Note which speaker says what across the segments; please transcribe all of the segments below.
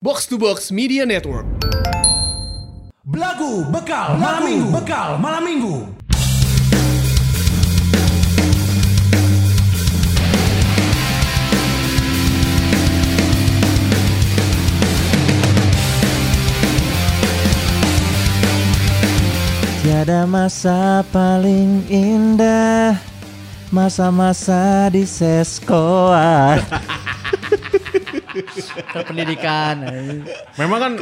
Speaker 1: Box to Box Media Network.
Speaker 2: Belagu bekal malam minggu, bekal malam minggu.
Speaker 3: Tiada masa paling indah Masa-masa di ah. seskoan Pendidikan
Speaker 4: Memang kan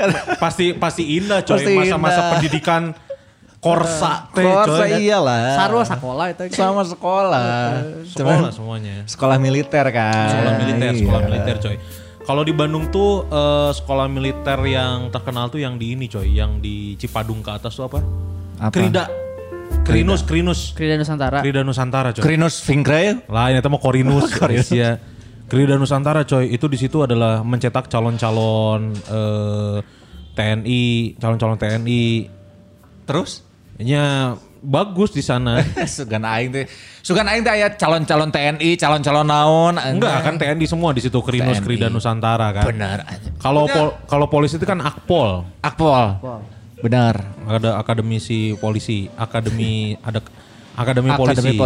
Speaker 4: pasti pasti indah coy
Speaker 3: Pasti
Speaker 4: masa-masa
Speaker 3: indah.
Speaker 4: pendidikan korsa teh
Speaker 3: Korsa
Speaker 4: coy.
Speaker 3: iyalah
Speaker 5: Sarwa sekolah itu.
Speaker 3: Sama sekolah Cuman
Speaker 4: Sekolah semuanya.
Speaker 3: Sekolah militer kan
Speaker 4: Sekolah militer,
Speaker 3: Iya.
Speaker 4: sekolah militer coy. Kalau di Bandung tuh eh, sekolah militer yang terkenal tuh yang di ini coy, yang di Cipadung ke atas tuh apa?
Speaker 3: Apa?
Speaker 4: Krida. Krinus, Krinus.
Speaker 5: Krida Nusantara.
Speaker 4: Krida Nusantara coy.
Speaker 3: Krinus Fingre
Speaker 4: Lah ini tuh mau Korinus, Iya. Krida Nusantara coy, itu di situ adalah mencetak calon-calon eh, TNI, calon-calon TNI.
Speaker 3: Terus
Speaker 4: Nya Ya, bagus di sana.
Speaker 3: Sugan Aing teh Sugan Aing teh ayat calon-calon TNI Calon-calon naon
Speaker 4: Enggak kan TNI semua di situ
Speaker 3: TNI.
Speaker 4: Krinus Krida Nusantara kan.
Speaker 3: Benar anjing.
Speaker 4: Kalau pol- kalau polisi itu kan Akpol.
Speaker 3: Akpol Benar
Speaker 4: Ada akademisi polisi, akademi ada akademi,
Speaker 3: Akademi
Speaker 4: polisi.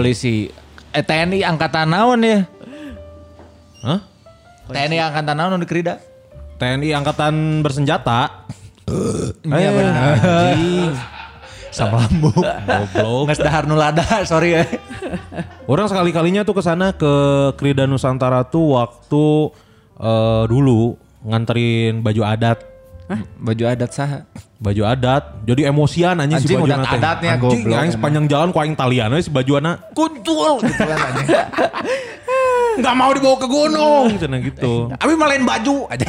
Speaker 3: Polisi Eh TNI Angkatan Naon ya
Speaker 4: Hah?
Speaker 3: TNI Angkatan Naon di Krida
Speaker 4: TNI angkatan bersenjata. Eh.
Speaker 3: Iya benar. Sama lambung.
Speaker 4: Goblok.
Speaker 3: Nges Oh, dahar nulada, sorry ya.
Speaker 4: Orang sekali-kalinya tuh ke sana ke Krida Nusantara tuh waktu eh, dulu nganterin baju adat.
Speaker 3: Baju adat saha.
Speaker 4: Baju adat. Jadi emosian anjing si
Speaker 3: Anjing,
Speaker 4: baju
Speaker 3: udah adatnya,
Speaker 4: Anjing
Speaker 3: goblok.
Speaker 4: aing sepanjang jalan ku aing talian we si baju anak.
Speaker 3: Kuntul gitu kan aja.
Speaker 4: Enggak mau dibawa ke gunung cenah gitu.
Speaker 3: Abi malain baju aja.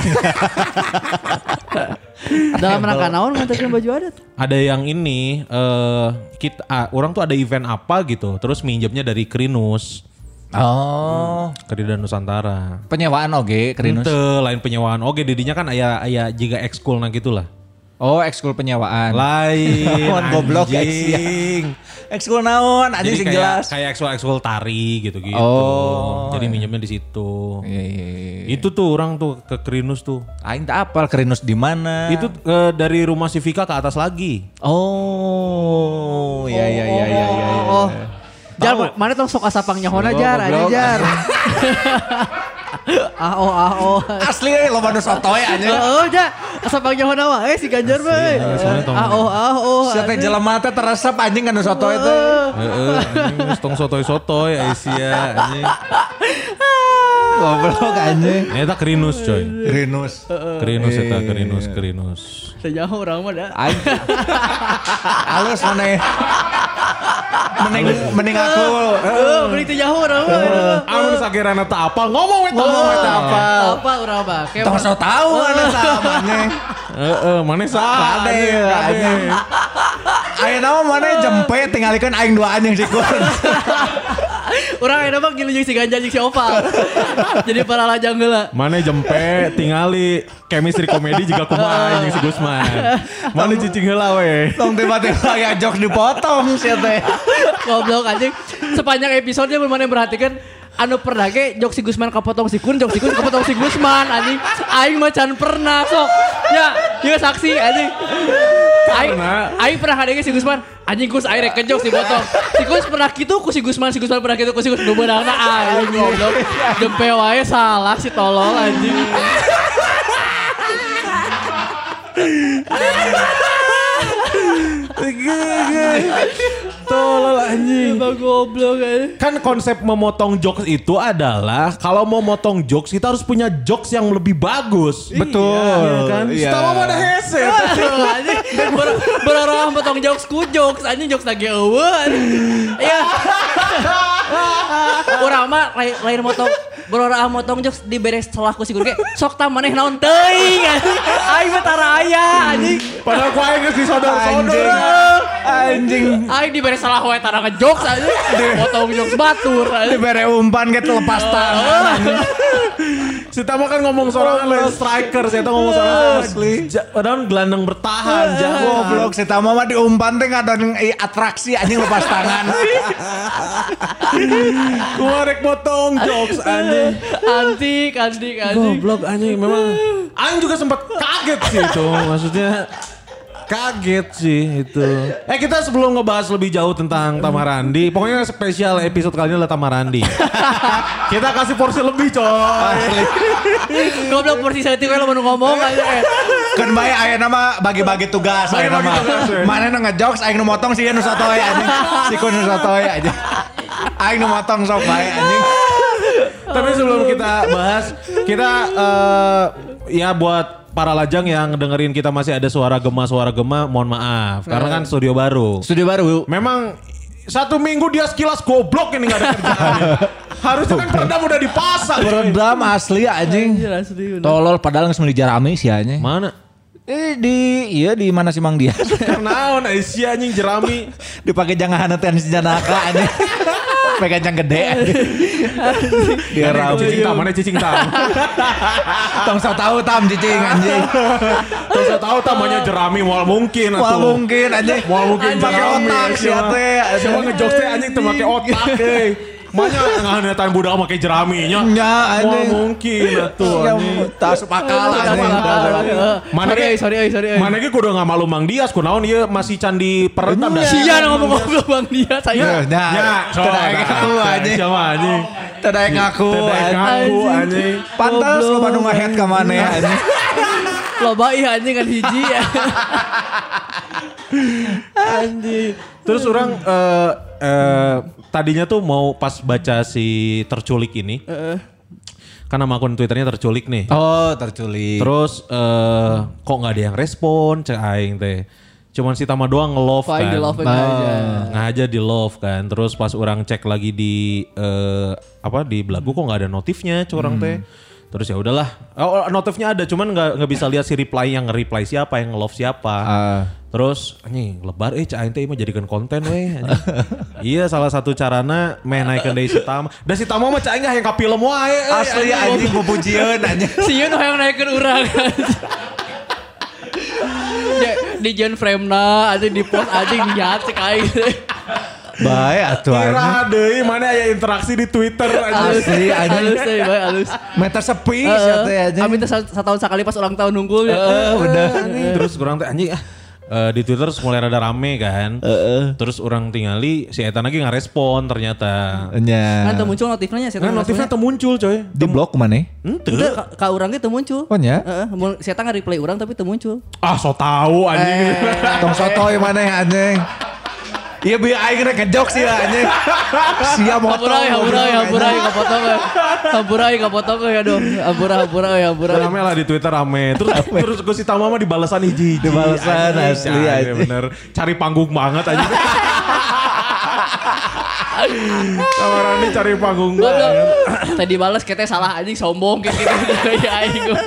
Speaker 5: Dalam rangka naon nganterin baju adat.
Speaker 4: ada yang ini eh kita ah, orang tuh ada event apa gitu terus minjemnya dari Krinus
Speaker 3: Oh,
Speaker 4: Krida Nusantara
Speaker 3: penyewaan oge Krinus.
Speaker 4: Ente lain penyewaan oke didinya kan aya aya jika ekskul nah gitulah
Speaker 3: Oh, ekskul penyewaan.
Speaker 4: lain
Speaker 3: Lawan goblok iya.
Speaker 4: anjing.
Speaker 3: anjing. Ekskul naon
Speaker 4: jadi
Speaker 3: anjing sing
Speaker 4: kayak
Speaker 3: jelas.
Speaker 4: kayak ekskul ekskul tari gitu gitu
Speaker 3: Oh.
Speaker 4: jadi minjemnya di situ
Speaker 3: Iya iya iya.
Speaker 4: itu tuh orang tuh ke Krinus tuh
Speaker 3: Aing tak apal Krinus di mana.
Speaker 4: itu eh, dari rumah si Vika ke atas lagi
Speaker 3: Oh, iya iya iya iya iya. iya.
Speaker 5: Oh. Jar, mana tong sok asapang nyahona jar, aja
Speaker 3: goblok.
Speaker 5: jar. Ah oh ah oh.
Speaker 3: Asli eh, loba nu sotoy anjing.
Speaker 5: Heeh, Oh, jar. Asapang nyahona mah eh si Ganjar mah. eh.
Speaker 4: Iya, soalnya tong-
Speaker 5: Ah oh ah oh.
Speaker 3: Siapa jelema teh teresep anjing kan nu sotoy teh.
Speaker 4: Heeh, anjing stong sotoy-sotoy Aisyah anjing.
Speaker 3: Goblok anjing.
Speaker 4: Eta Krinus coy.
Speaker 3: Rinus.
Speaker 4: Kerinus Iya. eta kerinus kerinus.
Speaker 5: Sejauh orang mah dah.
Speaker 3: Aing. Alus mana? Mending mending aku.
Speaker 5: Eh, beri teh jauh orang mah.
Speaker 4: Amun sagerana teu apal ngomong eta.
Speaker 3: Ngomong eta apa?
Speaker 5: Apa orang mah? Kayak
Speaker 3: Tong so tahu ana samanya.
Speaker 4: Heeh, maneh saha?
Speaker 3: Kade anjing. Ayeuna ya, nama mana jempe tinggalikeun aing dua anjing sih kun.
Speaker 5: orang enak mah gilu jeung si Ganjar jeung si Opal. Jadi para lajang heula.
Speaker 4: Maneh jempe tingali chemistry komedi juga kumaha anjing si Gusman. Maneh cicing heula we.
Speaker 3: Tong tiba-tiba ya jok dipotong sih teh.
Speaker 5: Goblok anjing. Sepanjang episodenya belum mana yang perhatikan anu pernah ge jok si Gusman kepotong si Kun, jok si Kun kepotong si Gusman anjing. Aing macan pernah sok. Ya, ya saksi anjing. Aing,
Speaker 4: Pernah.
Speaker 5: aing pernah ada si Gusman. Anjing Gus aing rek kejok si botong. Si Gus pernah gitu ku si Gusman, si Gusman pernah gitu ku si Gus. Nu beunangna aing goblok. Jempe wae salah si tolol anjing.
Speaker 4: Tolol anjing.
Speaker 5: Coba goblok anjing.
Speaker 4: Kan konsep memotong jokes itu adalah kalau mau motong jokes kita harus punya jokes yang lebih bagus. Iya kan?
Speaker 3: Iya.
Speaker 4: Tawa mah ada headset.
Speaker 5: anjing ber- berorang potong jokes ku jokes anjing jokes lagi eueuh anjing. ya urang mah lain lain motong berorang motong jokes diberes celah ku sigur ge sok ta maneh naon teuing anjing ai mah tara aya anjing
Speaker 4: Padahal ku aing geus
Speaker 3: Anjing.
Speaker 4: disodor-sodor.
Speaker 3: Anjing.
Speaker 5: ai diberes celah wae tara ngejokes anjing potong jokes batur anjing
Speaker 3: Dibere umpan gitu lepas tangan.
Speaker 4: Sita mah kan ngomong sorangan lain striker, saya ngomong sorangan asli. Ja- Padahal gelandang bertahan, jago
Speaker 3: Goblok si Tama mah diumpan teh ngadon eh, atraksi anjing lepas tangan.
Speaker 4: Korek potong jokes anjing.
Speaker 5: Antik, antik, antik.
Speaker 4: Goblok anjing memang. Anjing juga sempat kaget sih itu. Maksudnya Iya. kaget sih itu. Eh kita sebelum ngebahas lebih jauh tentang Tamarandi, pokoknya spesial episode kali ini adalah Tamarandi. kita kasih porsi lebih coy.
Speaker 5: Goblok porsi saya tipe lo mau ngomong Eh, aja kayak.
Speaker 3: kan bae aya nama bagi-bagi tugas aya
Speaker 4: Bagi-bagi
Speaker 3: nama.
Speaker 4: tugas, ya.
Speaker 3: Mana nu ngejokes aing nu motong sih nu satoy anjing. Si kun nu satoy anjing. Aing nu motong sok bae anjing.
Speaker 4: Tapi sebelum kita bahas, kita eh, ya buat para lajang yang dengerin kita masih ada suara gema suara gema, mohon maaf karena kan studio baru.
Speaker 3: Studio baru.
Speaker 4: Memang satu minggu dia sekilas goblok ini nggak ada kerjaan. Harusnya kan peredam udah dipasang.
Speaker 3: Program asli anjing.
Speaker 5: Anjir asli. bener.
Speaker 3: Tolol padahal langsung dijarami sih anjing.
Speaker 4: Mana?
Speaker 3: Eh di iya di mana sih Mang Dias?
Speaker 4: Karena Asia eh, anjing jerami.
Speaker 3: Dipake jangan teh senjanaka anjing. Pegang yang gede. anjing. Dia
Speaker 4: Jerami. Cicing tam, mana cicing tam.
Speaker 3: Tong sok tahu tam cicing anjing.
Speaker 4: Terus saya tahu tamanya jerami wal mungkin.
Speaker 3: Wah
Speaker 4: atuh.
Speaker 3: Ah. mungkin anjing.
Speaker 4: Wal mungkin
Speaker 3: Pakai
Speaker 4: jerami.
Speaker 3: otak sih
Speaker 4: Siapa-
Speaker 3: teh.
Speaker 4: Siapa ngejokes teh anjing teu make otak
Speaker 3: Iya.
Speaker 4: eh. euy. Manya ngahanetan budak make jeraminya.
Speaker 3: Nya,
Speaker 4: Wal
Speaker 3: anjing.
Speaker 4: mungkin atuh
Speaker 3: Ya,
Speaker 4: anjing.
Speaker 3: tak sepakal
Speaker 5: Tolol,
Speaker 3: anjing.
Speaker 5: tolol, tolol, tolol.
Speaker 4: Mana
Speaker 5: Sorry,
Speaker 4: ge-
Speaker 5: euy, sorry, euy, sorry, euy.
Speaker 4: Mana ge kudu ngamalum Mang Dias kunaon ieu masih candi peredam dah.
Speaker 3: Iya.
Speaker 5: Sia ngomong-ngomong bang dia saya.
Speaker 3: Ya,
Speaker 4: Ya, coba
Speaker 3: Tadaek aku anjing.
Speaker 4: Coba anjing.
Speaker 3: Tadaek nah, aku
Speaker 4: Tadaek
Speaker 3: anjing.
Speaker 4: aku
Speaker 5: Anjing.
Speaker 4: anjing.
Speaker 3: Pantas lu Bandung ngehead ke mana ya anjing.
Speaker 5: Loba ih anjing kan hiji ya.
Speaker 4: Terus orang eh, eh, tadinya tuh mau pas baca si terculik ini. Kan nama akun Twitternya terculik nih.
Speaker 3: Oh terculik.
Speaker 4: Terus eh, kok nggak ada yang respon cek aing teh. Cuman si Tama doang nge-love
Speaker 5: Aing
Speaker 4: kan.
Speaker 5: di-love-in aja.
Speaker 4: Nggak aja di love kan. Terus pas orang cek lagi di eh, apa di belagu kok nggak ada notifnya curang teh.
Speaker 3: Hmm.
Speaker 4: Terus ya udahlah. Oh, notifnya ada cuman nggak nggak bisa lihat si reply yang nge-reply siapa, yang nge-love siapa.
Speaker 3: Ah.
Speaker 4: Terus anjing lebar eh cai teh mah jadikan konten weh. anjing. iya salah satu carana meh naikkeun deui si Tama. Da si Tama mah cai nggak yang ka film wae. eh,
Speaker 3: Asli anjing pupujieun anjing.
Speaker 5: Sia nu hayang naikeun urang. Ya, di John Fremna anjing di post anjing jahat cek aing.
Speaker 3: Baik atuh anjing.
Speaker 4: Kira deui mana aya interaksi di Twitter aja.
Speaker 5: Alus,
Speaker 3: Asli, anjing.
Speaker 5: alus, euy, bae, alus.
Speaker 3: Meter sepi
Speaker 5: Heeh.
Speaker 3: siapa ya anjing. Eh.
Speaker 5: Amin teh Eh, ah, sa- satahun sekali pas ulang tahun unggul ya.
Speaker 3: Heeh, bener.
Speaker 4: Terus kurang teh anjing ah. Eh, di Twitter terus mulai rada rame kan. Terus orang tingali si Eta lagi nggak respon ternyata.
Speaker 3: Nya.
Speaker 5: Kan teu muncul notifnya sih.
Speaker 4: Nah notifnya tuh muncul coy.
Speaker 3: Di blok mana?
Speaker 4: Ente.
Speaker 5: Teu, ka- ka urang ge teu muncul.
Speaker 3: Oh, nya?
Speaker 5: Heeh, mun si eta nge-reply urang tapi teu muncul.
Speaker 4: Ah so tau anjing.
Speaker 3: Tong sotoy mana ya anjing. Iya biar aing rek ngejok sih lah, anjing. Siap motor.
Speaker 5: Hamburai, hamburai, hamburai, kapotong ya. Hamburai, kapotong ya aduh. Hamburai, hamburai, hamburai.
Speaker 4: Rame lah di Twitter rame. Terus terus gue si Tama mah dibalasan hiji. Iya,
Speaker 3: Dibalasan, asli, anjing.
Speaker 4: Bener. Cari panggung banget aja. Sama Rani cari panggung
Speaker 5: Goblok.
Speaker 4: banget.
Speaker 5: Tadi balas katanya salah anjing sombong kayak gitu. Ya aing. gua.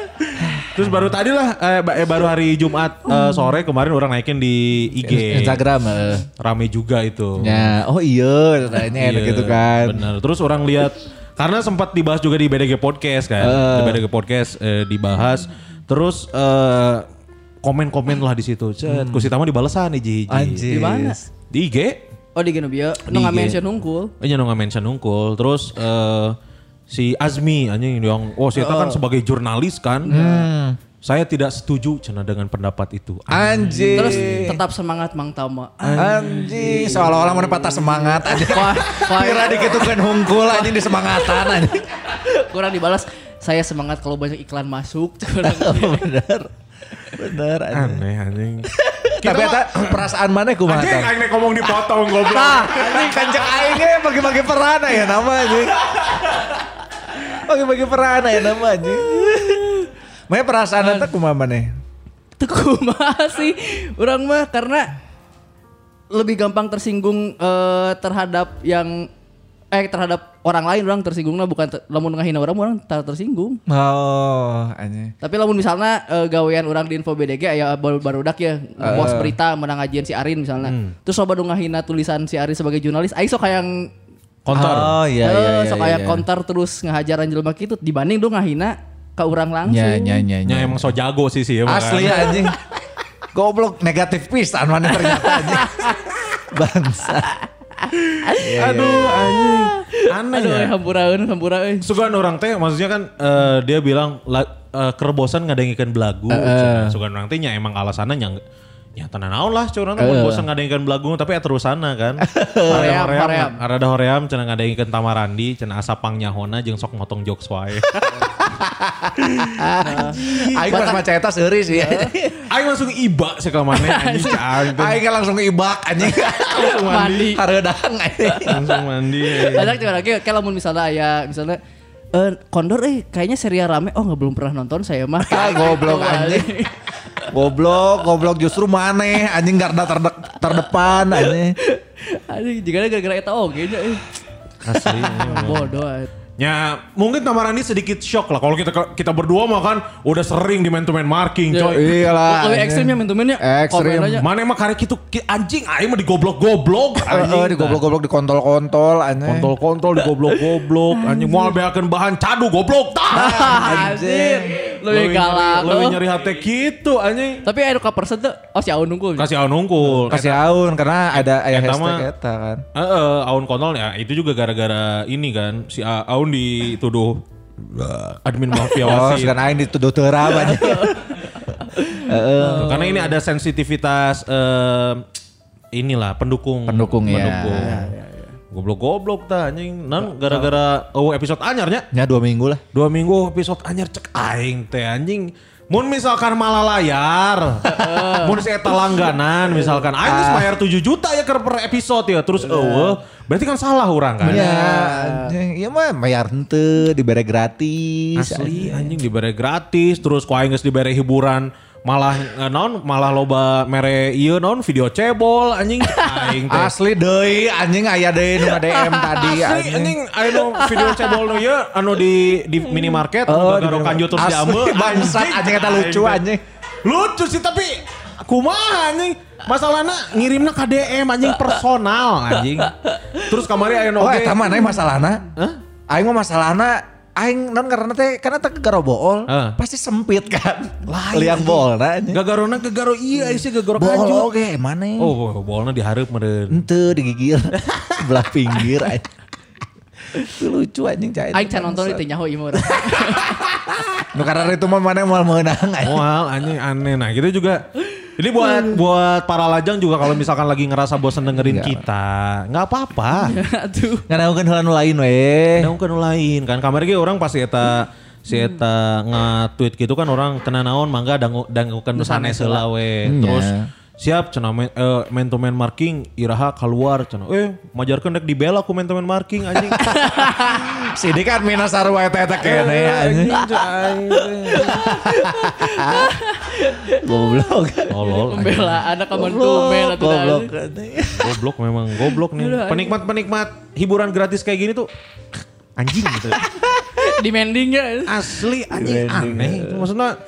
Speaker 4: Terus baru tadi lah, eh, ba- eh, baru hari Jumat eh, sore kemarin orang naikin di IG.
Speaker 3: Instagram. eh. heeh.
Speaker 4: Rame juga itu.
Speaker 3: Ya, oh iya, tanya enak
Speaker 4: Iya,
Speaker 3: gitu kan.
Speaker 4: Benar. Terus orang lihat karena sempat dibahas juga di BDG podcast kan.
Speaker 3: Eh.
Speaker 4: Di BDG podcast eh, dibahas terus eh, komen-komen lah di situ. Cet, Kursi Tama dibalesan hiji-hiji.
Speaker 3: Hmm. Anjir.
Speaker 5: Di mana?
Speaker 4: Di IG.
Speaker 5: Oh di Genobia,
Speaker 4: Di
Speaker 5: nu
Speaker 4: IG.
Speaker 5: nggak mention unggul.
Speaker 4: Eh nyana mention unggul. Terus eh, si Azmi anjing yang oh si
Speaker 3: Eh.
Speaker 4: Eta kan sebagai jurnalis kan.
Speaker 3: Hmm.
Speaker 4: Saya tidak setuju cina dengan pendapat itu.
Speaker 3: Anjing.
Speaker 5: Terus tetap semangat Mang Tama.
Speaker 3: Anjing, seolah-olah mana patah semangat aja.
Speaker 5: Wah, wah.
Speaker 3: Kira dikitukan hungkul anjing di semangatan anjing.
Speaker 5: Kurang dibalas. Saya semangat kalau banyak iklan masuk.
Speaker 3: Bener. Bener anjing.
Speaker 4: Aneh anjing.
Speaker 3: Tapi eta perasaan mana kumaha?
Speaker 4: Anjing
Speaker 3: Tong?
Speaker 4: aing nek ngomong dipotong goblok.
Speaker 3: Tah, anjing kanjeng aing ge bagi-bagi peran ya nama anjing. Bagi-bagi peran ya nama anjing. Mana perasaan eta kumaha maneh?
Speaker 5: Teku masih orang mah karena lebih gampang tersinggung eh, terhadap yang eh terhadap orang lain orang tersinggungnya bukan ter- lamun ngahina orang orang tak tersinggung.
Speaker 3: Oh, anjing.
Speaker 5: Tapi lamun misalnya eh, gawean orang di info BDG aya baru barudak ya bos
Speaker 3: Eh.
Speaker 5: berita menang ngajian si Arin misalnya.
Speaker 3: Hmm.
Speaker 5: Terus loba nu ngahina tulisan si Arin sebagai jurnalis, aing sok hayang
Speaker 4: Kontor.
Speaker 3: Oh, iya
Speaker 5: eh,
Speaker 3: iya iya.
Speaker 5: sok
Speaker 3: iya,
Speaker 5: hayang
Speaker 3: iya.
Speaker 5: konter terus ngehajaran jelema kitu dibanding lu ngahina
Speaker 6: ke orang langsung.
Speaker 3: Nya nya nya. nya.
Speaker 4: Ya emang so jago sih sih. emang.
Speaker 3: iya,
Speaker 4: kan.
Speaker 3: Asli anjing. Goblok negatif pisan mana ternyata anjing. Bangsa. Iya,
Speaker 4: Aduh anjing. Aneh
Speaker 6: Aduh,
Speaker 4: ya.
Speaker 6: eh, hampura euy, hampura euy.
Speaker 4: Sugan orang teh maksudnya kan eh, dia bilang la, eh, kerebosan ngadain ikan belagu. Sugan- Sugan orang teh nya emang alasannya yang ya tenan naon lah cuman uh. bosan ngadain ikan belagu tapi ya terusana kan.
Speaker 6: Hoream, hoream.
Speaker 4: Ada hoream cenah ngadain ikan tamarandi cenah asapang nyahona jeung sok motong jokes wae.
Speaker 3: Aing pas maca eta seuris ya.
Speaker 4: Aing langsung iba sekelamane anjing caan.
Speaker 3: Aing kan langsung ibak anjing.
Speaker 4: Ya, Langsung mandi.
Speaker 3: Hareudang anjing.
Speaker 4: Langsung mandi.
Speaker 6: Banyak juga lagi, kayak lamun misalnya ya, misalnya eh kondor eh kayaknya serial rame oh nggak belum pernah nonton saya mah
Speaker 3: Ah, goblok anjing. Goblok, goblok justru maneh anjing garda terde- terdepan anjing.
Speaker 6: anjing jika gara-gara eta
Speaker 5: oh,
Speaker 6: oge nya
Speaker 3: Iya,
Speaker 6: eh.
Speaker 4: Asli. emang.
Speaker 6: bodoh eh.
Speaker 4: Ya mungkin Tamarandi sedikit shock lah kalau kita kita berdua mah kan udah sering di man to man marking coy.
Speaker 3: Iya
Speaker 6: lebih
Speaker 3: lah. anjing.
Speaker 6: ekstrimnya mintumannya
Speaker 3: Ekstrim.
Speaker 4: Mana emang karek itu anjing aing mah digoblok-goblok
Speaker 3: Heeh,
Speaker 4: anjing.
Speaker 3: eh, di goblok-goblok di kontol-kontol anjing.
Speaker 4: Kontol-kontol digoblok-goblok anjing moal beakeun bahan cadu goblok tah.
Speaker 6: anjing lebih
Speaker 4: Leuwih
Speaker 6: galak
Speaker 4: nyeri- leuwih
Speaker 6: oh.
Speaker 4: nyeri hati gitu anjing.
Speaker 6: tapi ayo ka persen tuh oh si Aun nunggu
Speaker 4: Kasih aun unggul.
Speaker 3: Kasih aun karena ada ayah
Speaker 4: Eta
Speaker 3: hashtag
Speaker 4: mah-
Speaker 3: eta kan.
Speaker 4: Eh, eh, aun kontol ya itu juga gara-gara ini kan si A- aun dituduh admin mafia
Speaker 3: Oh,
Speaker 4: wasit.
Speaker 3: sekarang aing dituduh terap anjing.
Speaker 4: Tuh,
Speaker 3: Eh.
Speaker 4: Karena ini ada sensitivitas eh, inilah pendukung.
Speaker 3: Pendukung, ya.
Speaker 4: Pendukung. Goblok-goblok tah anjing. Nan gara-gara oh episode anyarnya
Speaker 3: Ya dua minggu lah.
Speaker 4: dua minggu episode anyar cek aing teh anjing. Mun misalkan malah layar, mun si eta langganan misalkan aing
Speaker 3: Ah.
Speaker 4: geus bayar 7 juta ya keur per episode ya terus eueuh, berarti kan salah orang kan.
Speaker 3: Iya, anjing. Iya mah bayar henteu dibere gratis.
Speaker 4: Asli anjing dibere gratis terus ku aing geus dibere hiburan malah eh, naon malah loba mere ieu naon video cebol anjing aing teh.
Speaker 3: Asli deui anjing aya deui nu DM tadi
Speaker 4: Asli anjing aing nu video cebol nu ieu anu di di minimarket
Speaker 3: Oh,
Speaker 4: anu
Speaker 3: di
Speaker 4: garo
Speaker 3: minimarket.
Speaker 4: kanjo terus
Speaker 3: Asli,
Speaker 4: diambil.
Speaker 3: bangsat, anjing eta lucu, anjing.
Speaker 4: Lucu sih tapi kumaha anjing masalahnya ngirimna ka DM anjing personal anjing. Terus kamari aya nu
Speaker 3: Oh,
Speaker 4: oge-
Speaker 3: eta mah naik masalahna. Aing mah masalahna aing non karena teh karena teh kegaro bool
Speaker 4: Heeh.
Speaker 3: pasti sempit kan.
Speaker 4: iya,
Speaker 3: Liang bool na anjing.
Speaker 4: gagarona kegaro ieu aing sih gagaro
Speaker 3: Bool
Speaker 4: kanjo.
Speaker 3: oge maneh.
Speaker 4: Oh, bolna dihareup meureun.
Speaker 3: Henteu digigil sebelah pinggir anjing. Itu lucu anjing cai.
Speaker 6: Aing can nonton itu nyaho imur
Speaker 3: Nu karena itu mah maneh moal meunang anjing.
Speaker 4: Mual anjing aneh. Nah kita juga ini buat buat para lajang juga kalau misalkan lagi ngerasa bosan dengerin
Speaker 3: Iya.
Speaker 4: kita, nggak apa-apa.
Speaker 6: aduh
Speaker 3: Nganaungkeun heula nu lain we.
Speaker 4: Nah, kan lain kan kamar ge orang pasti eta si eta nge-tweet gitu kan orang kena naon mangga dangu dangukeun nu sanes heula we.
Speaker 3: Hmm,
Speaker 4: Terus
Speaker 3: ya.
Speaker 4: siap cenah men, eh, man to man marking iraha keluar cenah. Eh, majarkeun rek dibela ku man to man marking anjing.
Speaker 3: Si dia kan mina sarua eta eta kene Eh, anjing. Goblok.
Speaker 4: Tolol. anjing.
Speaker 6: membela anak kamu tuh men atuh dah.
Speaker 3: Goblok.
Speaker 4: Goblok memang goblok
Speaker 6: Aduh,
Speaker 4: nih.
Speaker 6: anjing.
Speaker 4: Penikmat-penikmat hiburan gratis kayak gini tuh anjing gitu.
Speaker 6: demanding ya
Speaker 4: Asli anjing aneh. Maksudnya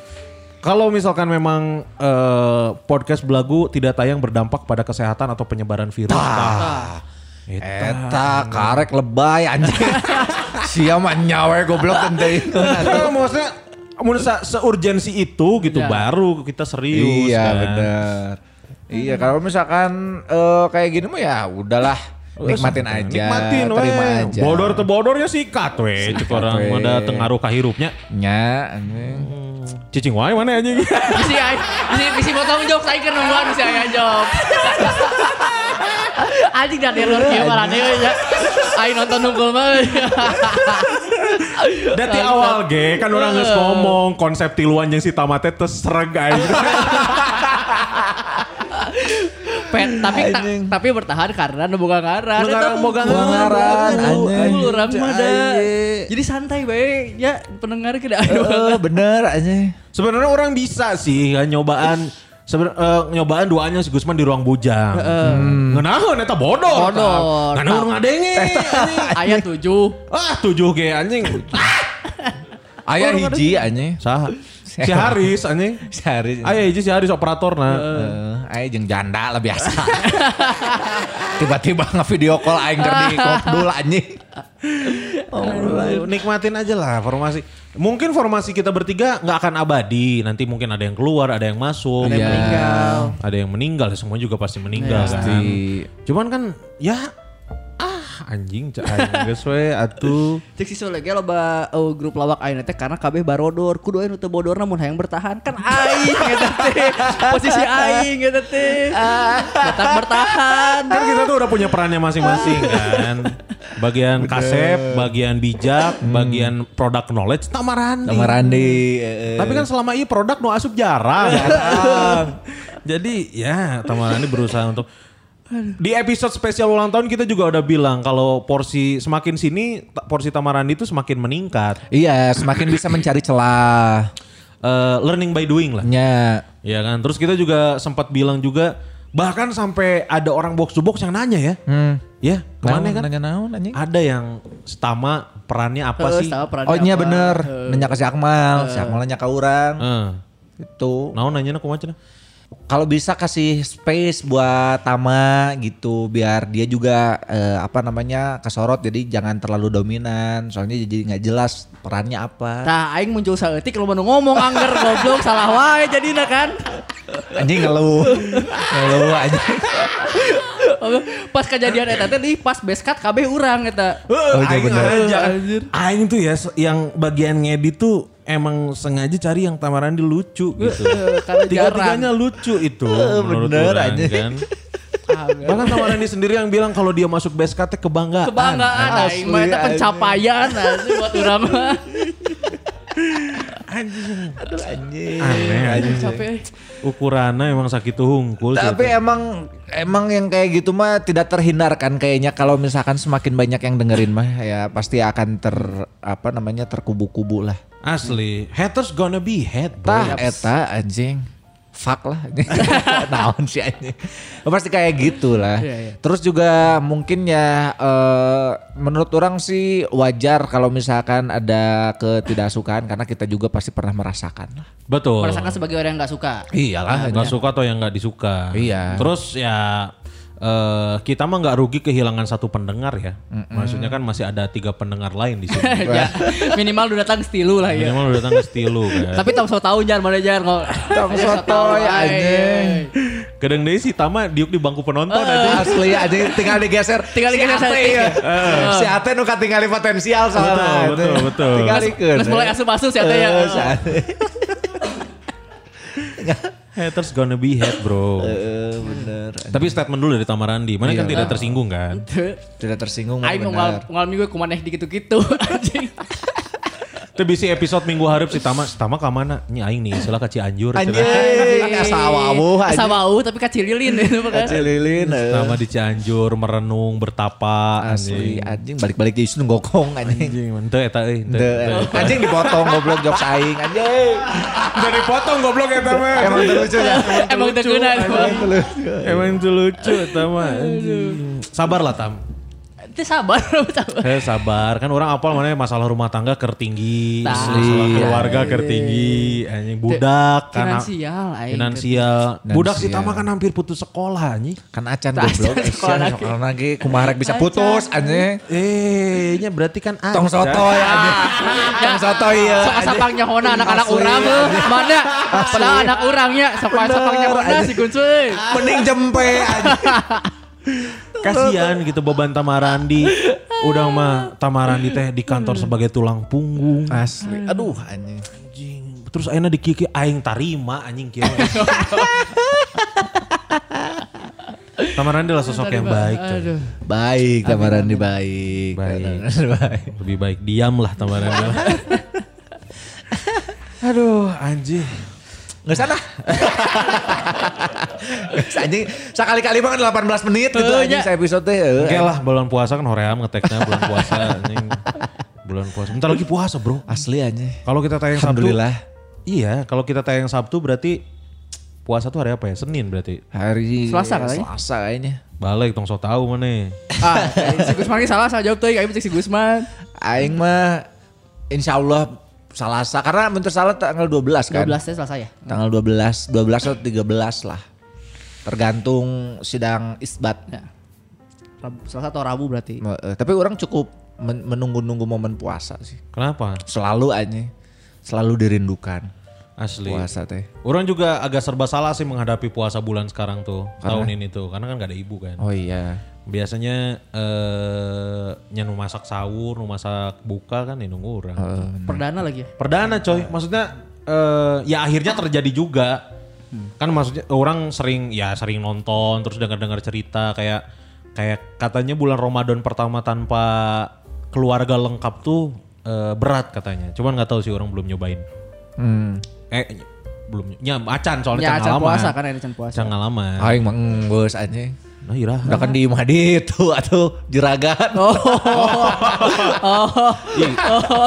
Speaker 4: kalau misalkan memang eh, podcast belagu tidak tayang berdampak pada kesehatan atau penyebaran virus. Tah. Itu.
Speaker 3: Eta karek lebay anjing. Sia mah nyawe goblok teh.
Speaker 4: Eh, maksudnya menurut sa- seurgensi itu gitu baru kita serius
Speaker 3: Iya
Speaker 4: kan.
Speaker 3: benar. Iya kalau misalkan eh, kayak gini mah ya udahlah nikmatin
Speaker 4: Santai.
Speaker 3: aja,
Speaker 4: Nikmatin
Speaker 3: terima
Speaker 4: weh.
Speaker 3: aja.
Speaker 4: Bodor te bodornya Ya, sikat weh. Cik orang
Speaker 3: weh.
Speaker 4: ada tengaruh kahirupnya.
Speaker 3: Nya anjing.
Speaker 4: Cicing wae mana ya, anjing.
Speaker 6: bisi aing bisi bisi potong jokes aing keur nungguan bisi aing jokes anjing dan error kieu malah deui ya aing nonton nungkul mah ya.
Speaker 4: Dari awal ge kan orang nges ngomong konsep tiluan yang si tamate teh sereg aja.
Speaker 6: Pet, tapi ta-
Speaker 3: Anjing.
Speaker 6: tapi bertahan karena nu boga ngaran.
Speaker 4: Nu ngaran,
Speaker 6: Eta
Speaker 4: boga
Speaker 6: boga
Speaker 3: ngaran,
Speaker 6: Aduh,
Speaker 3: anjing.
Speaker 6: aduh, urang mah da.
Speaker 3: Cai.
Speaker 6: Jadi santai bae ya pendengar kita ayo.
Speaker 3: Eh, bener anjing.
Speaker 4: Sebenarnya orang bisa sih kan nyobaan seben- eh, nyobaan doanya si Gusman di ruang bujang. Hmm. Ngenaheun eta bodoh.
Speaker 6: Bodoh.
Speaker 4: Kan urang ngadenge. anjing.
Speaker 6: Ayat 7.
Speaker 4: Ah tujuh ge anjing.
Speaker 3: Ayah hiji anjing.
Speaker 4: Saha? Si Haris anjing.
Speaker 3: Sehari.
Speaker 4: Ayo hiji si Haris operator nah.
Speaker 3: Eh, aing jeung janda lah biasa. Tiba-tiba ngevideo call aing keur di kopdul anjing.
Speaker 4: Aduh, nikmatin aja lah formasi. Mungkin formasi kita bertiga nggak akan abadi. Nanti mungkin ada yang keluar, ada yang masuk,
Speaker 3: Ada yang Iya. meninggal. Iya,
Speaker 4: ada yang meninggal. ya, Semua juga pasti meninggal kan. Cuman kan ya ah anjing cak aing geus we atuh.
Speaker 5: Cek si Sule ge loba oh, grup lawak ayeuna teh karena kabeh barodor. Kudu aya nu teu bodor namun hayang bertahan kan aing eta teh. Posisi aing eta teh. Tetap bertahan.
Speaker 4: Kan kita tuh udah punya perannya masing-masing kan. Bagian kasep, bagian bijak, bagian product knowledge, tamarandi.
Speaker 3: Sama Randi. eh,
Speaker 4: Tapi kan selama ini produk no asup jarang. Jarang. Jadi ya Tamarani berusaha untuk di episode spesial ulang tahun kita juga udah bilang kalau porsi semakin sini ta- porsi Tamarani itu semakin meningkat.
Speaker 3: Iya, semakin bisa mencari celah.
Speaker 4: Eh, learning by doing
Speaker 3: Hmm.
Speaker 4: lah.
Speaker 3: Nya.
Speaker 4: Ya kan. Terus kita juga sempat bilang juga bahkan sampai ada orang box to box yang nanya ya. Ya,
Speaker 3: Hmm.
Speaker 4: kemana
Speaker 3: Naon,
Speaker 4: kan?
Speaker 3: Nanya naon anjing.
Speaker 4: Ada yang stama perannya apa
Speaker 5: Heeh,
Speaker 4: sih?
Speaker 5: sama perannya
Speaker 3: Oh iya
Speaker 5: apa.
Speaker 3: bener, nanya ke si Akmal, si Akmal nanya ke orang.
Speaker 4: Heeh.
Speaker 3: Itu.
Speaker 4: Naon Eh, nanya aku macam
Speaker 3: Kalau bisa kasih space buat Tama gitu biar dia juga eh, apa namanya kesorot jadi jangan terlalu dominan soalnya jadi nggak jelas perannya apa.
Speaker 5: Tah aing muncul saeutik lu mau ngomong angger goblok salah wae jadina kan.
Speaker 3: Anjing ngeluh. ngeluh anjing.
Speaker 5: Pas kejadian eta teh di pas base cut kabeh urang eta.
Speaker 3: Oh, iya
Speaker 4: aing
Speaker 3: bener.
Speaker 4: aja.
Speaker 5: Eh, Anjir.
Speaker 4: Aing tuh ya se- yang bagian ngedit tuh emang sengaja cari yang tamaran di lucu gitu.
Speaker 5: Karena
Speaker 4: Tiga-tiganya lucu itu menurut
Speaker 3: Eh, bener
Speaker 4: orang,
Speaker 3: aja.
Speaker 4: kan.
Speaker 5: jarang.
Speaker 4: Bahkan Tamarandi sendiri yang bilang kalau dia masuk base cut kebanggaan.
Speaker 5: Kebanggaan aing mah eta pencapaian anjir buat urang mah.
Speaker 4: Aneh aja.
Speaker 5: Capek.
Speaker 4: Ukurannya emang sakit hungkul. sih
Speaker 3: Tapi
Speaker 4: itu.
Speaker 3: emang emang yang kayak gitu mah tidak terhindarkan kayaknya kalau misalkan semakin banyak yang dengerin mah ya pasti akan ter apa namanya terkubu-kubu lah.
Speaker 4: asli haters gonna be hate. bro.
Speaker 3: Tah eta anjing. Fuck lah Naon sih anjing. Pasti kayak gitu lah.
Speaker 5: Iya, iya.
Speaker 3: Terus juga mungkin ya eh, menurut orang sih wajar kalau misalkan ada ketidaksukaan karena kita juga pasti pernah merasakan lah.
Speaker 4: Betul.
Speaker 5: Merasakan sebagai orang yang gak suka.
Speaker 3: Iyalah.
Speaker 4: nggak suka atau yang nggak disuka.
Speaker 3: Iya.
Speaker 4: Terus ya eh, kita mah nggak rugi kehilangan satu pendengar ya. Maksudnya kan masih ada tiga pendengar lain di sini.
Speaker 5: ya, minimal udah datang stilu lah ya.
Speaker 4: Minimal udah datang ke Stilu kan.
Speaker 5: Tapi tong so tau jar mana jar kok.
Speaker 3: Tong so tau, ya, anjing.
Speaker 4: Kadang deh si Tama diuk di bangku penonton
Speaker 3: Eh.
Speaker 4: aja.
Speaker 3: Asli anjing tinggal digeser.
Speaker 5: Oh, Tinggal digeser
Speaker 3: Si Ate
Speaker 5: saeutik
Speaker 3: ya.
Speaker 5: ya.
Speaker 3: Si Ate nu katingali potensial soalnya.
Speaker 4: Betul, betul, betul.
Speaker 3: Tinggal
Speaker 5: Mas,
Speaker 3: dikeun.
Speaker 5: mas mulai asup-asup siapa ya?
Speaker 3: Eh, si Ate.
Speaker 4: Haters gonna be hate bro.
Speaker 3: Eh, bener.
Speaker 4: Tapi statement dulu dari Tamarandi. Mana kan tidak tersinggung kan.
Speaker 3: Tidak tersinggung
Speaker 5: Aing mau
Speaker 3: benar.
Speaker 5: ngal- ngalami gue kumaneh di gitu-gitu anjing.
Speaker 4: Tapi si episode minggu harap si Tama. Si Tama kemana? Ini aing nih istilah kaci anjur.
Speaker 3: Anjing, asa wawu anjing.
Speaker 5: Asa wau tapi kacililin itu kan.
Speaker 3: Cililin. eh.
Speaker 4: Tama di Cianjur, merenung, bertapa.
Speaker 3: Asli
Speaker 4: Anjing.
Speaker 3: anjing balik-balik jadi sunu gokong anjing.
Speaker 4: Anjing, ente eta euy, ente,
Speaker 3: Teu,
Speaker 4: ente.
Speaker 3: eh. Anjing dipotong goblok jok saing anjing.
Speaker 4: Dari potong goblok eta mah.
Speaker 3: Emang teu lucu ya.
Speaker 5: Emang tegenan.
Speaker 4: Emang itu lucu Tam. ah, Anjing. Sabar lah Tam.
Speaker 5: Itu sabar, sabar.
Speaker 4: Eh, sabar kan orang apal mana masalah rumah tangga kertinggi,
Speaker 5: Tah.
Speaker 4: masalah keluarga kertinggi, anjing budak kan
Speaker 5: finansial, aing.
Speaker 4: finansial. Budak si
Speaker 3: Finansial.
Speaker 4: Tama kan hampir putus sekolah anjing.
Speaker 3: Kan acan
Speaker 5: Acan
Speaker 3: goblok.
Speaker 5: sekolah
Speaker 3: Acan
Speaker 5: lagi.
Speaker 3: sekolah lagi kumaha rek bisa putus anjing.
Speaker 4: Eh, nya berarti kan ada.
Speaker 3: Tong soto ya anjing. Tong soto ya.
Speaker 5: Sok asapang nyahona anak-anak
Speaker 3: Asli,
Speaker 5: urang
Speaker 3: anjing.
Speaker 5: eh. Mana? Padahal anak urangnya
Speaker 6: ya.
Speaker 5: sok asapang
Speaker 3: Bener,
Speaker 5: nyahona
Speaker 3: anjing.
Speaker 5: si kuncuy.
Speaker 3: Mending jempe anjing.
Speaker 4: Kasihan gitu beban Tamarandi. Udah mah Tamarandi teh di kantor sebagai tulang punggung.
Speaker 3: Asli. Aduh anjing.
Speaker 4: Anjing. Terus akhirnya dikiki aing tarima anjing kira. Tamarandi lah sosok yang baik. coy.
Speaker 5: Aduh.
Speaker 3: Baik Tamarandi baik.
Speaker 4: Baik.
Speaker 3: Tamarandi baik.
Speaker 4: Lebih baik diam lah Tamarandi. Aduh anjing.
Speaker 3: Nggak sana. anjing sekali-kali banget 18 menit gitu
Speaker 5: Heunya.
Speaker 3: anjing saya episode eh. teh. heuh.
Speaker 4: Oke lah bulan puasa kan hoream ngeteknya bulan puasa anjing. Bulan puasa. Bentar lagi puasa bro.
Speaker 3: Asli anjing.
Speaker 4: Kalau kita tayang Sabtu.
Speaker 3: Alhamdulillah.
Speaker 4: Iya kalau kita tayang Sabtu berarti puasa tuh hari apa ya? Senin berarti.
Speaker 3: Hari
Speaker 5: Selasa katanya.
Speaker 3: Selasa kayaknya.
Speaker 4: Balik tong so tau mana.
Speaker 5: Ah,
Speaker 6: eh,
Speaker 5: si Gusman ini salah, salah jawab tuh. Ayo cek si Gusman.
Speaker 3: Aing mah insya Allah Salasa karena menurut salah tanggal 12
Speaker 6: 12
Speaker 3: kan.
Speaker 6: nya selesai ya.
Speaker 3: Tanggal 12, 12 atau 13 lah. Tergantung sidang isbat.
Speaker 6: Ya. Rabu, Selasa atau Rabu berarti.
Speaker 3: Me- eh, Tapi orang cukup men- menunggu-nunggu momen puasa sih.
Speaker 4: Kenapa?
Speaker 3: Selalu aja, selalu dirindukan
Speaker 4: Asli.
Speaker 3: puasa teh.
Speaker 4: Orang juga agak serba salah sih menghadapi puasa bulan sekarang tuh tahun ini tuh karena kan gak ada ibu kan.
Speaker 3: Oh iya.
Speaker 4: Biasanya eh nyanu masak sahur, nu masak buka kan ini nunggu orang.
Speaker 6: Perdana lagi ya.
Speaker 4: Perdana coy, maksudnya eh ya akhirnya terjadi juga.
Speaker 6: Hmm.
Speaker 4: Kan maksudnya orang sering ya sering nonton terus dengar-dengar cerita kayak kayak katanya bulan Ramadan pertama tanpa keluarga lengkap tuh eh, berat katanya. Cuman nggak tahu sih orang belum nyobain.
Speaker 3: Hmm.
Speaker 4: Eh ny- belum ny- nya acan soalnya
Speaker 6: Ya,
Speaker 4: can
Speaker 6: acan
Speaker 4: ngalaman.
Speaker 6: puasa kan ada acan puasa.
Speaker 4: Can ngalaman.
Speaker 3: Aing mah enggeus anjing.
Speaker 4: Nah, irah.
Speaker 3: Udah kan di imah di itu atau jeragan. Oh.
Speaker 4: Ih,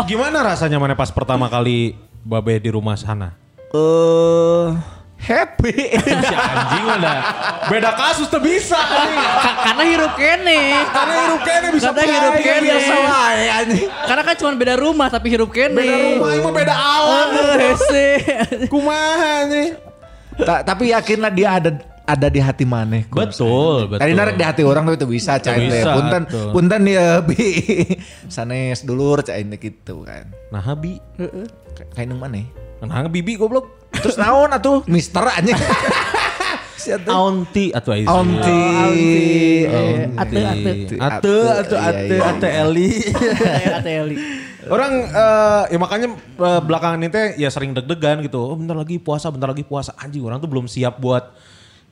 Speaker 4: Gimana rasanya mana pas pertama kali babe di rumah sana?
Speaker 3: happy.
Speaker 4: Si anjing ada. Beda kasus tuh bisa. anjing.
Speaker 6: Ka- karena hirup kene.
Speaker 4: Karena hirup kene bisa
Speaker 6: Karena
Speaker 4: bae,
Speaker 6: hirup kene.
Speaker 4: biasa wae, anjing.
Speaker 6: Karena kan cuma beda rumah tapi hirup kene.
Speaker 4: Beda rumah ini mah beda alam.
Speaker 6: Aduh, hese.
Speaker 4: Kumaha anjing.
Speaker 3: Ta- tapi yakinlah dia ada ada di hati maneh. Kum.
Speaker 4: Betul, betul.
Speaker 3: Tadi narik di hati orang tuh itu bisa cain teh.
Speaker 4: bisa,
Speaker 3: Punten,
Speaker 4: tuh.
Speaker 3: punten ya bi. Sanes dulur cain teh gitu kan.
Speaker 4: Nah, Habi.
Speaker 3: Ka- Kain maneh.
Speaker 4: Nah, bibi goblok.
Speaker 3: Terus naon atuh mister anjing. Siapa?
Speaker 4: Aunti atau Aizi.
Speaker 3: Aunti.
Speaker 4: Oh,
Speaker 6: Eh, Ate, ate.
Speaker 4: Ate, ate, ate, ate Eli.
Speaker 6: Eh, Ate Eli.
Speaker 4: Orang eh, ya makanya eh, belakangan ini teh ya sering deg-degan gitu. Oh bentar lagi puasa, bentar lagi puasa. Anjing orang tuh belum siap buat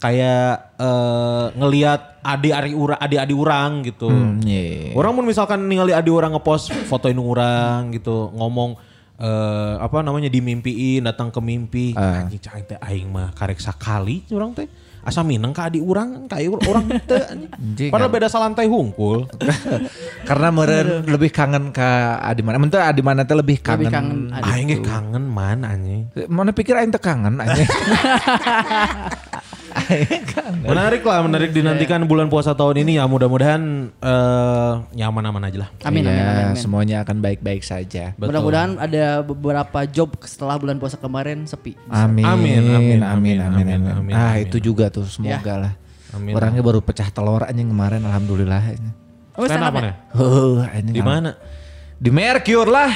Speaker 4: kayak eh, ngelihat adik-adik urang, adik-adik urang gitu.
Speaker 3: Iya.
Speaker 4: Orang pun misalkan ningali adik orang ngepost fotoin orang gitu, ngomong eh, apa namanya dimimpiin, datang ke mimpi.
Speaker 3: Ah.
Speaker 4: Anjing cai teh aing mah karek sakali orang teh. Asa mineng ka adik urang, ka ieu urang teu. anjing.
Speaker 3: Iya, kan?
Speaker 4: Padahal beda salantai hungkul.
Speaker 3: Karena meren lebih kangen ke Adi mana. Mentu Adi mana teh lebih kangen.
Speaker 6: Lebih kangen adik.
Speaker 4: Aing ge kangen man anjing.
Speaker 3: Mana pikir aing teh kangen anjing.
Speaker 4: Menarik lah, menarik
Speaker 6: Iya.
Speaker 4: dinantikan bulan puasa tahun ini ya mudah-mudahan eh, nyaman-aman aja lah.
Speaker 6: Amin, amin, amin.
Speaker 3: Ya,
Speaker 6: amin.
Speaker 3: semuanya akan baik-baik saja.
Speaker 4: Betul.
Speaker 6: Mudah-mudahan ada beberapa job setelah bulan puasa kemarin sepi.
Speaker 3: Amin.
Speaker 4: Amin,
Speaker 3: Amin,
Speaker 4: amin,
Speaker 3: amin, amin,
Speaker 4: amin,
Speaker 3: amin,
Speaker 4: amin,
Speaker 3: Ah
Speaker 4: amin.
Speaker 3: itu juga tuh semoga
Speaker 6: Ya.
Speaker 3: lah.
Speaker 4: Amin.
Speaker 3: Orangnya baru pecah telur anjing kemarin alhamdulillah.
Speaker 6: Oh, stand up
Speaker 4: Kenapa
Speaker 6: ya?
Speaker 4: nih?
Speaker 3: Heuh, anjing.
Speaker 4: Di mana?
Speaker 3: Di Mercure lah.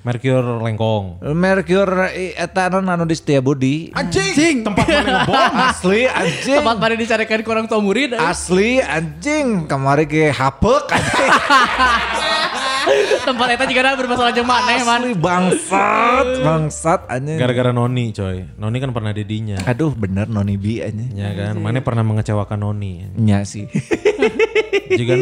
Speaker 4: Merkur Lengkong.
Speaker 3: Mercure i- eta anu anu di setia budi.
Speaker 4: Anjing, tempat mana ngebom?
Speaker 3: Asli anjing.
Speaker 6: Tempat pada dicarikan kurang tua murid. eh.
Speaker 3: Asli anjing. Kemarin ke hapek anjing.
Speaker 6: Tempat itu juga ada bermasalah jeung maneh, man.
Speaker 3: Asli bangsat, bangsat
Speaker 6: Eh.
Speaker 3: anjing.
Speaker 4: Gara-gara Noni coy. Noni kan pernah dedinya.
Speaker 3: Aduh bener noni bi
Speaker 6: Eh,
Speaker 3: anjing.
Speaker 4: Ya
Speaker 6: iya.
Speaker 4: kan, mana pernah mengecewakan Noni.
Speaker 3: Nya sih.
Speaker 4: Jika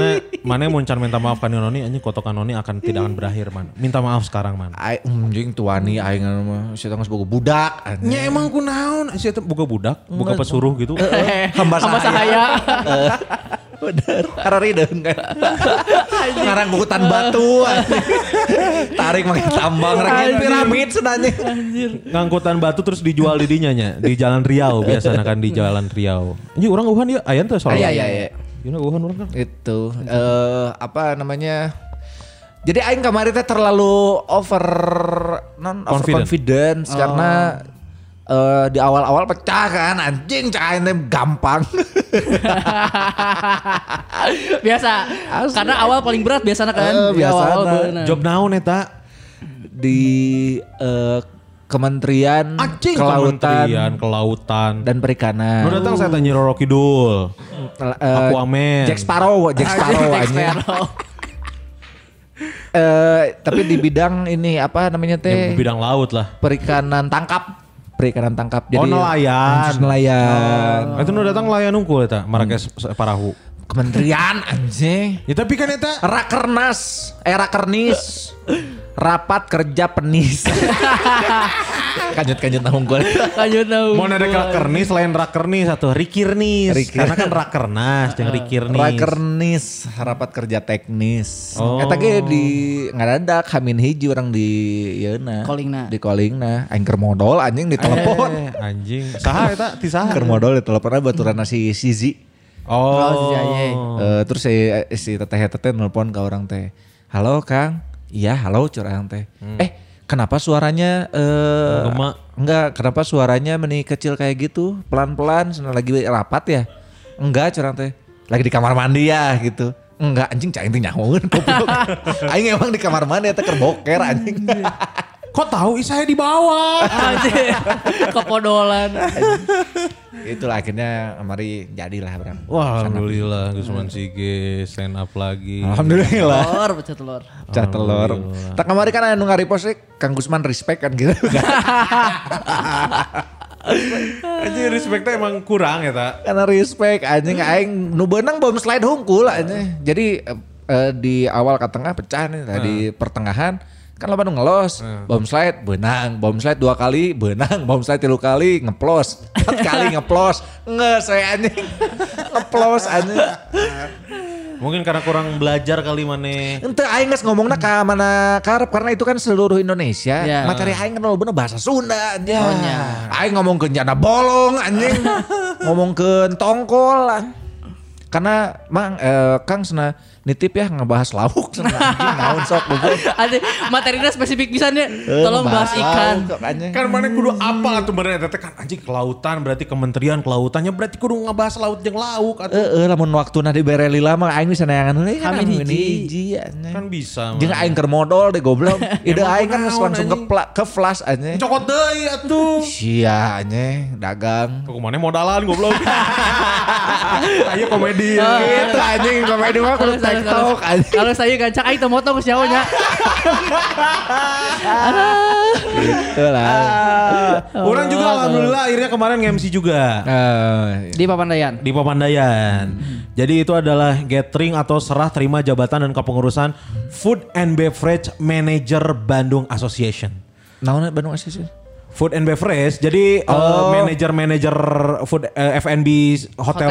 Speaker 4: mana muncan minta maaf kan Noni, anjing kotokan Noni akan tidak akan berakhir man. Minta maaf sekarang man.
Speaker 3: Ai- Anjing tuani aing anu mah sia tangos boga budak anjing.
Speaker 4: Ya emang ku naon, sih itu buka budak, buka pesuruh gitu.
Speaker 3: Hamba
Speaker 6: Hamba
Speaker 3: sahaya. Eh,
Speaker 6: sahaya.
Speaker 3: Bener. Karena rideung kan. Ngarang bukutan batu. anjing. Tarik pakai tambang rakyat piramid senanya.
Speaker 4: ngangkutan batu terus dijual di dinya nya di Jalan Riau biasanya kan di Jalan Riau. Ini orang Wuhan ya,
Speaker 6: Ah,
Speaker 4: ayan tuh
Speaker 6: iya,
Speaker 4: soalnya.
Speaker 3: Aya, aya, aya.
Speaker 4: You know Wuhan orang kan.
Speaker 3: Iya, Itu eh apa namanya? Jadi aing kemarin teh terlalu over non
Speaker 4: Confident.
Speaker 3: over confidence
Speaker 6: Oh.
Speaker 3: karena eh, di awal-awal pecah kan anjing cain teh gampang.
Speaker 6: biasa. Karena awal paling berat biasanya kan.
Speaker 3: Eh,
Speaker 6: Di awal-awal
Speaker 3: biasana.
Speaker 6: bener.
Speaker 4: Job naon eta?
Speaker 3: di eh, Kementerian
Speaker 4: Hmm. Kementerian
Speaker 3: Kelautan
Speaker 4: kelautan.
Speaker 3: dan Perikanan.
Speaker 4: Nu datang saya tanya Roro Kidul.
Speaker 3: Eh,
Speaker 4: Aquaman.
Speaker 3: Jack Sparrow, Jack Sparrow
Speaker 6: Jack
Speaker 3: anjing.
Speaker 6: Sparrow.
Speaker 3: Eh, tapi di bidang ini apa namanya
Speaker 4: Yang
Speaker 3: teh?
Speaker 4: bidang laut lah.
Speaker 3: Perikanan tangkap. Perikanan tangkap
Speaker 4: Oh, nelayan.
Speaker 3: Khusus nelayan.
Speaker 4: Itu nu datang layan unggul eta, Marrakesh
Speaker 3: Hmm.
Speaker 4: Parahu.
Speaker 3: Kementerian anjing.
Speaker 4: Ya tapi kan eta
Speaker 3: Rakernas, eh Rakernis. Rapat kerja penis. Ah, Kanjut-kanjut nahung gue.
Speaker 6: Lanjut tahu.
Speaker 4: mau ada rakernis lain rakernis atau rikirnis.
Speaker 3: Rikir. Ah.
Speaker 4: Karena kan rakernas jeung rikirnis.
Speaker 3: Rakernis, rapat kerja teknis.
Speaker 4: Oh.
Speaker 3: Oh. Eta ge di ngadadak Hamin hiji orang di yeuna.
Speaker 6: Kolingna.
Speaker 3: Di Kolingna, angker modal anjing di telepon.
Speaker 4: Eh, anjing. Saha eta? Ti saha?
Speaker 3: Angker Kan modal di teleponnya baturan si Sizi.
Speaker 6: Oh, si Aye.
Speaker 3: Eh, terus si si teteh teteh nelpon ke orang teh. Halo Kang. Iya, halo curang teh. Eh, Kenapa suaranya eh
Speaker 4: Hmm. Menggema.
Speaker 3: enggak, kenapa suaranya meni kecil kayak gitu? Pelan-pelan senang lagi rapat ya? Enggak, curang teh. Lagi di kamar mandi ya gitu. Enggak anjing cai teh nyahoeun goblok. Aing emang di kamar mandi eta keur boker anjing.
Speaker 4: Iya. Kok tahu ih saya di bawah?
Speaker 6: Anjing. Kepodolan.
Speaker 3: Itulah akhirnya mari jadilah Bram.
Speaker 4: Wah, alhamdulillah Gusman Sige stand up lagi.
Speaker 3: Alhamdulillah.
Speaker 6: Telur, pecah telur.
Speaker 3: Cah telur. Tak kemarin kan anu ngaripos eh, Kang Gusman respect kan gitu.
Speaker 4: Aja respectnya emang kurang ya tak?
Speaker 3: Karena respect anjing aing nu beunang bom slide hungkul anjing. Jadi eh, eh, di awal ke tengah pecah nih tadi pertengahan kan lo nu ngelos bom slide benang bom slide dua kali benang bom slide tilu kali ngeplos empat kali ngeplos nggak saya anjing ngeplos anjing
Speaker 4: Mungkin karena kurang belajar kali mana.
Speaker 3: ente aing geus ngomongna ka mana karep karena itu kan seluruh Indonesia
Speaker 6: Ya.
Speaker 3: materi aing kan lo bener bahasa Sunda anjing
Speaker 6: Oh, nya.
Speaker 3: aing ngomongkeun janda bolong anjing ngomongkeun tongkol an- karena mang eh, Kang sana nitip ya ngebahas lauk sana anjing naon sok beubeun
Speaker 6: Anjing, materinya spesifik pisan ya.
Speaker 3: Eh,
Speaker 6: Tolong bahas
Speaker 3: ngebahas
Speaker 6: ikan.
Speaker 3: lauk, anjing.
Speaker 4: Kan mana kudu apa tuh mana eta teh kan anjing kelautan berarti kementerian kelautannya berarti kudu ngebahas laut jeung lauk kan? atuh.
Speaker 3: Eh, eh, lamun waktu nah dibereli lama, aing bisa nayangan heula kan
Speaker 6: Kami
Speaker 3: anu
Speaker 6: hiji.
Speaker 3: hiji, anjing.
Speaker 4: Kan bisa.
Speaker 3: Jeung
Speaker 4: mana.
Speaker 3: aing keur modal deh goblok. Ide
Speaker 4: Emang
Speaker 3: aing kan
Speaker 4: kunaon,
Speaker 3: langsung
Speaker 4: anjing.
Speaker 3: keplak ke flash anjing.
Speaker 4: Cokot ya deui atuh.
Speaker 3: Sia anjing dagang.
Speaker 4: Kok mana modalan goblok. Ayo komedi.
Speaker 3: Gitu anjing komedi mah kudu
Speaker 6: Kalau saya- kalau-
Speaker 3: TikTok anjing.
Speaker 6: Kalau saya gancang, ayo teu motong siapa nya.
Speaker 3: Gitu lah.
Speaker 4: Orang juga alhamdulillah akhirnya kemarin nge-MC juga.
Speaker 3: Eh,
Speaker 6: Di Papandayan.
Speaker 4: di Papandayan. Jadi itu adalah gathering atau serah terima jabatan dan kepengurusan Food and Beverage Manager Bandung Association.
Speaker 3: Naon Bandung Asis?
Speaker 4: Food and Beverage, jadi eh,
Speaker 3: Oh.
Speaker 4: manajer-manajer food eh, F&B hotel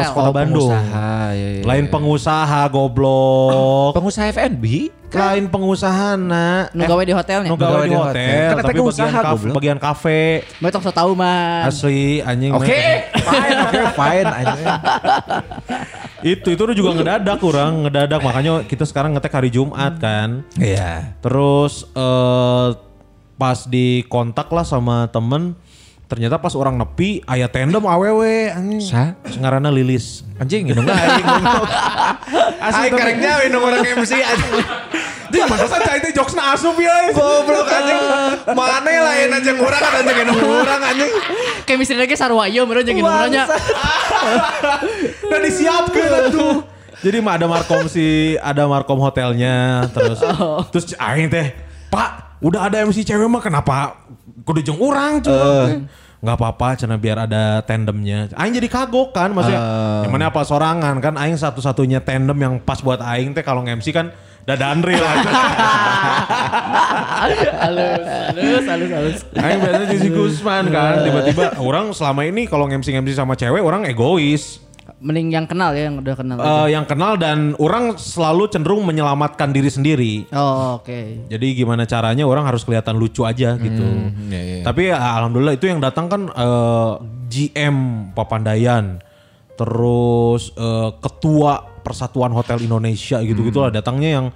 Speaker 6: Hotel.
Speaker 4: kota
Speaker 6: Oh,
Speaker 4: Bandung.
Speaker 3: Ah, iya, iya.
Speaker 4: Lain pengusaha goblok.
Speaker 3: pengusaha FNB
Speaker 4: Lain pengusaha nak.
Speaker 6: Nu gawe di
Speaker 5: ya?
Speaker 6: hotelnya.
Speaker 4: Nu gawe di hotel,
Speaker 3: Kan eta
Speaker 4: tapi
Speaker 3: ge
Speaker 4: bagian,
Speaker 3: usaha,
Speaker 4: kaf-
Speaker 3: goblok.
Speaker 4: bagian kafe.
Speaker 6: Metok so tau
Speaker 5: Kan.
Speaker 6: man.
Speaker 4: Asli anjing.
Speaker 3: Oke, fine, oke, fine. anjing.
Speaker 4: Itu itu juga ngedadak kurang, ngedadak makanya kita sekarang ngetek hari Jumat kan.
Speaker 3: Iya.
Speaker 4: Terus eh pas di kontak lah sama temen, ternyata pas orang nepi ayah tandem awewe anjing.
Speaker 3: Sa?
Speaker 4: Ngarana Lilis.
Speaker 3: Anjing, gitu enggak aing.
Speaker 4: Asli
Speaker 3: karengnya minum orang MC anjing.
Speaker 4: Dia masa saya cai teh jokesna asup ya.
Speaker 3: Goblok anjing. Mana ya lain anjing orang kan anjing minum orang anjing.
Speaker 6: Kayak misteri lagi sarwa iya mereka jangan ngomongnya.
Speaker 4: Udah disiapkan tuh. Jadi mah ada markom si ada markom hotelnya terus terus aing teh, "Pak, udah ada MC cewek mah kenapa kudu jeung urang?" cuman?" nggak apa-apa, cina biar ada tandemnya. Aing jadi kagok kan, maksudnya yang mana apa sorangan kan? Aing satu-satunya tandem yang pas buat Aing teh kalau MC kan dadan real.
Speaker 6: Halus, halus, halus, halus.
Speaker 4: Aing biasanya jadi si Gusman kan, tiba-tiba orang selama ini kalau MC MC sama cewek orang egois.
Speaker 6: Mending yang kenal ya, yang udah kenal.
Speaker 4: Eh, yang kenal dan orang selalu cenderung menyelamatkan diri sendiri.
Speaker 6: Oh, oke.
Speaker 4: Jadi gimana caranya orang harus kelihatan lucu aja gitu.
Speaker 3: iya, iya.
Speaker 4: Tapi ya, alhamdulillah itu yang datang kan eh, GM Papandayan, terus eh, ketua Persatuan Hotel Indonesia gitu
Speaker 3: Hmm.
Speaker 4: gitulah datangnya yang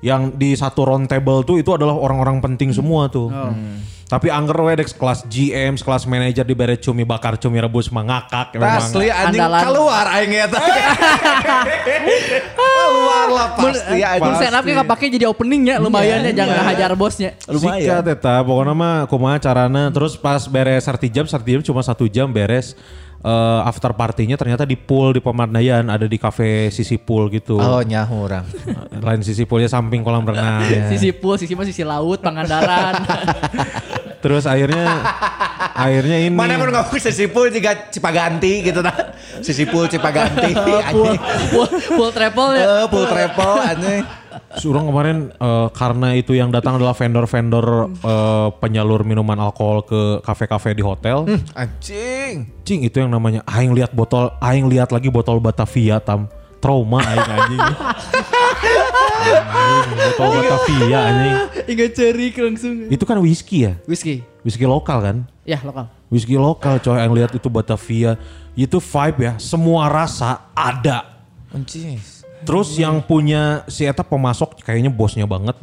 Speaker 4: yang di satu round table tuh itu adalah orang-orang penting semua tuh.
Speaker 3: Hmm.
Speaker 4: Tapi angker wedek kelas GM, kelas manajer di beret cumi bakar cumi rebus mengakak
Speaker 3: Asli anjing
Speaker 6: Andalan.
Speaker 3: keluar aing eta. Keluar lah pasti
Speaker 6: Mun
Speaker 3: anjing.
Speaker 6: stand up kayak kepake jadi openingnya lumayannya ya, jangan hajar bosnya.
Speaker 3: Lumayan.
Speaker 4: Sikat eta pokoknya mah kumaha carana terus pas beres arti jam arti jam cuma satu jam beres eh, after partinya ternyata di pool di Pemandayan ada di cafe sisi pool
Speaker 6: ya?
Speaker 4: gitu.
Speaker 3: Oh nyaho orang.
Speaker 4: Lain sisi poolnya samping kolam renang.
Speaker 6: Sisi pool, sisi mah sisi laut, Pangandaran.
Speaker 4: Ya. Terus akhirnya akhirnya ini
Speaker 3: Mana pun ngomong sisipul juga cipaganti gitu nah. Sisipul cipaganti
Speaker 6: pool,
Speaker 3: anjing.
Speaker 6: pool, pool travel ya.
Speaker 3: Eh, pool travel anjing.
Speaker 4: Surang kemarin eh, karena itu yang datang adalah vendor-vendor eh, penyalur minuman alkohol ke kafe-kafe di hotel.
Speaker 3: Hmm. Anjing.
Speaker 4: Cing itu yang namanya aing lihat botol aing lihat lagi botol Batavia tam trauma aing anjing. Anjing, botol Batavia anjing.
Speaker 6: Ingat ceri langsung.
Speaker 4: Itu kan whisky ya?
Speaker 6: Whisky.
Speaker 4: Whisky lokal kan?
Speaker 6: Ya, lokal.
Speaker 4: Whisky lokal coy aing lihat itu Batavia. Itu vibe ya, semua rasa ada.
Speaker 3: Anjing.
Speaker 4: Terus yang punya si Eta pemasok kayaknya bosnya banget.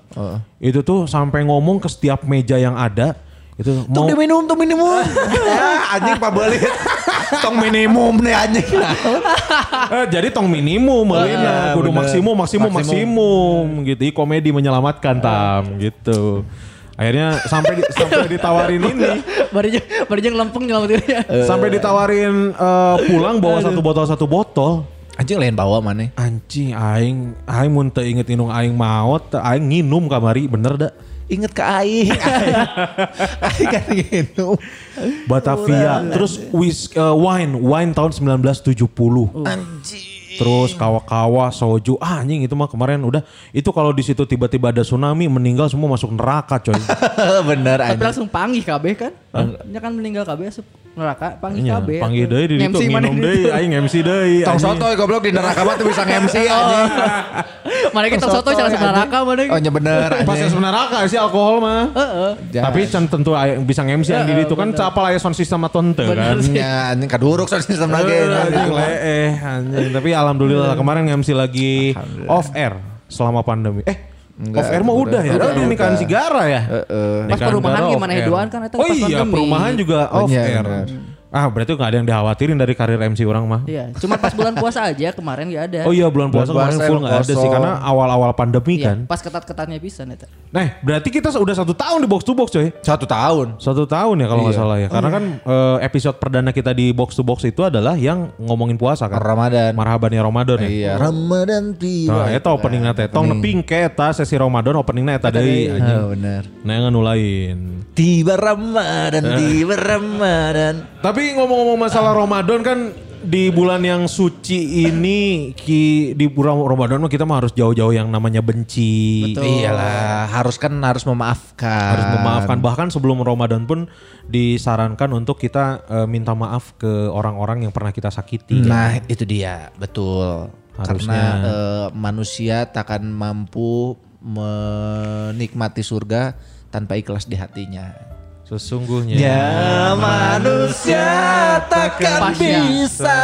Speaker 4: Itu tuh sampai ngomong ke setiap meja yang ada itu mau
Speaker 3: Tuh diminum, tuh minimum. ya, anjing pabelit. Tong minimum nih anjing.
Speaker 4: Eh, jadi tong minimum Melina, kudu maksimum, maksimum, maksimum, gitu. Ih, komedi menyelamatkan tam gitu. Akhirnya sampai di- sampai ditawarin ini,
Speaker 6: Barinya, barinya ngelempeng nyelamat diri.
Speaker 4: sampai ditawarin eh, pulang bawa satu botol satu botol.
Speaker 3: Anjing lain bawa mana?
Speaker 4: Anjing aing aing mun teu inget inung aing maot, teu aing nginum kamari bener da.
Speaker 3: Ingat ke aing. Aing kan minum.
Speaker 4: Batavia, terus whis, eh, wine, wine tahun 1970. Terus kawa-kawa soju. Ah, anjing itu mah kemarin udah itu kalau di situ tiba-tiba ada tsunami meninggal semua masuk neraka, coy.
Speaker 3: Bener
Speaker 6: Tapi
Speaker 3: anjing.
Speaker 6: langsung panggih KB kan. Nya kan meninggal KB asup neraka, panggih
Speaker 4: Iya,
Speaker 6: KB.
Speaker 4: panggil deui di
Speaker 6: Ngemsi
Speaker 4: ditu
Speaker 6: mana
Speaker 4: minum
Speaker 6: di
Speaker 4: deui
Speaker 6: ditu.
Speaker 4: aing MC deui.
Speaker 3: Tong
Speaker 4: anjing.
Speaker 3: sotoy goblok di neraka mah tuh bisa nge-MC anjing.
Speaker 6: Mana kita soto cara
Speaker 3: anjing.
Speaker 6: neraka mana.
Speaker 3: Oh ya bener
Speaker 4: Pas
Speaker 3: anjing.
Speaker 4: asup neraka sih alkohol mah.
Speaker 6: Heeh.
Speaker 4: Tapi can tentu aya- bisa MC yang di ditu kan capal aya sound system mah teu kan.
Speaker 3: Ya anjing kaduruk soal sistem lagi.
Speaker 4: Eh, anjing leeh anjing. Tapi alhamdulillah kemarin MC lagi off air selama pandemi. Eh
Speaker 3: Enggak,
Speaker 4: off air mah udah ya.
Speaker 3: udah,
Speaker 4: Udah nikahan
Speaker 3: udah.
Speaker 4: si Gara ya.
Speaker 6: Pas
Speaker 4: Nikahan
Speaker 6: perumahan
Speaker 4: Gara
Speaker 6: gimana
Speaker 4: off air.
Speaker 6: Edoan kan, eta
Speaker 4: Oh
Speaker 6: pas
Speaker 4: iya
Speaker 6: pandemi.
Speaker 4: perumahan juga
Speaker 3: Oh,
Speaker 4: off
Speaker 3: iya,
Speaker 4: air.
Speaker 3: benar.
Speaker 4: Ah berarti nggak ada yang dikhawatirin dari karir MC orang mah.
Speaker 6: Iya, cuma pas bulan puasa aja kemarin gak ada.
Speaker 4: Oh iya bulan puasa
Speaker 3: Bulan
Speaker 4: kemarin
Speaker 3: puasa
Speaker 4: full nggak ada sih
Speaker 3: kosong.
Speaker 4: karena awal-awal pandemi
Speaker 6: Iya,
Speaker 4: kan.
Speaker 6: pas ketat-ketatnya bisa neta.
Speaker 4: Nah berarti kita udah satu tahun di box to box coy.
Speaker 3: Satu tahun.
Speaker 4: Satu tahun ya kalau nggak salah ya. Karena kan eh, episode perdana kita di box to box itu adalah yang ngomongin puasa kan.
Speaker 3: Ramadan.
Speaker 4: Marhaban ya Ramadan ya.
Speaker 3: Iya. Ramadan
Speaker 4: Nah,
Speaker 3: tiba.
Speaker 4: eta opening na teh. Tong neping ke eta sesi Ramadan opening na kan. Hmm. eta deui anjing.
Speaker 3: Oh, bener.
Speaker 4: Nah, nganu lain.
Speaker 3: Tiba Ramadan, tiba Ramadan.
Speaker 4: Tapi ngomong-ngomong masalah Ramadan kan di bulan yang suci ini ki di bulan Ramadan mah kita mah harus jauh-jauh yang namanya benci.
Speaker 3: Iyalah, harus kan harus memaafkan.
Speaker 4: Harus memaafkan bahkan sebelum Ramadan pun disarankan untuk kita eh, minta maaf ke orang-orang yang pernah kita sakiti.
Speaker 3: Nah, itu dia, betul.
Speaker 4: Harusnya.
Speaker 3: Karena eh, manusia takkan mampu menikmati surga tanpa ikhlas di hatinya. Ya,
Speaker 4: Sesungguhnya.
Speaker 3: manusia takkan
Speaker 6: Pasnya.
Speaker 3: bisa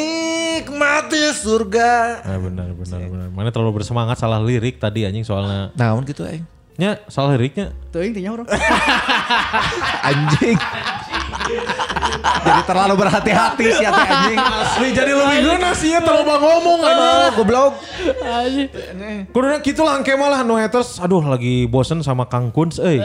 Speaker 3: menikmati surga.
Speaker 4: Nah, benar benar benar. Mana terlalu bersemangat salah lirik tadi anjing soalnya.
Speaker 3: Nah, gitu aing.
Speaker 4: Nya salah liriknya.
Speaker 6: Tuh intinya orang.
Speaker 3: Anjing. Jadi terlalu berhati-hati sih hati anjing.
Speaker 4: Asli jadi lebih geunas sih ya terlalu ngomong anjing.
Speaker 3: Goblok.
Speaker 4: Kuduna kitu langke malah no haters. Aduh lagi bosen sama Kang Kunz euy.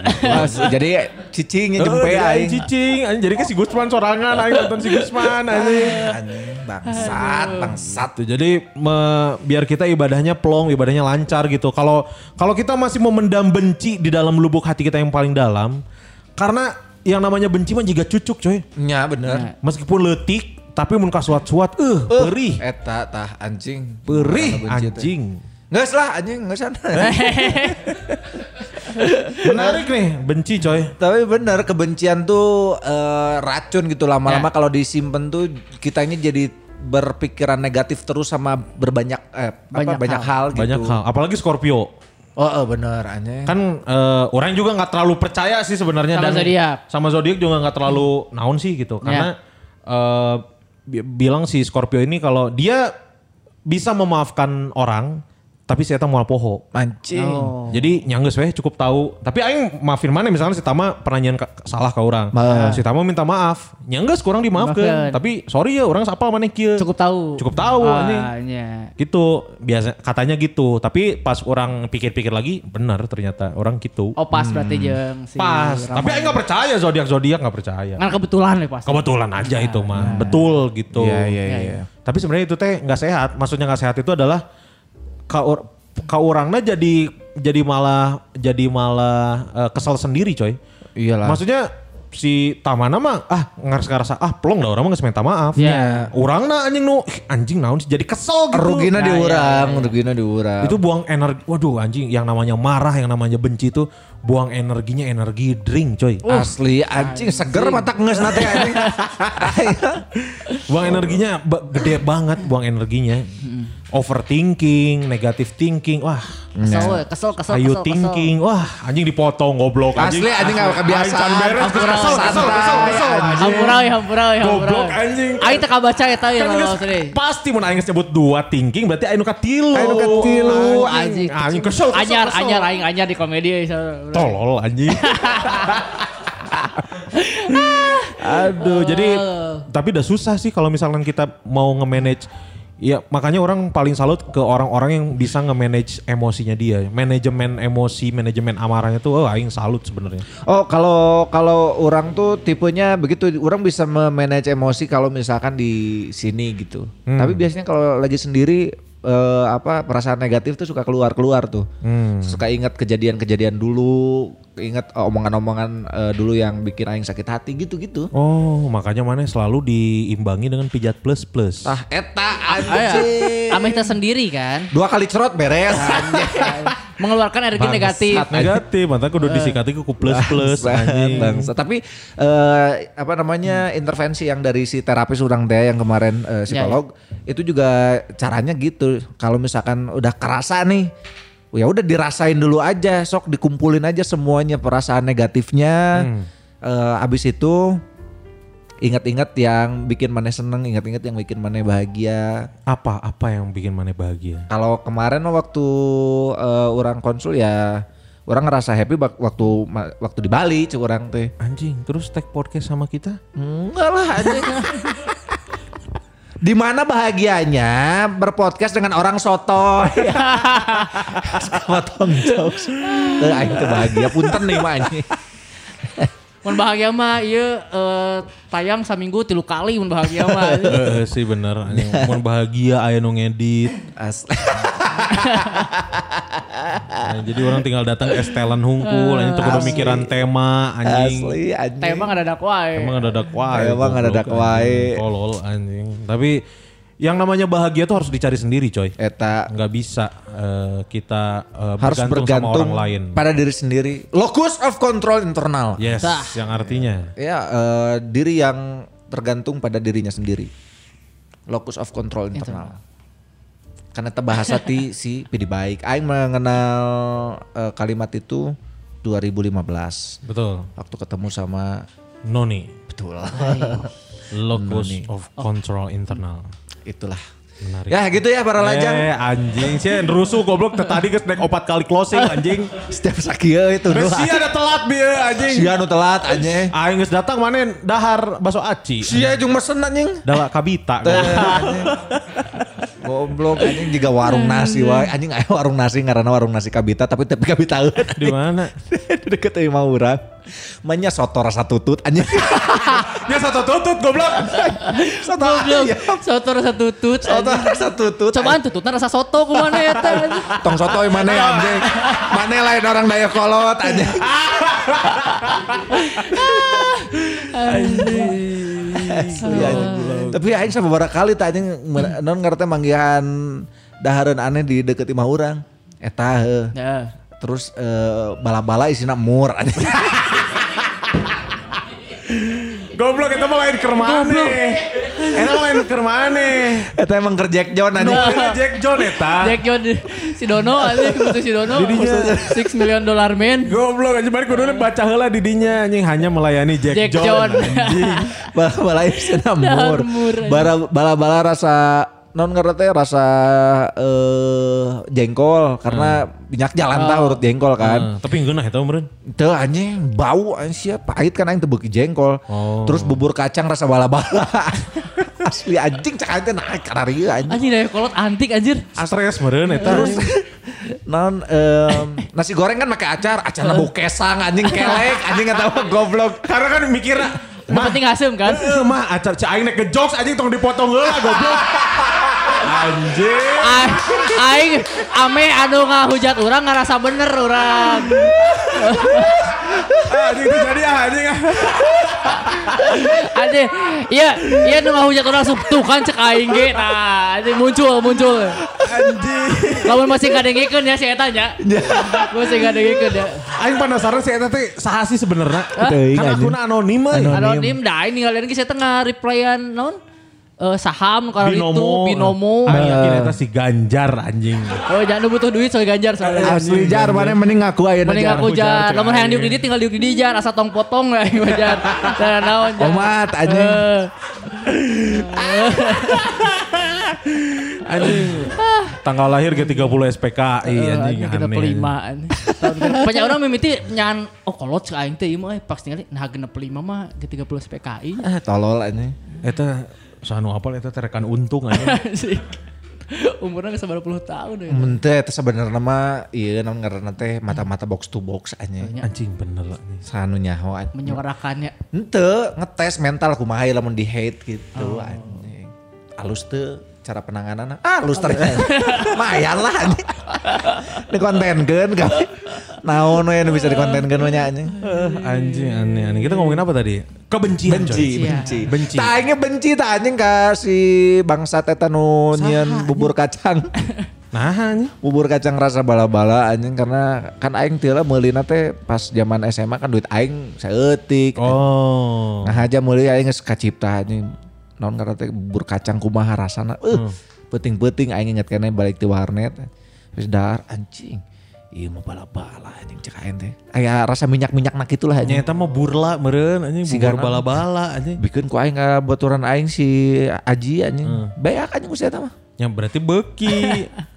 Speaker 3: Jadi cicingnya jempe
Speaker 4: Jempe aing
Speaker 3: aing.
Speaker 4: cicing, anjing jadi ke si Gusman sorangan aing nonton si Gusman anjing.
Speaker 3: Anjing, bangsat, bangsat.
Speaker 4: Tuh, jadi me- biar kita ibadahnya plong, ibadahnya lancar gitu. Kalau kalau kita masih memendam benci di dalam lubuk hati kita yang paling dalam karena yang namanya benci mah juga cucuk coy.
Speaker 3: Ya bener.
Speaker 4: Meskipun letik tapi mun kasuat-suat eh perih.
Speaker 3: Eta tah anjing.
Speaker 4: Perih
Speaker 3: Karena benci Eh, teh.
Speaker 4: anjing.
Speaker 3: Nges lah anjing, ngesan.
Speaker 4: Menarik nih benci coy.
Speaker 3: Tapi bener kebencian tuh eh, racun gitu lama-lama
Speaker 6: Ya.
Speaker 3: kalau disimpan tuh kita ini jadi berpikiran negatif terus sama berbanyak eh, banyak,
Speaker 6: Banyak
Speaker 3: apa, banyak hal, gitu.
Speaker 4: Banyak hal, apalagi Scorpio.
Speaker 3: Oh, oh, bener anjing.
Speaker 4: Kan eh, orang juga nggak terlalu percaya sih
Speaker 6: Iya.
Speaker 4: sebenarnya
Speaker 6: Sama Iya.
Speaker 4: dan
Speaker 6: zodiak.
Speaker 4: sama zodiak juga nggak terlalu naon sih gitu karena eh, bi- bilang si Scorpio ini kalau dia bisa memaafkan orang tapi si Eta moal poho.
Speaker 3: Mancing.
Speaker 4: Oh.
Speaker 6: Oh.
Speaker 4: Jadi nyangges weh cukup tahu. Tapi aing maafin mana misalnya si Tama pernah nyian ka- salah ke orang. Nah, Si Tama minta maaf. Nyangges kurang dimaafkan.
Speaker 6: Dimaafkan.
Speaker 4: Tapi sorry ya orang sapal mana kieu.
Speaker 6: Cukup tahu.
Speaker 4: Cukup tahu anjing
Speaker 6: Ah, iya.
Speaker 4: gitu biasa katanya gitu tapi pas orang pikir-pikir lagi benar ternyata orang gitu
Speaker 6: Oh pas berarti jeng si
Speaker 4: pas Nah.
Speaker 6: Ramadan.
Speaker 4: tapi aing nggak percaya zodiak zodiak nggak percaya
Speaker 6: Kan kebetulan ya pas.
Speaker 4: kebetulan aja itu mah betul gitu
Speaker 6: iya, iya.
Speaker 4: tapi sebenarnya itu teh nggak sehat maksudnya nggak sehat itu adalah ka or- ka orangnya jadi jadi malah jadi malah eh, kesel sendiri coy
Speaker 3: Iyalah.
Speaker 4: maksudnya si Tamana mah ah ngarasa ngarasa ah plong dah orang mah geus minta maaf
Speaker 6: Iya.
Speaker 4: Urangna anjing nu ih, anjing naon sih jadi kesel gitu
Speaker 3: Rugina diurang, rugina diurang.
Speaker 4: itu buang energi waduh anjing yang namanya marah yang namanya benci itu buang energinya energi drink coy
Speaker 3: asli anjing, seger matak nges nate anjing.
Speaker 4: buang energinya ba- gede banget buang energinya overthinking negative thinking wah
Speaker 7: Kesel, we, kesel, kesel,
Speaker 4: Are you
Speaker 7: kesel,
Speaker 4: Iya. thinking? Wah anjing dipotong goblok.
Speaker 3: Asli anjing nggak kebiasaan.
Speaker 4: Anjing beres,
Speaker 3: Kesel,
Speaker 4: kesel, kesel, kesel, kesel.
Speaker 5: Ya Hampura we, hampura we, hampura
Speaker 4: Goblok
Speaker 5: we.
Speaker 4: anjing.
Speaker 5: ya Aing teka baca eta ya
Speaker 4: Kan
Speaker 5: lalu
Speaker 4: geus
Speaker 5: tadi.
Speaker 4: pasti mun aing nyebut dua thinking berarti aing nu katilu.
Speaker 3: Aing nu katilu,
Speaker 4: anjing. Anjing kesel, kesel,
Speaker 5: Anyar,
Speaker 4: kesel.
Speaker 5: anyar, aing anyar di komedi. we, so.
Speaker 4: Tolol anjing. Aduh, jadi tapi udah susah sih kalau misalkan kita mau nge-manage Ya makanya orang paling salut ke orang-orang yang bisa nge-manage emosinya dia. Manajemen emosi, manajemen amarahnya tuh oh, aing salut sebenarnya.
Speaker 3: Oh kalau kalau orang tuh tipenya begitu orang bisa memanage emosi kalau misalkan di sini gitu. Tapi biasanya kalau lagi sendiri eh, apa perasaan negatif tuh suka keluar keluar tuh. Suka ingat kejadian-kejadian dulu, ingat omongan-omongan eh, dulu yang bikin aing sakit hati gitu-gitu.
Speaker 4: Oh, makanya mana selalu diimbangi dengan pijat plus-plus.
Speaker 3: Tah eta
Speaker 7: kesel.
Speaker 3: anjing.
Speaker 7: Sama kita sendiri kan.
Speaker 3: Dua kali cerot beres.
Speaker 5: Mengeluarkan energi
Speaker 4: Bangsat,
Speaker 5: negatif.
Speaker 4: Negatif, makanya kudu disikati ku plus-plus
Speaker 3: Bangsat,
Speaker 4: anjing.
Speaker 3: bangsa. Tapi eh, apa namanya intervensi yang dari si terapis udang deh yang kemarin eh, psikolog itu juga caranya gitu. Kalau misalkan udah kerasa nih, ya udah dirasain dulu aja, sok dikumpulin aja semuanya perasaan negatifnya. Eh, abis itu ingat-ingat yang bikin mana seneng, ingat-ingat yang bikin mana bahagia.
Speaker 4: Apa apa yang bikin mana bahagia?
Speaker 3: Kalau kemarin mah waktu eh, orang konsul ya orang ngerasa happy bak- waktu ma- waktu di Bali cek orang teh.
Speaker 4: Anjing, terus take podcast sama kita?
Speaker 3: Enggak lah anjing. Di mana bahagianya berpodcast dengan orang soto? Sama Tom Jobs. Eh, aing teu bahagia punten nih mah anjing.
Speaker 5: Mun bahagia mah ieu eh, tayang saminggu tilu kali mun bahagia mah.
Speaker 4: Heeh Eh, sih bener, anjing. Mun bahagia aya nu ngedit.
Speaker 3: Asli.
Speaker 4: Nah, jadi orang tinggal datang es telan hungkul, anjing tuh kudu mikiran tema anjing.
Speaker 3: Asli anjing.
Speaker 5: Teh emang ada dakwah. ya.
Speaker 4: Emang ada dakwah.
Speaker 3: Emang ada dakwah.
Speaker 4: Tolol anjing. Tapi yang namanya bahagia tuh harus dicari sendiri, coy.
Speaker 3: Eta
Speaker 4: Nggak bisa eh, kita eh,
Speaker 3: Iya. harus
Speaker 4: bergantung sama
Speaker 3: bergantung
Speaker 4: orang lain.
Speaker 3: pada diri sendiri. Locus of control internal.
Speaker 4: Yes, yang artinya
Speaker 3: Ya, eh, diri yang tergantung pada dirinya sendiri. Locus of control internal. Karena bahasa ti si pidi baik. Aing mengenal eh, kalimat itu 2015
Speaker 4: betul.
Speaker 3: waktu ketemu sama
Speaker 4: Noni,
Speaker 3: betul
Speaker 4: locus of control internal.
Speaker 3: itulah.
Speaker 4: Menarik.
Speaker 3: Ya gitu ya para lajang.
Speaker 4: Eh anjing sih rusuh goblok teh tadi geus naik opat kali closing anjing.
Speaker 3: Setiap sakieu Iya, itu
Speaker 4: Terus
Speaker 3: doa.
Speaker 4: sia ada telat
Speaker 3: ya,
Speaker 4: bieu anjing.
Speaker 3: Sia nu telat
Speaker 2: Eh.
Speaker 3: anjing.
Speaker 4: Aing geus datang mana dahar baso aci.
Speaker 3: Sia jeung mesen anjing.
Speaker 4: Dala kabita.
Speaker 3: Teh, anjing. Goblok anjing juga warung nasi wae. Anjing aya warung nasi ngaranna warung nasi Kabita tapi tapi Kabita eueun.
Speaker 4: Di mana?
Speaker 3: deket imah urang manya soto rasa tutut anjing
Speaker 4: Ya satu tutut goblok.
Speaker 3: soto
Speaker 5: Goblok.
Speaker 4: Iya.
Speaker 3: ayam.
Speaker 5: Soto rasa tutut.
Speaker 3: soto
Speaker 5: anjing.
Speaker 3: rasa tutut
Speaker 5: Cobaan tututna rasa soto kumana eta. anjing.
Speaker 3: tong soto mana ya, anjing mana lain orang daya kolot anjing Asli, Iya, anjing. tapi aing beberapa kali tak anjing
Speaker 4: Hmm.
Speaker 3: men- non ngerti manggihan dahareun aneh di deket imah urang eta heuh.
Speaker 5: Ya.
Speaker 3: terus eh, bala-bala isina mur anjing
Speaker 4: Goblok itu mah lain kermane. Eta mah lain kermane.
Speaker 3: eta emang kerjek jauh anjing
Speaker 4: Goblok Jack John eta.
Speaker 5: Jack John si Dono anjing butuh si Dono.
Speaker 4: Didinya.
Speaker 5: 6 million dollar man.
Speaker 4: Goblok anjing mana kudu baca heula di dinya anjing hanya melayani Jack,
Speaker 5: Jack
Speaker 4: John.
Speaker 5: John.
Speaker 4: anjing.
Speaker 3: bala-bala isina mur.
Speaker 5: mur, anjing.
Speaker 3: Bara- Bala-bala rasa non ngerti rasa eh jengkol karena minyak jalan tah
Speaker 5: Oh.
Speaker 3: urut jengkol
Speaker 4: Eh,
Speaker 3: kan.
Speaker 4: Tapi ngeunah eta meureun.
Speaker 3: Teu anjing bau anjing pahit kan aing teu beuki jengkol.
Speaker 4: Oh.
Speaker 3: Terus bubur kacang rasa bala-bala. Asli anjing cak aing teh naik kana rieu anjing.
Speaker 5: Anjing daya kolot antik anjir.
Speaker 4: Stres meureun eta.
Speaker 3: Terus non em, nasi goreng kan pakai acar, acarna bau kesang anjing kelek anjing eta mah goblok.
Speaker 4: Karena kan mikirnya
Speaker 5: Yang penting asem kan.
Speaker 4: Eh mah acar cek aing nek ke jokes anjing tong dipotong heula goblok. Anjing.
Speaker 5: A- Aing ame anu ngahujat urang ngarasa bener urang.
Speaker 4: Anjing itu jadi ah, anjing. ah.
Speaker 5: Anjing, iya, iya nu ngahujat urang sup- tuh kan cek aing ge. Nah, anjing muncul muncul.
Speaker 4: Anjing.
Speaker 5: Lamun masih gadengikeun ya si eta nya. Masih gadengikeun ya.
Speaker 4: Aing penasaran sih eta teh saha sih sebenarnya?
Speaker 3: Teuing,
Speaker 4: Kan
Speaker 3: anjing.
Speaker 4: akuna anonim euy.
Speaker 5: Anonim dah aing ninggalin ge si tengah replyan naon?
Speaker 6: eh, saham kalau itu
Speaker 4: Binomo.
Speaker 6: binomo.
Speaker 4: Aing yakin eta si Ganjar anjing.
Speaker 6: Oh, jangan butuh duit soal Iya, ganjar soalnya.
Speaker 3: Asli jar mana mending ngaku aja
Speaker 6: Mending aku jar,
Speaker 4: Jar, cek
Speaker 6: nomor
Speaker 4: aing.
Speaker 6: yang diuk didi tinggal diuk didi jar, asa tong potong lah yang jar. Jangan naon jar.
Speaker 3: Omat anjing.
Speaker 6: Eh,
Speaker 4: Anjing. Tanggal lahir G30 SPKI anjing.
Speaker 6: anjing kita
Speaker 4: aneh.
Speaker 6: pelimaan. Banyak orang mimiti nyan, oh kolot cek aing teh ieu mah eh, pas ningali nah genep lima mah ke 30 SPKI.
Speaker 3: Ah, tolol anjing.
Speaker 4: Eta sanu apal eta terekan untung anjing.
Speaker 6: Anjing. Umurnya ke 90 tahun ya.
Speaker 3: Mente itu sebenarnya mah iya nam ngaranna teh mata-mata box to box anjing.
Speaker 4: Anjing bener lah ini.
Speaker 3: Sanu nyaho anjing.
Speaker 6: Menyuarakannya.
Speaker 3: Ente ngetes mental kumaha ya lamun di hate gitu anjing. Alus teu cara penanganan alus ternyata. Mayan lah anjing. Di kontenkeun kami. Naon we nu bisa di kontenkeun we nya anjing.
Speaker 4: Anjing aneh-aneh. Kita ngomongin apa tadi? Kebencian coy.
Speaker 3: benci.
Speaker 4: Benci.
Speaker 3: Tak aingnya benci tak anjing ka si bangsa tetanu nyian bubur kacang.
Speaker 4: Nah anjing.
Speaker 3: bubur kacang rasa bala-bala anjing karena kan aing tila meulina teh pas zaman SMA kan duit aing saeutik.
Speaker 4: Oh.
Speaker 3: Nah aja mulai aing geus kacipta anjing. Naon karena teh bubur kacang kumaha rasana. Eh, penting-penting aing inget kene balik di warnet. Terus dar anjing. Iya mau bala-bala anjing cek aing teh. Aya rasa minyak-minyak nak itulah anjing.
Speaker 4: Nyata mah burla meren anjing
Speaker 3: Si
Speaker 4: bubar
Speaker 3: Ganam.
Speaker 4: bala-bala anjing.
Speaker 3: Bikin ku aing ka baturan aing si Aji anjing. Bayak anjing ku eta mah.
Speaker 4: Yang Ya, berarti beki.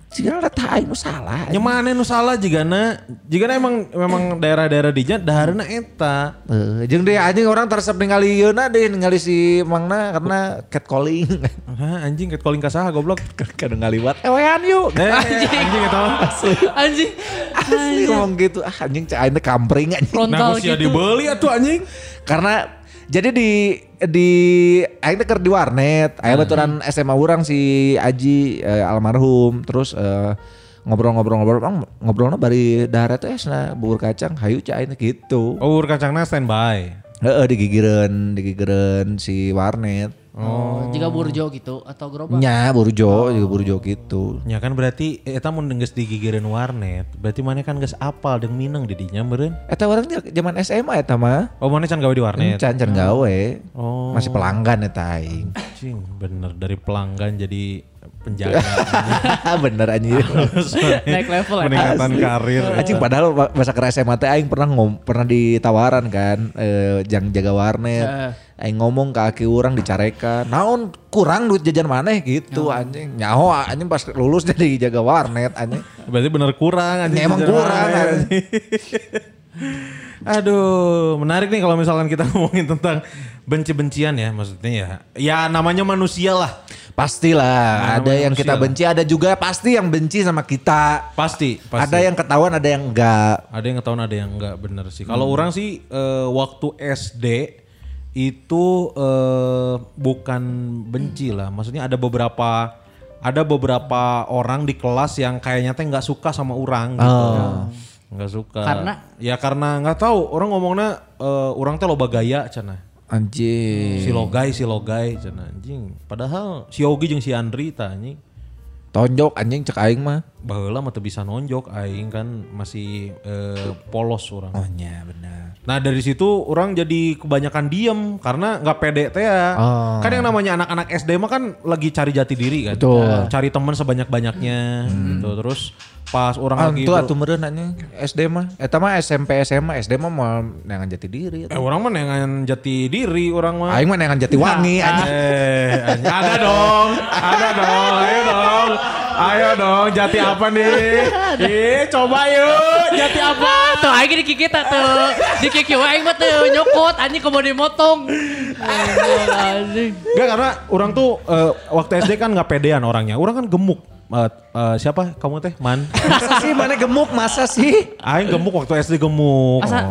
Speaker 3: Sigana rata aing nu salah.
Speaker 4: Nya
Speaker 3: anjing.
Speaker 4: mana nu salah jigana? Jigana emang memang daerah-daerah dija daharna eta.
Speaker 3: Eh, jeung deh anjing orang tersep ningali yeuna deh ningali si Mangna karena catcalling.
Speaker 4: Hah, anjing ket calling kasaha goblok.
Speaker 3: Kadang ngaliwat, ewean yuk.
Speaker 4: Eh, anjing, anjing eta. mah.
Speaker 6: Anjing.
Speaker 3: Asli ngomong gitu, ah anjing cah ini kampring anjing.
Speaker 4: Nah,
Speaker 6: Frontal
Speaker 4: kok sia
Speaker 6: gitu.
Speaker 4: dibeli atuh anjing.
Speaker 3: Karena jadi di di aing teh keur di warnet, aya baturan SMA urang si Aji eh, almarhum, terus eh, ngobrol-ngobrol-ngobrol, "Bang, ngobrolnya bari darat teh sana bubur kacang, hayu cah ini gitu.
Speaker 4: Oh, ur kacangna standby.
Speaker 3: Heeh, digigireun, digigireun si warnet.
Speaker 6: Oh, jika burjo gitu atau gerobak.
Speaker 3: Nya
Speaker 4: Oh.
Speaker 3: burjo, juga burjo gitu.
Speaker 4: Ya kan berarti eta mun geus digigireun warnet, berarti mana kan geus apal jeung Minang di dinya meureun.
Speaker 3: Eta orang nya Eh, zaman SMA eta mah.
Speaker 4: Oh, mana can gawe di warnet.
Speaker 3: Encan can ya, gawe.
Speaker 4: Oh.
Speaker 3: Masih pelanggan ya, eta aing.
Speaker 4: Anjing, bener dari pelanggan jadi penjaga.
Speaker 3: Bener anjir.
Speaker 6: Naik level ya.
Speaker 4: Peningkatan karir.
Speaker 3: Anjing padahal ba- masa ke SMA teh aing pernah ngom, pernah ditawaran kan eh, jang jaga
Speaker 4: Eh.
Speaker 3: warnet. Aing ngomong ke aki urang dicarekan. Naon kurang duit jajan maneh gitu anjing. Nyaho anjing pas lulus jadi jaga warnet anjing.
Speaker 4: Berarti bener kurang anjing.
Speaker 3: Emang
Speaker 4: Sejarah
Speaker 3: kurang,
Speaker 4: ya,
Speaker 3: anjing.
Speaker 4: Aduh, menarik nih kalau misalkan kita ngomongin tentang benci-bencian ya maksudnya ya. Ya namanya manusia lah.
Speaker 3: Pastilah
Speaker 4: Nah,
Speaker 3: ada
Speaker 4: namanya
Speaker 3: yang kita
Speaker 4: manusia.
Speaker 3: benci, ada juga pasti yang benci sama kita.
Speaker 4: Pasti, pasti.
Speaker 3: Ada yang ketahuan, ada yang enggak.
Speaker 4: ada yang ketahuan ada yang enggak bener sih. Kalau orang sih eh, waktu SD itu eh, bukan benci lah. Maksudnya ada beberapa ada beberapa orang di kelas yang kayaknya teh nggak suka sama orang gitu. Nggak suka.
Speaker 6: Karena?
Speaker 4: Ya karena nggak tahu orang ngomongnya eh, orang teh loba gaya cenah.
Speaker 3: Anjing.
Speaker 4: Si logai, si logai cenah anjing. Padahal si Ogi jeung si Andri tah anjing.
Speaker 3: Tonjok anjing cek aing mah.
Speaker 4: Baheula mah teu bisa nonjok aing kan masih eh, polos orang.
Speaker 3: Oh nya bener.
Speaker 4: Nah dari situ orang jadi kebanyakan diem karena nggak pede teh ya.
Speaker 3: Ah.
Speaker 4: Kan yang namanya anak-anak SD mah kan lagi cari jati diri kan.
Speaker 3: Betul. Hmm.
Speaker 4: Nah, Cari teman sebanyak-banyaknya gitu. Terus pas orang lagi
Speaker 3: Antu
Speaker 4: ber-
Speaker 3: atuh meureun anjing SD mah. Eta mah SMP SMA SD mah mah neangan jati diri.
Speaker 4: Eh, orang mah nengan jati diri orang mah.
Speaker 3: Aing mah neangan jati wangi anjing.
Speaker 4: Eh, anjing. ada dong, ada dong, ayo dong, ayo dong, jati apa nih? Ih, coba yuk, jati apa?
Speaker 6: Apa? Tuh aing dikikit tak tuh. Dikikit wae aing mah tuh nyokot anjing komo dimotong. Anjing, Anjing.
Speaker 4: Enggak karena orang tuh eh, waktu SD kan nggak pedean orangnya. Orang kan gemuk. Eh, eh, siapa kamu teh? Man.
Speaker 3: Masa sih mana gemuk masa sih?
Speaker 4: Aing gemuk waktu SD gemuk.
Speaker 6: Asa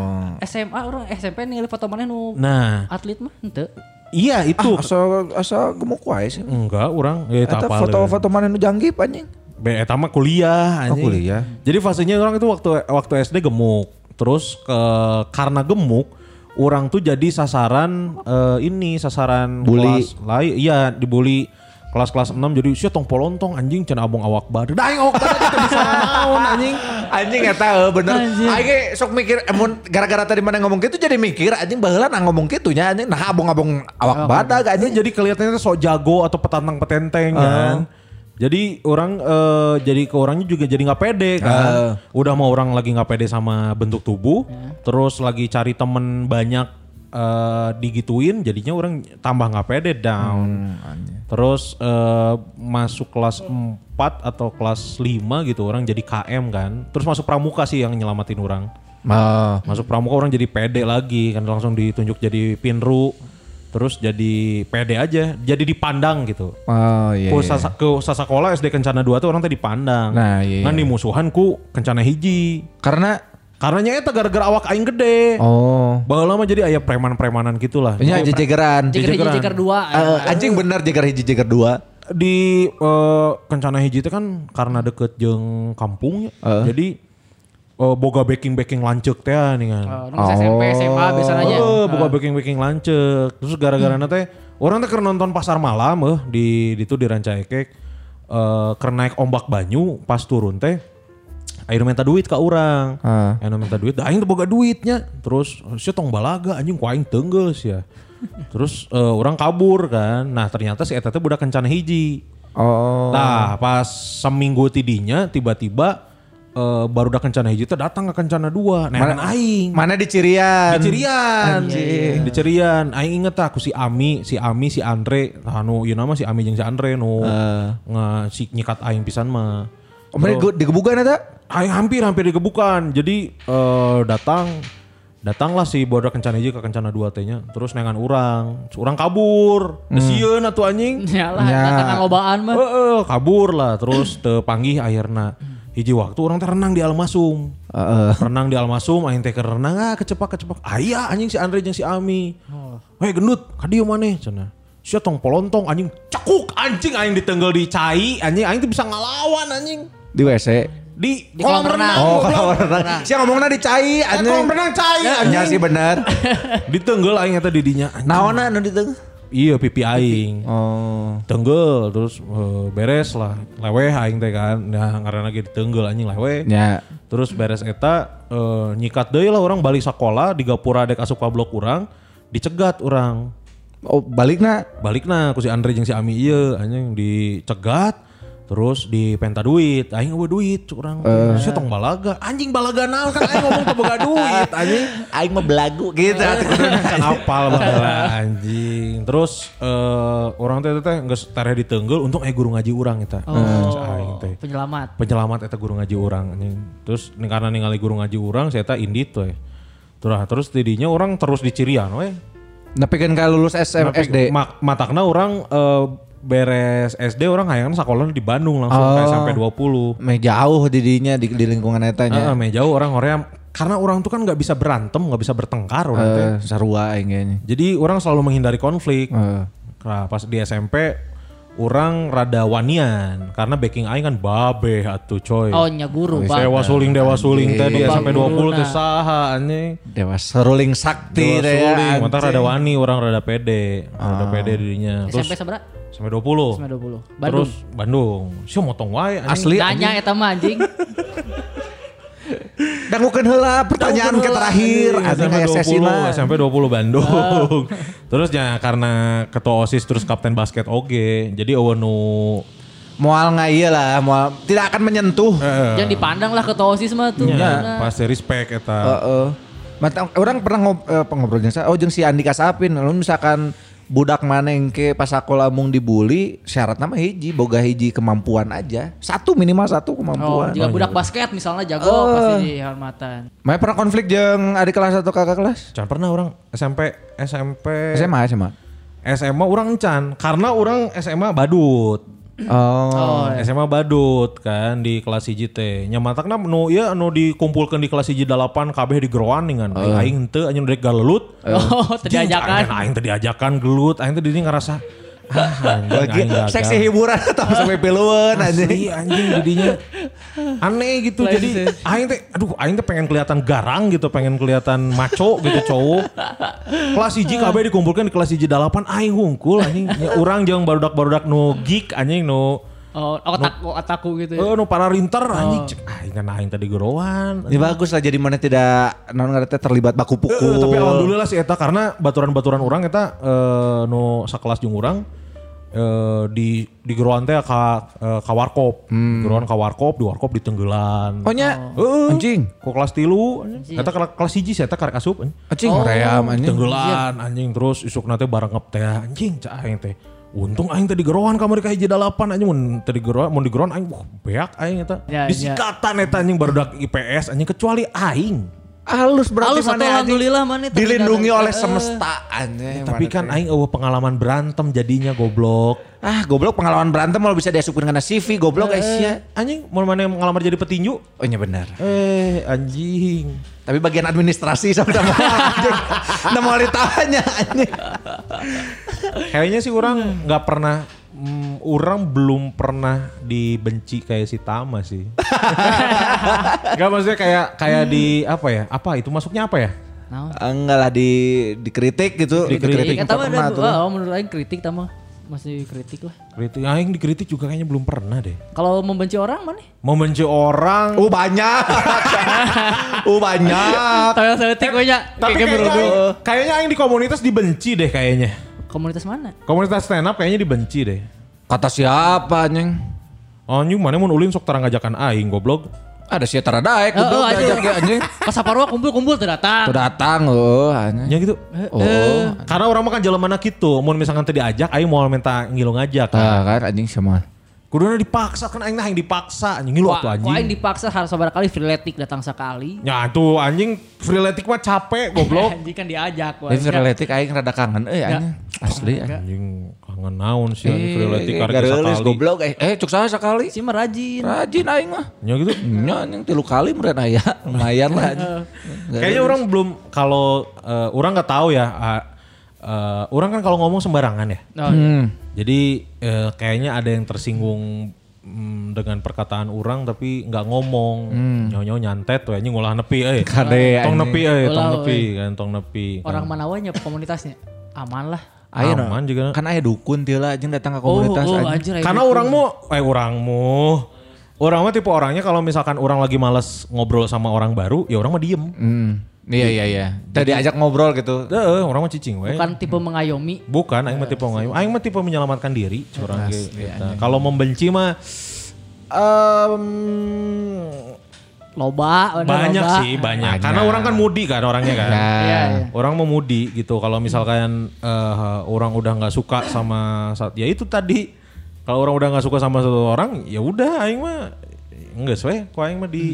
Speaker 6: SMA orang SMP ningali foto maneh nu
Speaker 4: Nah,
Speaker 6: atlet mah henteu.
Speaker 4: iya itu.
Speaker 3: Asa asa gemuk wae sih.
Speaker 4: Enggak, orang
Speaker 3: Ah,
Speaker 4: eh
Speaker 3: Eta
Speaker 4: apa
Speaker 3: foto-foto mana nu janggip anjing.
Speaker 4: Be, eta mah kuliah anjing.
Speaker 3: Oh, kuliah.
Speaker 4: Jadi fasenya orang itu waktu waktu SD gemuk. Terus ke karena gemuk orang tuh jadi sasaran eh, ini sasaran
Speaker 3: Bully.
Speaker 4: kelas lain iya dibully kelas-kelas 6 jadi sia tong polontong anjing cenah abong awak bader. Da aing awak bader kita bisa naon anjing.
Speaker 3: Anjing ya tahu bener. Aing ge sok mikir emun gara-gara tadi mana ngomong gitu jadi mikir anjing baheula nah ngomong kitunya anjing nah abong-abong awak badag
Speaker 4: Ini
Speaker 3: anjing.
Speaker 4: jadi kelihatannya sok jago atau petantang petenteng kan. Jadi orang eh, jadi ke orangnya juga jadi nggak pede kan. Udah mau orang lagi nggak pede sama bentuk tubuh, terus lagi cari temen banyak eh, digituin, jadinya orang tambah nggak pede down. terus eh, masuk kelas 4 atau kelas 5 gitu orang jadi KM kan. Terus masuk pramuka sih yang nyelamatin orang.
Speaker 3: Mah
Speaker 4: Oh, Masuk pramuka orang jadi pede lagi kan langsung ditunjuk jadi pinru terus jadi pede aja jadi dipandang gitu.
Speaker 3: Oh iya.
Speaker 4: Ku sasa- ke sasakola SD Kencana 2 tuh orang teh dipandang.
Speaker 3: Nah, iya.
Speaker 4: Ngan dimusuhan ku Kencana hiji.
Speaker 3: Karena
Speaker 4: Karena eta gara-gara awak aing gede.
Speaker 3: oh Iya,
Speaker 4: Baheula mah jadi aya preman-premanan gitulah.
Speaker 3: Ini aja jegeran.
Speaker 5: Jeger
Speaker 2: kan?
Speaker 5: hiji, jeger dua.
Speaker 2: Ah.
Speaker 3: Eh, anjing bener jeger hiji jeger dua.
Speaker 4: di eh, Kencana hiji itu kan karena deket jeung kampung ya. Jadi eh, boga backing-backing lanceuk teh nih kan.
Speaker 3: Ah.
Speaker 6: Oh, nunggu SMP, SMA biasanya aja.
Speaker 4: Oh, buka baking-baking lancek. Terus gara-gara
Speaker 3: Hmm.
Speaker 4: teh orang teh keur nonton pasar malam eh di di itu di Rancaekek eh keur naik ombak banyu pas turun teh air minta duit ke orang.
Speaker 3: Ah.
Speaker 4: Ayeuna minta duit, dah aing teu boga duitnya. Terus si tong balaga anjing ku aing teunggeus ya. Terus eh, orang kabur kan. Nah, ternyata si eta teh budak kencan hiji.
Speaker 3: Oh.
Speaker 4: Nah pas seminggu tidinya tiba-tiba eh, baru udah kencana hiji teh datang ke kencana dua. Nah
Speaker 3: Mana-
Speaker 4: aing.
Speaker 3: Mana di Cirian?
Speaker 4: Di Cirian.
Speaker 3: Anjing.
Speaker 4: Di Cirian. Aing inget aku si Ami, si Ami, si Andre. Nah, nu ieu nama si Ami jeung si Andre nu nge si nyikat aing pisan mah.
Speaker 3: Oh, mana di Gebugan ada?
Speaker 4: Aing hampir hampir digebukan. Jadi eh, datang datanglah si bodoh kencana hiji ke kencana dua tehnya terus nengan urang urang kabur hmm. atuh anjing
Speaker 5: Ya
Speaker 6: Nyalah, datang ngobaan mah.
Speaker 4: Heeh, kabur lah terus tepanggih akhirnya hiji waktu orang teh renang di almasum renang di almasum aing teh keur renang ah kecepak kecepak aya anjing si Andre jeung si Ami Hei gendut ka dieu maneh cenah sia tong polontong anjing cekuk anjing aing ditenggal di cai anjing aing teh bisa ngalawan anjing
Speaker 3: Di WC.
Speaker 4: di,
Speaker 5: Di kolam renang.
Speaker 3: Oh, kalau
Speaker 4: goblok.
Speaker 3: renang. Siapa ngomongnya di Cai
Speaker 4: Eh,
Speaker 3: anjing.
Speaker 4: kolam renang cai
Speaker 3: Ya sih
Speaker 4: anjing
Speaker 3: bener.
Speaker 4: ditenggel aing eta di dinya anjing.
Speaker 3: Naona anu di tengah?
Speaker 4: iya pipi aing
Speaker 3: Oh.
Speaker 4: tenggel terus eh, beres lah leweh aing teh kan nah ngaranna ge ditenggel anjing leweh
Speaker 3: Ya.
Speaker 4: Terus beres eta eh, nyikat deui lah orang balik sekolah di gapura dek asup ka blok urang, dicegat urang.
Speaker 3: Oh, balikna.
Speaker 4: Balikna ku si Andre jeung si Ami ieu anjing dicegat terus dipenta duit. Aing eueuh duit cuk urang. Sia tong balaga. Anjing balaga naon kan aing ngomong teu boga duit anjing.
Speaker 3: Aing mah belagu gitu.
Speaker 4: Kan apal baheula anjing. Terus eh, orang teh teh geus tareh ditenggel untung aya guru ngaji urang eta. Oh. Aing teh
Speaker 5: Penyelamat.
Speaker 4: penyelamat eta guru ngaji orang anjing. Terus ning- karena ningali guru ngaji orang saya eta indit we. Terus terus tidinya orang terus dicirian we.
Speaker 3: Nepikeun ka lulus SM
Speaker 4: Tapi
Speaker 3: SD.
Speaker 4: mak- matakna orang eh, beres SD orang hayang sekolah di Bandung langsung ke
Speaker 3: Oh.
Speaker 4: SMP 20.
Speaker 3: Meh jauh didinya di, di lingkungan
Speaker 4: Heeh,
Speaker 3: etanya.
Speaker 4: meh jauh orang orang karena orang tuh kan nggak bisa berantem, nggak bisa bertengkar orang teh.
Speaker 3: Eh, sarua aing kayaknya.
Speaker 4: Jadi orang selalu menghindari konflik.
Speaker 3: Eh.
Speaker 4: Nah, pas di SMP orang rada wanian karena backing aing kan babe atuh coy.
Speaker 5: Oh, nya guru, Pak.
Speaker 4: Dewa suling dewa suling tadi ya,
Speaker 3: Anjing.
Speaker 4: sampai 20 teh
Speaker 5: Nah.
Speaker 4: saha anjing.
Speaker 3: Dewa seruling sakti
Speaker 4: Dewa
Speaker 3: teh ya,
Speaker 4: suling,
Speaker 3: anjing.
Speaker 4: mentar rada wani orang rada pede, rada pede dirinya. Terus
Speaker 5: SMP sabra?
Speaker 4: sampai 20.
Speaker 5: SMP 20.
Speaker 4: Terus
Speaker 5: Bandung.
Speaker 4: Bandung. Sio motong wae anjing.
Speaker 3: Asli
Speaker 5: Danya eta mah anjing.
Speaker 3: Dangukeun heula pertanyaan ke terakhir. Anjing
Speaker 4: SMP
Speaker 3: aya
Speaker 4: 20,
Speaker 3: sesina.
Speaker 4: SMP 20 Bandung. terus ya karena ketua OSIS terus kapten basket oge. Jadi eueuh nu
Speaker 3: Moal ngaya iya lah, moal tidak akan menyentuh.
Speaker 5: Jangan dipandang lah ke tosis mah tuh.
Speaker 4: Ya, pasti respect eta.
Speaker 3: Heeh. Mata- orang pernah ngob, eh, pengobrol jeung saya, oh jeung si Andika Sapin, lalu misalkan budak mana yang ke pas sekolah mung dibully, syarat nama hiji, boga hiji kemampuan aja. Satu minimal satu
Speaker 5: Oh,
Speaker 3: kemampuan.
Speaker 5: jika budak basket misalnya jago pasti dihormatan.
Speaker 3: Maya pernah konflik jeung adik kelas atau kakak kelas? Eh.
Speaker 4: Jangan pernah orang SMP SMP
Speaker 3: SMA, SMA.
Speaker 4: SMA orang encan karena orang SMA badut.
Speaker 3: Oh.
Speaker 4: SMA badut kan di kelas hiji teh. Nya matakna nu ieu anu dikumpulkeun di kelas hiji 8 kabeh di geroan dengan aing henteu anjing rek galelut.
Speaker 5: Oh, teu diajakan.
Speaker 4: Aing teu diajakan gelut, aing teh di dieu ngarasa "Ah,
Speaker 3: Bagi Iya, seksi hiburan atau sampai piluan anjing.
Speaker 4: Asli Ah, anjing jadinya aneh gitu.
Speaker 6: Lain
Speaker 4: Jadi
Speaker 6: sih.
Speaker 4: aing teh aduh aing teh pengen kelihatan garang gitu, pengen kelihatan maco gitu cowok. Kelas hiji kabeh dikumpulkan di kelas hiji dalapan aing hungkul anjing. Ya, urang jeung barudak-barudak nu geek anjing nu
Speaker 5: Oh, otak otakku gitu ya.
Speaker 4: eh nu para rinter anjing. Cek aing kan aing tadi gerowan.
Speaker 2: Iya,
Speaker 3: Ini bagus lah jadi mana tidak non ngerti terlibat baku
Speaker 4: Eh,
Speaker 3: pukul.
Speaker 4: tapi alhamdulillah sih eta karena baturan-baturan orang eta eh, nu sakelas jeung urang eh, di di geroan teh ka eh, ka warkop. Geroan ka warkop, di warkop ditenggelan.
Speaker 3: Oh nya. Anjing.
Speaker 4: Kok kelas tilu, eta kela- kelas hiji sih, eta karek asup. anjing. Iya.
Speaker 3: Anjing ream anjing.
Speaker 4: Oh, Tenggelan, anjing terus isuk nanti barang ngep teh, anjing cah aing teh. Untung aing tadi geroan kamar ka hiji dalapan anjing mun tadi geroan mun digeroan aing wah beak aing eta.
Speaker 5: Ya,
Speaker 4: Disikatan eta anjing barudak IPS anjing kecuali aing.
Speaker 3: Halus berarti
Speaker 5: Halus atau alhamdulillah mana
Speaker 3: anjing.
Speaker 5: tapi
Speaker 3: dilindungi
Speaker 5: dalam-
Speaker 3: oleh
Speaker 5: eh,
Speaker 3: semesta anjing.
Speaker 4: Tapi
Speaker 3: Mana
Speaker 4: kan
Speaker 3: teh.
Speaker 4: aing eueuh pengalaman berantem jadinya goblok.
Speaker 3: ah goblok pengalaman berantem malah bisa diasupin karena CV goblok eh, sia.
Speaker 4: Eh, anjing mau mana yang ngelamar jadi petinju?
Speaker 3: Oh iya benar.
Speaker 4: Eh anjing.
Speaker 3: Tapi bagian administrasi sama sama anjing. Nah mau ditanya anjing.
Speaker 4: Kayaknya sih orang nggak pernah mm, orang belum pernah dibenci kayak si Tama sih. Gak maksudnya kayak kayak di apa ya? Apa itu masuknya apa ya?
Speaker 5: Nah,
Speaker 3: Eh,
Speaker 5: iya,
Speaker 3: Enggak lah di dikritik gitu.
Speaker 4: Dikritik.
Speaker 3: Dikritik
Speaker 5: Kata mah
Speaker 3: pernah
Speaker 5: ada-
Speaker 3: tuh.
Speaker 5: oh, menurut aing kritik tama masih kritik lah.
Speaker 4: Kritik, ah, yang dikritik juga kayaknya belum pernah deh.
Speaker 5: Kalau membenci orang mana?
Speaker 4: Membenci orang.
Speaker 3: Oh banyak. oh banyak.
Speaker 5: Tahu saya tik we nya.
Speaker 4: tapi
Speaker 3: gitu.
Speaker 5: ya. Kayak
Speaker 4: kayaknya,
Speaker 5: berudung.
Speaker 4: kayaknya yang di komunitas dibenci deh kayaknya.
Speaker 5: Komunitas mana?
Speaker 4: Komunitas stand up kayaknya dibenci deh.
Speaker 3: Kata siapa anjing?
Speaker 4: Anjing mana mun ulin sok tarang ngajakan aing goblok.
Speaker 3: Ada si Tara Daek
Speaker 5: Heeh,
Speaker 3: goblok
Speaker 5: Oh, anjing.
Speaker 3: diajak ya anjing.
Speaker 5: Pas Saparwa kumpul-kumpul
Speaker 3: Tuh
Speaker 5: tidak datang.
Speaker 3: datang loh anjing.
Speaker 4: Ya gitu. Eh,
Speaker 3: Oh.
Speaker 4: Karena orang makan jalan mana gitu. Mau misalkan tadi ajak, aing mau minta ngilu ngajak.
Speaker 3: Tah kan anjing sama.
Speaker 4: Kuduna dipaksa kan aing nah aing dipaksa anjing lu atuh
Speaker 5: Wah, Ku aing
Speaker 4: anjing.
Speaker 5: dipaksa harus sabar kali freeletik datang sekali.
Speaker 4: Ya tuh anjing freeletik mah capek goblok.
Speaker 5: Anjing kan diajak
Speaker 3: Ini
Speaker 5: anjing.
Speaker 3: viraletik aing rada kangen euy anjing. Asli anjing.
Speaker 4: anjing kangen naon sih anjing freeletik
Speaker 3: Eh,
Speaker 4: karek
Speaker 3: gareulis
Speaker 4: sakali.
Speaker 3: goblok eh. Eh cuk saya sekali.
Speaker 5: Si merajin.
Speaker 3: Rajin aing mah.
Speaker 4: Ya gitu.
Speaker 3: Nya anjing tilu kali meren aya. Lumayan lah anjing.
Speaker 4: Kayaknya orang belum kalau eh, orang nggak tahu ya. ah, eh, orang kan kalau ngomong sembarangan ya.
Speaker 5: Oh, iya.
Speaker 4: Jadi eh, kayaknya ada yang tersinggung mm, dengan perkataan orang tapi nggak ngomong. Nyonya nyantet tuh anjing ngolah nepi euy.
Speaker 3: Hmm. Kade,
Speaker 4: tong
Speaker 3: anjing.
Speaker 4: nepi euy, tong
Speaker 5: Ulah,
Speaker 4: nepi kan tong nepi. kan.
Speaker 5: Orang manawanya komunitasnya aman lah.
Speaker 3: Ayo
Speaker 4: Aman juga.
Speaker 3: Kan aya dukun tieu lah anjing datang ke komunitas anjing.
Speaker 5: anjir.
Speaker 4: Karena
Speaker 5: Oh, anjing.
Speaker 4: orang mau eh orang mau Orang mah tipe orangnya kalau misalkan orang lagi males ngobrol sama orang baru, ya orang mah diem.
Speaker 3: Hmm. Iya iya iya. Tadi ajak ngobrol gitu.
Speaker 4: Heeh, Eh, orang mah cicing we.
Speaker 5: bukan tipe mengayomi.
Speaker 4: Bukan, aing mah tipe ngayu. Aing mah tipe menyelamatkan diri, curang ge. Eta. Kalau membenci mah em,
Speaker 5: Loba, bener,
Speaker 4: banyak
Speaker 5: loba.
Speaker 4: sih, banyak. Karena orang kan mudi kan orangnya kan.
Speaker 5: Iya, iya.
Speaker 4: Orang mau mudi gitu. Kalau misalkan eh, orang udah nggak suka sama saat ya itu tadi. Kalau orang udah nggak suka sama satu orang, ya udah aing mah enggak sesuai. Kok aing mah
Speaker 3: Hmm.
Speaker 4: di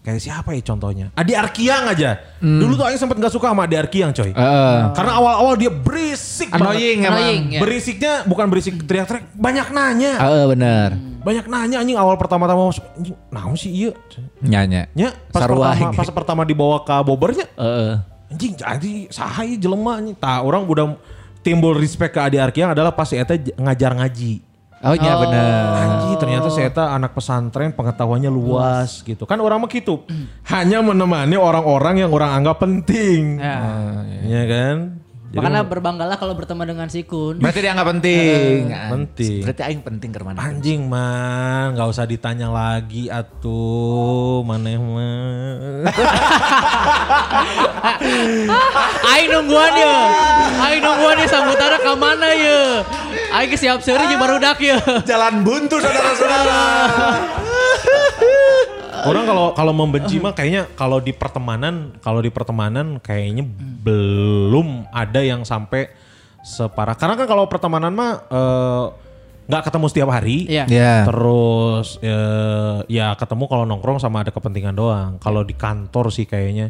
Speaker 4: kayak siapa ya contohnya? Adi Arkiang aja. Dulu tuh aing sempet nggak suka sama Adi Arkiang, coy.
Speaker 3: Hmm. Heeh.
Speaker 4: Karena awal-awal dia berisik banget.
Speaker 3: Annoying emang.
Speaker 5: Annoying, ya.
Speaker 4: Berisiknya bukan berisik teriak-teriak, banyak nanya.
Speaker 3: Heeh Ah, eh, bener.
Speaker 4: Banyak nanya anjing awal pertama-tama masuk. Anjing, naon sih iya. ieu?
Speaker 3: Nyanya.
Speaker 4: Nya pas
Speaker 3: Sarua
Speaker 4: pertama
Speaker 3: aing.
Speaker 4: pas pertama dibawa ke bobernya
Speaker 3: Heeh.
Speaker 4: anjing jadi saha ieu jelema anjing. Tah orang udah timbul respect ke Adi Arkiang adalah pas si eta j- ngajar ngaji.
Speaker 3: Oh iya bener.
Speaker 4: Anjing ternyata si eta anak pesantren pengetahuannya luas gitu. Kan orang mah gitu. Hanya menemani orang-orang yang orang anggap penting.
Speaker 5: Ya.
Speaker 4: Iya kan? Jadi
Speaker 5: Makanya berbanggalah kalau berteman dengan si Kun.
Speaker 3: Berarti dia nggak penting.
Speaker 5: Eh.
Speaker 4: penting.
Speaker 3: Berarti aing penting ke mana?
Speaker 4: Anjing man, nggak usah ditanya lagi atuh maneh mah.
Speaker 5: Aing nungguan ya. Aing nungguan ya sambutara ke mana ya. Aing siap seri jeung barudak ya.
Speaker 3: Jalan buntu saudara-saudara.
Speaker 4: Orang kalau kalau membenci mah kayaknya kalau di pertemanan, kalau di pertemanan kayaknya belum ada yang sampai separah. Karena kan kalau pertemanan mah eh, nggak ketemu setiap hari.
Speaker 5: Iya.
Speaker 3: Iya.
Speaker 4: Terus eh, ya ketemu kalau nongkrong sama ada kepentingan doang. Kalau di kantor sih kayaknya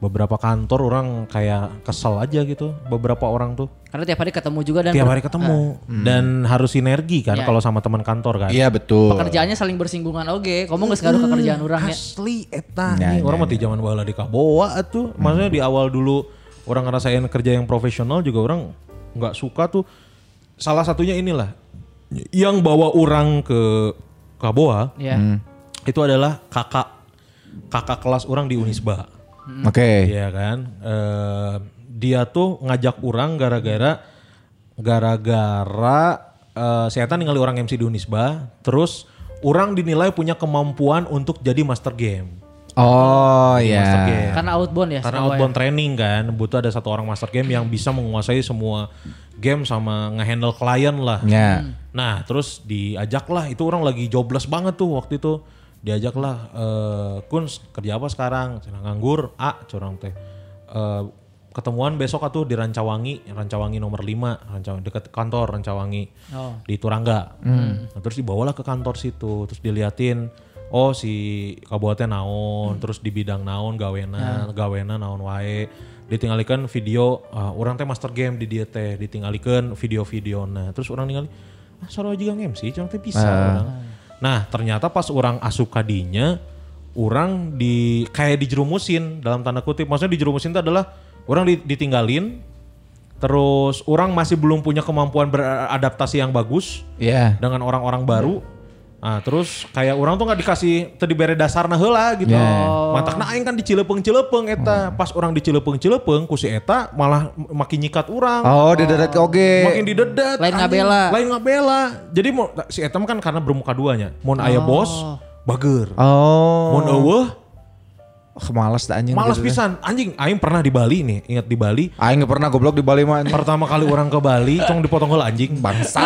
Speaker 4: beberapa kantor orang kayak kesel aja gitu. Beberapa orang tuh
Speaker 5: Karena tiap hari ketemu juga dan
Speaker 4: tiap
Speaker 5: ber-
Speaker 4: hari ketemu dan harus sinergi kan
Speaker 5: Iya.
Speaker 4: kalau sama teman kantor kan.
Speaker 3: Ah. Hmm. Iya betul.
Speaker 5: pekerjaannya saling bersinggungan oge. Kamu geus
Speaker 4: Hmm.
Speaker 5: ngaruh ke kerjaan urang ya.
Speaker 4: Asli eta. Iya,
Speaker 3: Ya,
Speaker 4: Nih,
Speaker 3: ya,
Speaker 4: orang mati zaman baheula di Kabowa atuh. Maksudnya di awal dulu orang ngerasain kerja yang profesional juga orang nggak suka tuh salah satunya inilah yang bawa orang ke Kaboa
Speaker 5: Iya.
Speaker 4: itu adalah kakak kakak kelas orang di Unisba.
Speaker 3: Hmm. Oke.
Speaker 4: Iya kan? Eh, dia tuh ngajak orang gara-gara gara-gara eh, setan ningali orang MC di Unisba, terus orang dinilai punya kemampuan untuk jadi master game.
Speaker 3: Oh
Speaker 4: Master
Speaker 3: ya.
Speaker 4: game.
Speaker 5: Karena outbound ya.
Speaker 4: Karena
Speaker 5: setahu
Speaker 4: outbound
Speaker 5: ya.
Speaker 4: training kan butuh ada satu orang master game yang bisa menguasai semua game sama ngehandle klien lah.
Speaker 3: Ya.
Speaker 5: Hmm.
Speaker 4: Nah terus diajaklah itu orang lagi jobless banget tuh waktu itu diajaklah eh kun kerja apa sekarang? Cina nganggur, a curang teh. Eh, ketemuan besok atuh di Rancawangi, Rancawangi nomor 5, Rancawangi dekat kantor Rancawangi di Turangga. Nah, terus dibawalah ke kantor situ, terus diliatin oh si kabupaten naon, terus di bidang naon gawena, gawena naon wae. Ditinggalikan video ah, orang teh master game di dia teh, ditinggalikan video-video nah. Terus orang ningali ah sarua juga MC, cuma teh bisa orang. Nah, ternyata pas orang asup kadinya orang di kayak dijerumusin dalam tanda kutip maksudnya dijerumusin itu adalah orang di- ditinggalin terus orang masih belum punya kemampuan beradaptasi yang bagus
Speaker 3: Ya.
Speaker 4: dengan orang-orang baru Nah, terus kayak orang tuh nggak dikasih tadi bere dasar heula gitu.
Speaker 3: Ya.
Speaker 4: Matak na aing kan dicilepeung-cilepeung
Speaker 3: Hmm.
Speaker 4: eta. Pas orang dicilepeung-cilepeung ku si eta malah makin nyikat orang.
Speaker 3: Oh, di deret oge.
Speaker 4: Makin didedet.
Speaker 5: Lain
Speaker 4: anjing.
Speaker 5: ngabela.
Speaker 4: Lain ngabela. Jadi mau si Etam kan karena bermuka duanya. Mau
Speaker 5: Oh.
Speaker 4: aya bos, bager.
Speaker 3: Oh.
Speaker 4: Mau eueuh,
Speaker 3: Oh, malas dah anjing.
Speaker 4: malas
Speaker 3: gitu dah.
Speaker 4: pisan. Anjing, aing pernah di Bali nih. Ingat di Bali.
Speaker 3: Aing nggak pernah goblok di Bali mah. anjing.
Speaker 4: Pertama kali orang ke Bali, cong dipotong heula anjing. Bangsa.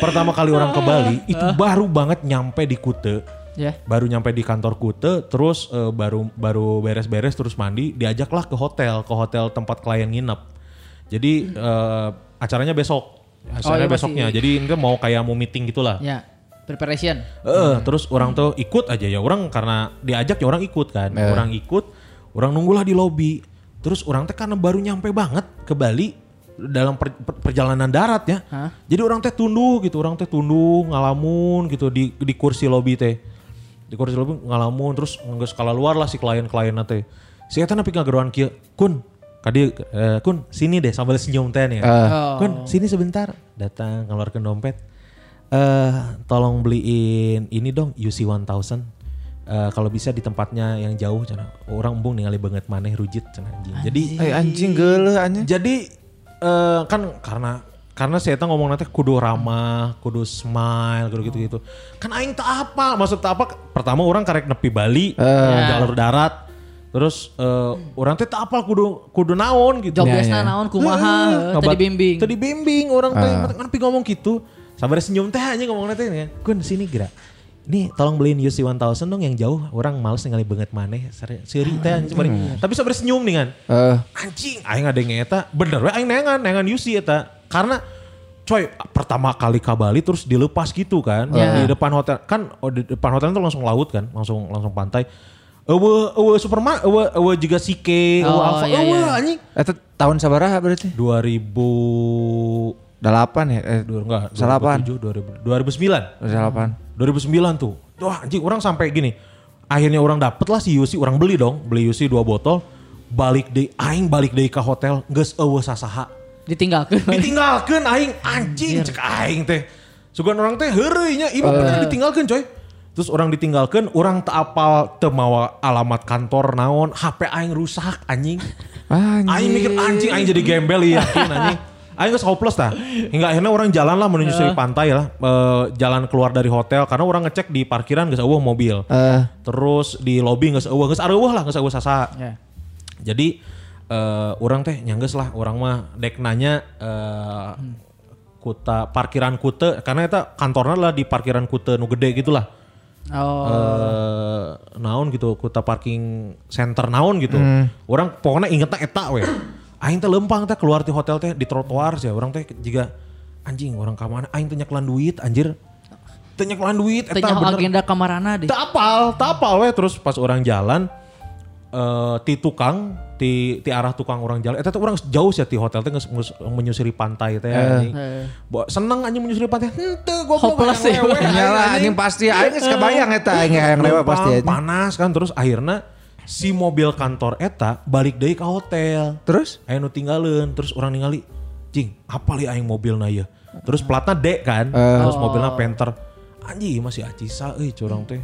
Speaker 4: Pertama kali orang ke Bali, itu baru banget nyampe di Kute.
Speaker 5: Ah. Ya.
Speaker 4: Baru nyampe di kantor Kute, terus eh, baru baru beres-beres terus mandi, diajaklah ke hotel, ke hotel tempat klien nginep. Jadi eh, acaranya besok. Acaranya
Speaker 5: iya, masih-
Speaker 4: besoknya. Jadi ini kan mau kayak mau meeting gitulah.
Speaker 5: Ya. Preparation.
Speaker 4: Eh, terus orang tuh ikut aja ya orang karena diajak ya orang ikut kan. Orang ikut, orang nunggulah di lobi. Terus orang teh karena baru nyampe banget ke Bali dalam per- per- perjalanan darat ya. Jadi orang teh tunduk gitu, orang teh tunduk ngalamun gitu di di kursi lobi teh. Di kursi lobi ngalamun terus nggak skala luar lah si klien-kliennya teh. Si eta nepi ngageruan kieu, "Kun, kadi eh, kun sini deh sambil senyum teh nih ya. Kun, sini sebentar." Datang ngeluarkan dompet. Eh, tolong beliin ini dong UC 1000. Eh, kalau bisa di tempatnya yang jauh cenah. Orang embung ningali banget maneh rujit cenah anjing. Jadi
Speaker 3: Eh anjing geuleuh anjing.
Speaker 4: jadi eh, kan karena karena saya tuh ngomong nanti kudu ramah, kudu smile, kudu gitu-gitu. Kan aing tak apa, maksud tak apa? Pertama orang karek nepi Bali,
Speaker 3: Eh.
Speaker 4: jalur darat. Terus eh, orang teh tak apa kudu kudu naon gitu.
Speaker 5: Job desk naon kumaha
Speaker 4: Heeh,
Speaker 5: tadi bimbing.
Speaker 4: Tadi bimbing orang teh
Speaker 5: Ah.
Speaker 4: kan pi ngomong gitu. Sabar senyum teh aja ngomongnya teh ya. Kun sini gerak. Nih tolong beliin UC 1000 dong yang jauh. Orang males ningali banget maneh. Seri seri teh anjing bari.
Speaker 5: Hmm.
Speaker 4: Tapi sabar senyum nih kan.
Speaker 3: Eh,
Speaker 4: Anjing aing ada eta. Bener we aing nengan nengan UC eta. Karena coy pertama kali ke Bali terus dilepas gitu kan
Speaker 5: Ya.
Speaker 4: di depan hotel kan oh, di depan hotel itu langsung laut kan langsung langsung pantai ewe ewe superman ewe ewe juga sike ewe
Speaker 5: Oh,
Speaker 4: alpha
Speaker 5: iya,
Speaker 4: ewe
Speaker 5: iya.
Speaker 4: anjing
Speaker 3: eta eh, tahun sabaraha berarti?
Speaker 4: 2000
Speaker 3: Delapan ya? Eh,
Speaker 4: Duh, enggak,
Speaker 3: Salapan.
Speaker 4: 2007, 2000, 2009.
Speaker 3: Delapan.
Speaker 4: 2009 tuh. Wah anjing orang sampai gini. Akhirnya orang dapet lah si Yusi, orang beli dong. Beli Yusi dua botol. Balik deh, aing balik deh ke hotel. Nges ewe sasaha.
Speaker 5: Ditinggalkan.
Speaker 4: Ditinggalkan aing, anjing cek aing teh. Sugan orang teh hereunya, ibu bener ditinggalkan coy. Terus orang ditinggalkan, orang tak apal teu mawa alamat kantor naon, HP aing rusak anjing.
Speaker 3: Anjing.
Speaker 4: Aing mikir anjing aing jadi gembel ya yakin anjing. Aing geus hopeless dah. Hingga akhirnya orang jalan lah menuju seri pantai lah. Eh, jalan keluar dari hotel karena orang ngecek di parkiran geus eueuh mobil.
Speaker 3: Eh.
Speaker 4: Terus di lobby geus eueuh, geus areueuh lah geus eueuh sasa.
Speaker 5: Ya.
Speaker 4: Jadi eh, orang teh nyangges lah orang mah dek nanya eh, kuta parkiran kute karena eta kantornya lah di parkiran kute nu gede gitu lah.
Speaker 5: Oh.
Speaker 4: Eh, naon gitu kuta parking center naon gitu orang pokoknya ingetnya eta we aing teh lempang teh keluar di hotel teh di trotoar sih orang teh juga anjing orang ka mana aing teh nyekelan duit anjir teh nyekelan duit eta
Speaker 5: Tanya
Speaker 4: bener
Speaker 5: agenda kamarana deh.
Speaker 4: tak apal tak apal we terus pas orang jalan eh ti tukang ti ti arah tukang orang jalan eta teh orang jauh sih ti hotel teh geus- geus menyusuri pantai
Speaker 3: Eh.
Speaker 4: teh anjing Bo- seneng anjing menyusuri pantai henteu goblok
Speaker 5: Eh. Hopeless
Speaker 4: hayang
Speaker 5: sih.
Speaker 4: lewe,
Speaker 3: Nyala anjing pasti aing geus kebayang eta aing hayang lewa
Speaker 4: Lempang,
Speaker 3: pasti anjing.
Speaker 4: panas kan terus akhirnya si mobil kantor eta balik deui ke hotel
Speaker 3: Terus?
Speaker 4: Ayo nu tinggalin terus orang ningali anjing apa li aing mobilna ya terus platna D kan terus mobilnya Panther anjing masih acisa euy curang teh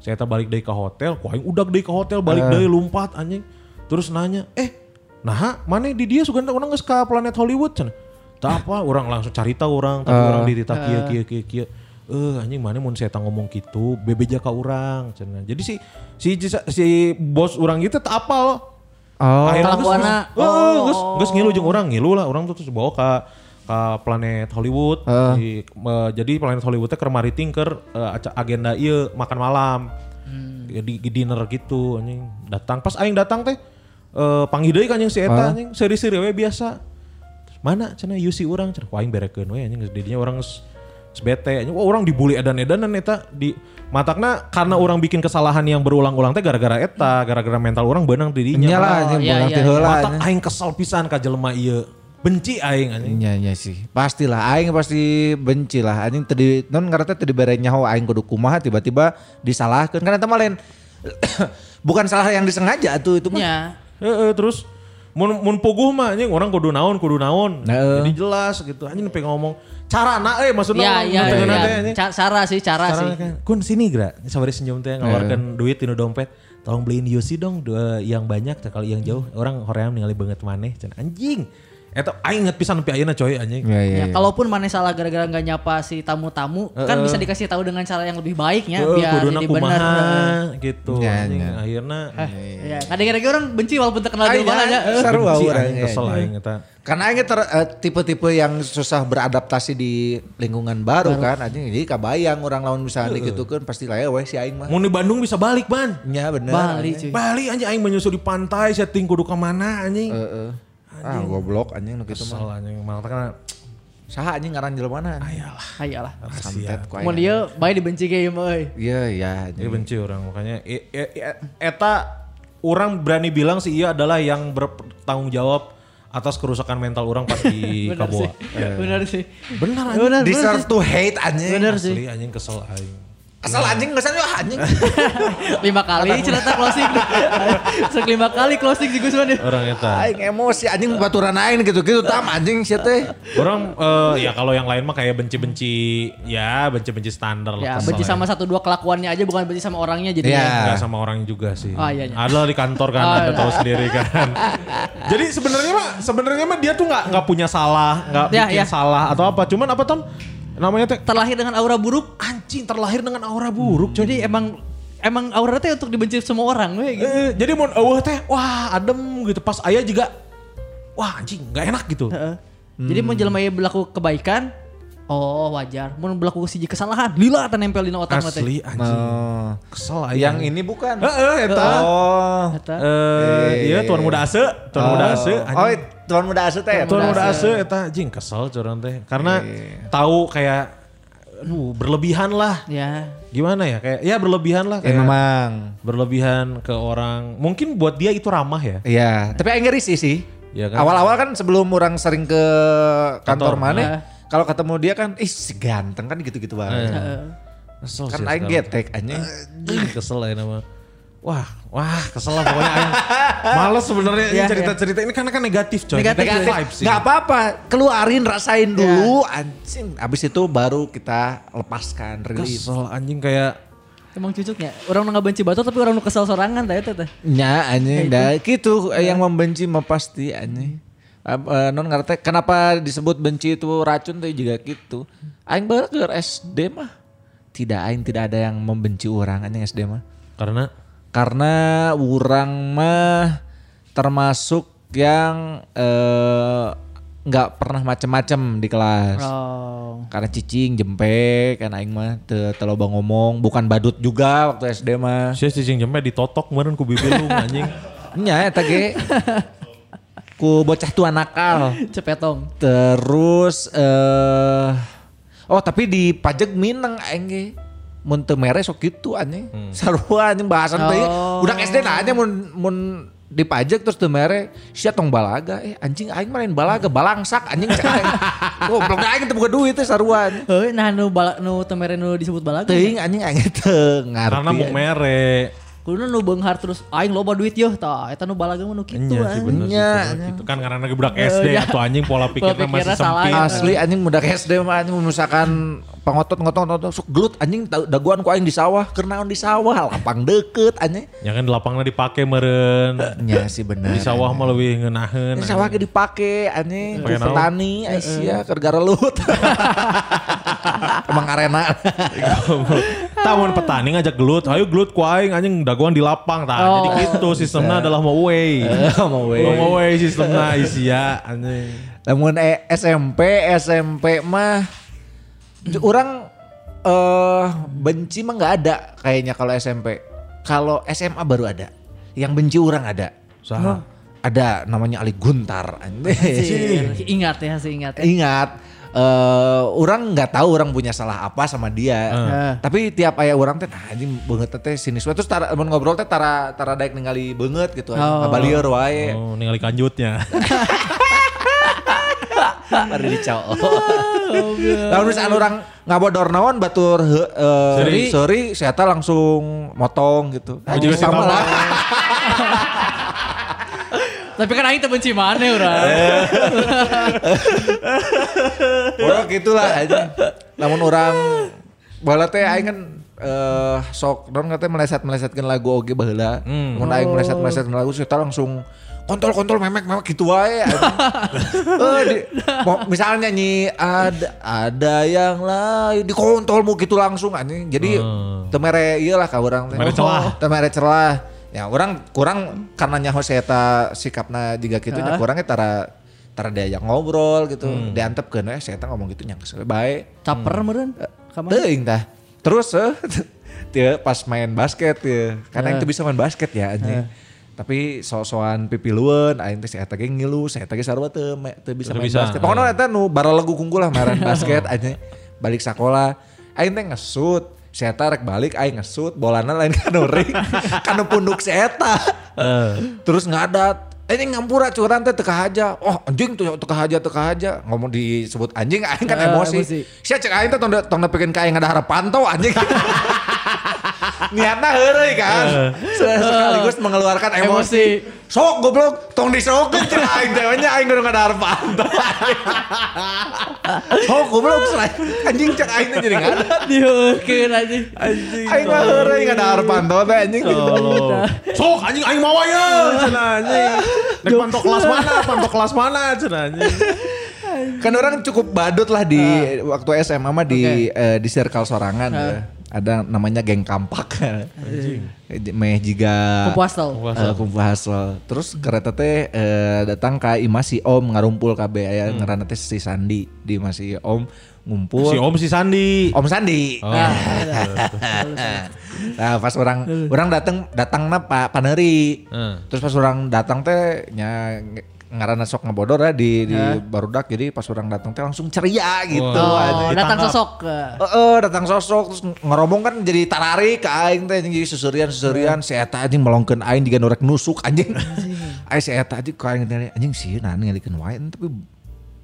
Speaker 4: saya tak balik dari ke hotel ku aing udah dari ke hotel balik dari lompat anjing terus nanya eh nah mana di dia sugan orang geus ka planet Hollywood cenah tak apa orang langsung carita orang tapi orang dirita kieu kieu kieu kieu eh anjing mana mun saya tak ngomong gitu bebeja ka orang cenah jadi si si si bos orang gitu tak apal
Speaker 3: Oh.
Speaker 4: Akhirnya geus-
Speaker 6: Kelakuanna.
Speaker 4: geus- eh, geus- geus ngilu jeung orang ngilu lah orang tuh terus bawa ke ke planet Hollywood. Di- me- jadi planet Hollywood teh keur mariting keur eh, aca- agenda ieu makan malam. Ya, Di, di dinner gitu anjing datang pas aing datang teh eh panggil deui ka anjing si eta anjing seri-seri we biasa. Terus mana cenah ieu si urang cenah Wah, aing berekeun we anjing geus didinya urang geus geus bete anjing Wah, orang dibully edan-edanan eta di matakna karena orang bikin kesalahan yang berulang-ulang teh gara-gara eta, gara-gara mental orang beunang di dinya.
Speaker 3: Nyalah
Speaker 5: Oh,
Speaker 3: anjing
Speaker 5: iya,
Speaker 3: bolang
Speaker 5: iya,
Speaker 3: ti heula.
Speaker 4: Mata
Speaker 3: anjing.
Speaker 4: aing kesel pisan ka jelema ieu. Benci aing anjing.
Speaker 3: Nya nya Ya, sih. Pastilah aing pasti benci lah anjing tadi non ngarana tadi bare nyaho aing kudu kumaha tiba-tiba disalahkeun kan eta mah lain bukan salah yang disengaja tuh itu mah.
Speaker 5: Ya.
Speaker 4: Heeh, terus mun mun puguh mah anjing orang kudu naon kudu naon.
Speaker 3: Heeh.
Speaker 4: Jadi jelas gitu anjing pengen ngomong carana eh, euy maksudnya
Speaker 5: Ya,
Speaker 4: orang
Speaker 5: ya,
Speaker 4: ngomong
Speaker 5: ya.
Speaker 4: teh, Gitu, anjing.
Speaker 5: Ca- Cara sih, cara
Speaker 4: Carana
Speaker 5: sih.
Speaker 4: kan, Kun sini gra, sabari senyum teh ngeluarkan duit tinu dompet. Tolong beliin Yosi dong dua yang banyak teh, kalau yang jauh orang hoream ningali banget maneh cenah anjing. Eta aing inget pisan sampai ayeuna coy anjing.
Speaker 3: Ya ya.
Speaker 5: Ya,
Speaker 3: ya.
Speaker 5: kalaupun mana salah gara-gara nggak nyapa si tamu-tamu, kan bisa dikasih tahu dengan cara yang lebih baiknya
Speaker 4: Heeh,
Speaker 5: biar
Speaker 4: kuduna
Speaker 5: Ya, jadi
Speaker 4: kumaha
Speaker 5: benar.
Speaker 4: gitu
Speaker 3: Ya,
Speaker 4: anjing.
Speaker 3: ya.
Speaker 4: Akhirna
Speaker 5: Ya, kadang-kadang orang benci walaupun terkenal di
Speaker 3: Aing-
Speaker 5: mana aja.
Speaker 3: aing seru
Speaker 4: benci
Speaker 3: orang,
Speaker 4: aing
Speaker 3: ya,
Speaker 4: kesel
Speaker 3: ya.
Speaker 4: aing eta.
Speaker 3: Karena aing ter- eh, tipe-tipe yang susah beradaptasi di lingkungan baru, kan anjing jadi kabayang orang lawan misalnya gitu kan pasti lewe si aing mah.
Speaker 4: Mau di Bandung bisa balik, Ban.
Speaker 3: Nya bener.
Speaker 5: Bali
Speaker 3: anjing.
Speaker 5: cuy.
Speaker 4: Bali anjing aing menyusul di pantai setting kudu ke mana anjing.
Speaker 3: Heeh. Ah goblok anjing nu kitu mah.
Speaker 4: Kesel Eh, anjing malah karena
Speaker 3: Saha anjing ngaran jelema na?
Speaker 4: ayalah
Speaker 5: Hayalah.
Speaker 4: rahasia. Iya,
Speaker 3: Santet ku
Speaker 5: Ah,
Speaker 4: ya?
Speaker 5: Mun
Speaker 3: aing.
Speaker 5: dia bae dibenci ge ieu mah euy.
Speaker 3: Iya iya
Speaker 4: Dia
Speaker 3: anjing.
Speaker 4: benci orang makanya e- e- e- eta orang berani bilang si iya adalah yang bertanggung jawab atas kerusakan mental orang pas di
Speaker 5: Bener sih.
Speaker 4: Kaboa.
Speaker 5: Bener sih.
Speaker 4: Bener anjing.
Speaker 5: Bener, bener
Speaker 3: Deserve
Speaker 5: sih.
Speaker 3: to hate anjing.
Speaker 5: Bener sih.
Speaker 4: Asli anjing kesel aing.
Speaker 3: Asal anjing ngesan yo anjing.
Speaker 5: Lima kali cerita closing. Sek lima kali closing si Gusman ya.
Speaker 4: Orang eta.
Speaker 3: Aing emosi anjing baturan aing gitu-gitu tam anjing sia teh.
Speaker 4: Orang eh, ya kalau yang lain mah kayak benci-benci ya benci-benci standar
Speaker 5: Ya,
Speaker 4: lah. kesel
Speaker 5: benci
Speaker 4: aing.
Speaker 5: sama satu dua kelakuannya aja bukan benci sama orangnya jadi.
Speaker 3: Iya.
Speaker 4: Enggak sama orang juga sih.
Speaker 5: Oh, iya, iya.
Speaker 4: Ada di kantor kan,
Speaker 5: Oh,
Speaker 4: ada
Speaker 5: iya.
Speaker 4: tahu sendiri kan. Jadi sebenarnya mah sebenarnya mah dia tuh nggak nggak punya salah, nggak
Speaker 5: Iya,
Speaker 4: bikin
Speaker 5: iya.
Speaker 4: salah atau apa. Cuman apa Tom? Namanya teh
Speaker 5: Terlahir dengan aura buruk.
Speaker 4: anjing terlahir dengan aura buruk. Jadi
Speaker 5: Jadi emang emang aura teh untuk dibenci semua orang we gitu.
Speaker 4: eh, jadi mau eueuh teh wah adem gitu. Pas ayah juga wah anjing nggak enak gitu.
Speaker 5: Heeh. Eh, Jadi mau jelema ieu berlaku kebaikan, oh wajar. Mau berlaku siji kesalahan, lila eta nempel dina otak mah teh.
Speaker 4: Asli anjing.
Speaker 3: Oh.
Speaker 4: Kesel aing.
Speaker 3: Nah. Yang ini bukan.
Speaker 4: Heeh, eta.
Speaker 3: Oh.
Speaker 5: Eta.
Speaker 4: Eh, iya tuan muda ase, tuan muda ase.
Speaker 3: Oh,
Speaker 4: anjing.
Speaker 3: tuan muda ya? asuh teh.
Speaker 4: Tuan udah ase eta jing kesel curang teh karena
Speaker 5: Iya,
Speaker 4: tahu kayak aduh berlebihan lah.
Speaker 5: Ya.
Speaker 4: Gimana ya kayak ya berlebihan
Speaker 5: Iya,
Speaker 4: lah
Speaker 3: Ya
Speaker 4: kayak
Speaker 3: memang.
Speaker 4: berlebihan ke orang. Mungkin buat dia itu ramah ya.
Speaker 3: Iya, tapi aing risih sih.
Speaker 4: Iya kan?
Speaker 3: Awal-awal kan sebelum orang sering ke kantor, eh.
Speaker 4: Kantor.
Speaker 3: mana, kalau ketemu dia kan, ih si ganteng kan gitu-gitu banget.
Speaker 4: Nah, iya. Kesel
Speaker 3: Kan
Speaker 4: sih
Speaker 3: aing
Speaker 4: sekarang.
Speaker 3: getek anjing.
Speaker 4: Ih, kesel ya nama. Wah, wah kesel lah pokoknya aing. Males sebenarnya ini
Speaker 5: Iya,
Speaker 4: cerita-cerita ini karena kan negatif coy.
Speaker 5: Negatif,
Speaker 4: Negative
Speaker 5: negatif.
Speaker 4: vibes ini.
Speaker 3: Gak apa-apa, keluarin rasain dulu anjing. Abis itu baru kita lepaskan, rilis.
Speaker 4: Kesel anjing kayak
Speaker 5: Emang cucuknya. Orang nu benci batu tapi orang nu kesel sorangan ya, teh eta teh.
Speaker 3: Nya anjing dah gitu eh, yang membenci mah pasti anjing. Ab- eh, non ngerti kenapa disebut benci itu racun tuh juga gitu. Aing baru ke SD mah. Tidak aing tidak ada yang membenci orang anjing SD mah.
Speaker 4: karena
Speaker 3: Karena orang mah termasuk yang eh, nggak pernah macem-macem di kelas.
Speaker 5: Oh.
Speaker 3: Karena cicing, jempek, kan aing mah teu teu loba ngomong, bukan badut juga waktu SD mah.
Speaker 4: sia cicing jempet ditotok kemarin ku bibir lu anjing.
Speaker 3: Nya Iya, eta ge. Ku bocah tua nakal.
Speaker 5: Cepetong.
Speaker 3: Terus eh oh tapi di pajak Minang aing ge. Mun teu mere sok gitu anjing. Sarua anjing bahasan teh. Udah SD lah anjing mun mun di pajak terus teu mere sia tong balaga eh anjing aing main balaga balangsak anjing cek aing. Goblok aing teu boga duit teh sarua. anjing.
Speaker 5: Heuh, nah nu bala, nu temere nu disebut balaga.
Speaker 3: Teuing anjing aing teu ngarti.
Speaker 4: karena mau
Speaker 3: anjing.
Speaker 4: mere.
Speaker 5: Kuduna nu beunghar terus aing loba duit yeuh tah eta nu balaga mah nu kitu.
Speaker 4: Iya sih
Speaker 5: anjing.
Speaker 4: bener
Speaker 3: Nya,
Speaker 4: sih
Speaker 3: nya.
Speaker 4: gitu kan karena lagi budak SD
Speaker 5: iya.
Speaker 4: atau anjing pola pikirnya masih
Speaker 5: pikirnya salah.
Speaker 4: sempit.
Speaker 3: Asli anjing muda SD mah anjing misalkan pangotot ngotot ngotot sok gelut anjing tau- daguan ku aing di sawah kernaon di sawah lapang deket anjing.
Speaker 4: Ya kan di lapangnya dipake meren.
Speaker 3: Nya sih bener.
Speaker 4: Di sawah mah lebih ngenaheun.
Speaker 3: Ini sawah ge dipake anjing ku
Speaker 4: Pake naon?
Speaker 3: petani Asia keur gara luhut. Emang arena.
Speaker 4: Tamun petani ngajak gelut, ayo gelut ku aing anjing daguan di lapang tah. Jadi gitu sistemnya adalah mau away.
Speaker 3: Mau we.
Speaker 4: Mau away sistemnya isi ya anjing.
Speaker 3: Namun eh, SMP, SMP mah ju- orang eh benci mah nggak ada kayaknya kalau SMP. Kalau SMA baru ada. Yang benci orang ada.
Speaker 4: Saha?
Speaker 3: Ada namanya Ali Guntar.
Speaker 4: Eh,
Speaker 5: Anjing. Ingat ya, sih ingat.
Speaker 3: Ingat eh orang nggak tahu orang punya salah apa sama dia. Tapi tiap ayah orang teh nah anjing beungeut teh sinis we." terus tara mun ngobrol teh tara tara daek ningali beungeut gitu.
Speaker 5: Oh.
Speaker 3: Oh. Abalieur wae.
Speaker 4: Oh, ningali kanjutnya.
Speaker 3: Baru dicao. Lalu misalnya orang ngabodor naon batur he- eh,
Speaker 4: Seuri.
Speaker 3: seuri saya langsung motong gitu.
Speaker 4: Oh, juga
Speaker 3: sama
Speaker 4: sih,
Speaker 3: lah.
Speaker 5: Tapi kan aing teu benci mana urang.
Speaker 4: Eh,
Speaker 3: Orang gitulah aja. Namun orang bala teh aing kan eh sok non katanya meleset-melesetkeun lagu oge baheula.
Speaker 4: Hmm.
Speaker 3: Mun aing meleset-melesetkeun lagu saya langsung kontol kontol memek memek gitu wae. Eh, di- mo- misalnya nyanyi ada ada yang lain dikontolmu gitu langsung anjing. Jadi
Speaker 4: Oh.
Speaker 3: temere ieu lah ka urang teh.
Speaker 4: Temere celah.
Speaker 3: Temere celah. Ya orang kurang karena nyaho saya sikapna juga gitu nya kurangnya tara tara diajak ngobrol gitu.
Speaker 4: Hmm.
Speaker 3: Diantepkeun we eh, saya ngomong gitu nyangkes we bae.
Speaker 5: Caper meureun. Kamari.
Speaker 3: Teuing tah. Terus eh, dia pas main basket ya. Karena itu bisa main basket ya anjing. Tapi sok-sokan pipilueun aing teh saya teh ge ngilu, saya teh ge sarua teu me- teu bisa
Speaker 4: Teu
Speaker 3: main
Speaker 4: bisa.
Speaker 3: basket. Pokoknya eta nu baralegu kunggul lah main basket anjing. Balik sekolah, aing teh ngesut. Saya tarik balik, aing ngesut, bolana lain kanu ring, kanu punduk saya Terus ngadat, anjing ngampura curan teh teka haja. Oh anjing tuh teka haja teka haja. Ngomong disebut anjing aing kan
Speaker 5: Eh,
Speaker 3: emosi.
Speaker 5: emosi.
Speaker 3: Sia cek aing teh tong da- tong nepikeun ka aing ada harapan tau anjing. Niatna heureuy kan. Se- Sekaligus mengeluarkan Eh, emosi. Sok goblok tong disokeun cek aing teh nya aing kudu ada harapan tau. Sok goblok selain anjing cek aing teh jadi ngadat.
Speaker 5: Dieukeun anjing.
Speaker 4: Ah.
Speaker 3: Aing mah heureuy ada harapan tau teh anjing.
Speaker 4: Oh. Sok anjing aing mawa ya cenah anjing. Nek pantok kelas mana? Pantok kelas mana cenah anjing.
Speaker 3: kan orang cukup badut lah di waktu SMA mah di eh, di circle sorangan ya. ada namanya geng kampak Eh, meh jiga
Speaker 5: Kupuasel.
Speaker 3: Eh, kupu hasel. terus kereta teh eh, datang ke imah si om ngarumpul kabe aya ngaranna teh si Sandi di imah si om ngumpul
Speaker 4: Hmm. Si Om Oh. si Sandi.
Speaker 3: Om Sandi. nah, pas orang orang datang datang na Pak Paneri.
Speaker 4: Hmm.
Speaker 3: Terus pas orang datang teh nya ngaranna sok ngebodor ya di di Barudak. Jadi pas orang datang teh langsung ceria gitu. anjing.
Speaker 5: Oh, datang
Speaker 4: ditangkap.
Speaker 5: sosok.
Speaker 3: Eh, eh, datang sosok terus ngeromong kan jadi tararik ke aing teh jadi susurian
Speaker 4: Iya.
Speaker 3: susurian si eta anjing melongkeun aing diga norek nusuk anjing. Aing si eta anjing ka aing teh anjing sieun nah ngalikeun wae tapi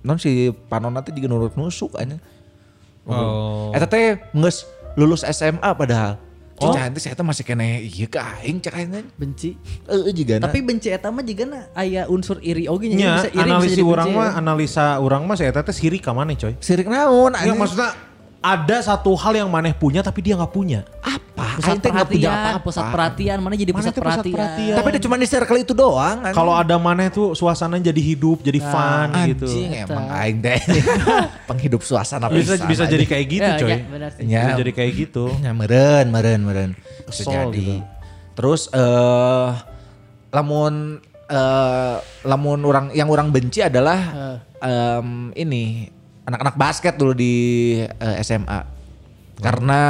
Speaker 3: non si panonna teh diga norek nusuk anjing.
Speaker 4: Oh.
Speaker 3: Eta teh nges lulus SMA padahal. Oh. Cuma nanti saya masih kena iya ke aing cek aing teh.
Speaker 5: Benci.
Speaker 3: Eh juga
Speaker 5: Tapi benci eta mah jigana aya unsur iri oge
Speaker 3: Iya,
Speaker 4: Nya,
Speaker 5: nya. Bisa iri, bisa
Speaker 4: analisa
Speaker 5: jadi
Speaker 4: iya, orang
Speaker 5: benci,
Speaker 4: mah,
Speaker 5: ya.
Speaker 4: analisa orang mah saya teh sirik ka maneh coy.
Speaker 3: sirik naon
Speaker 4: Ya,
Speaker 3: anjing.
Speaker 4: maksudnya ada satu hal yang maneh punya tapi dia nggak punya.
Speaker 3: apa?
Speaker 5: pusat
Speaker 3: Aing teh nggak punya
Speaker 5: perhatian,
Speaker 3: apa-apa.
Speaker 5: pusat perhatian mana jadi
Speaker 4: Mana
Speaker 5: pusat,
Speaker 4: tuh pusat
Speaker 5: perhatian.
Speaker 4: perhatian?
Speaker 3: Tapi dia cuma di circle itu doang anjing.
Speaker 4: Kalau ada maneh tuh suasana jadi hidup, jadi fun gitu.
Speaker 3: Nah, anjing emang aing teh penghidup suasana
Speaker 4: Bisa
Speaker 3: pisan
Speaker 4: bisa
Speaker 3: anjing.
Speaker 4: jadi kayak gitu
Speaker 5: Ya,
Speaker 4: coy.
Speaker 5: ya, benar sih.
Speaker 3: Ya.
Speaker 4: Bisa jadi kayak gitu.
Speaker 3: Ya meren, meren, meren. Bisa
Speaker 4: Kesel
Speaker 3: jadi.
Speaker 4: gitu.
Speaker 3: Terus eh lamun eh lamun orang yang orang benci adalah em, ini anak-anak basket dulu di eh, SMA. Karena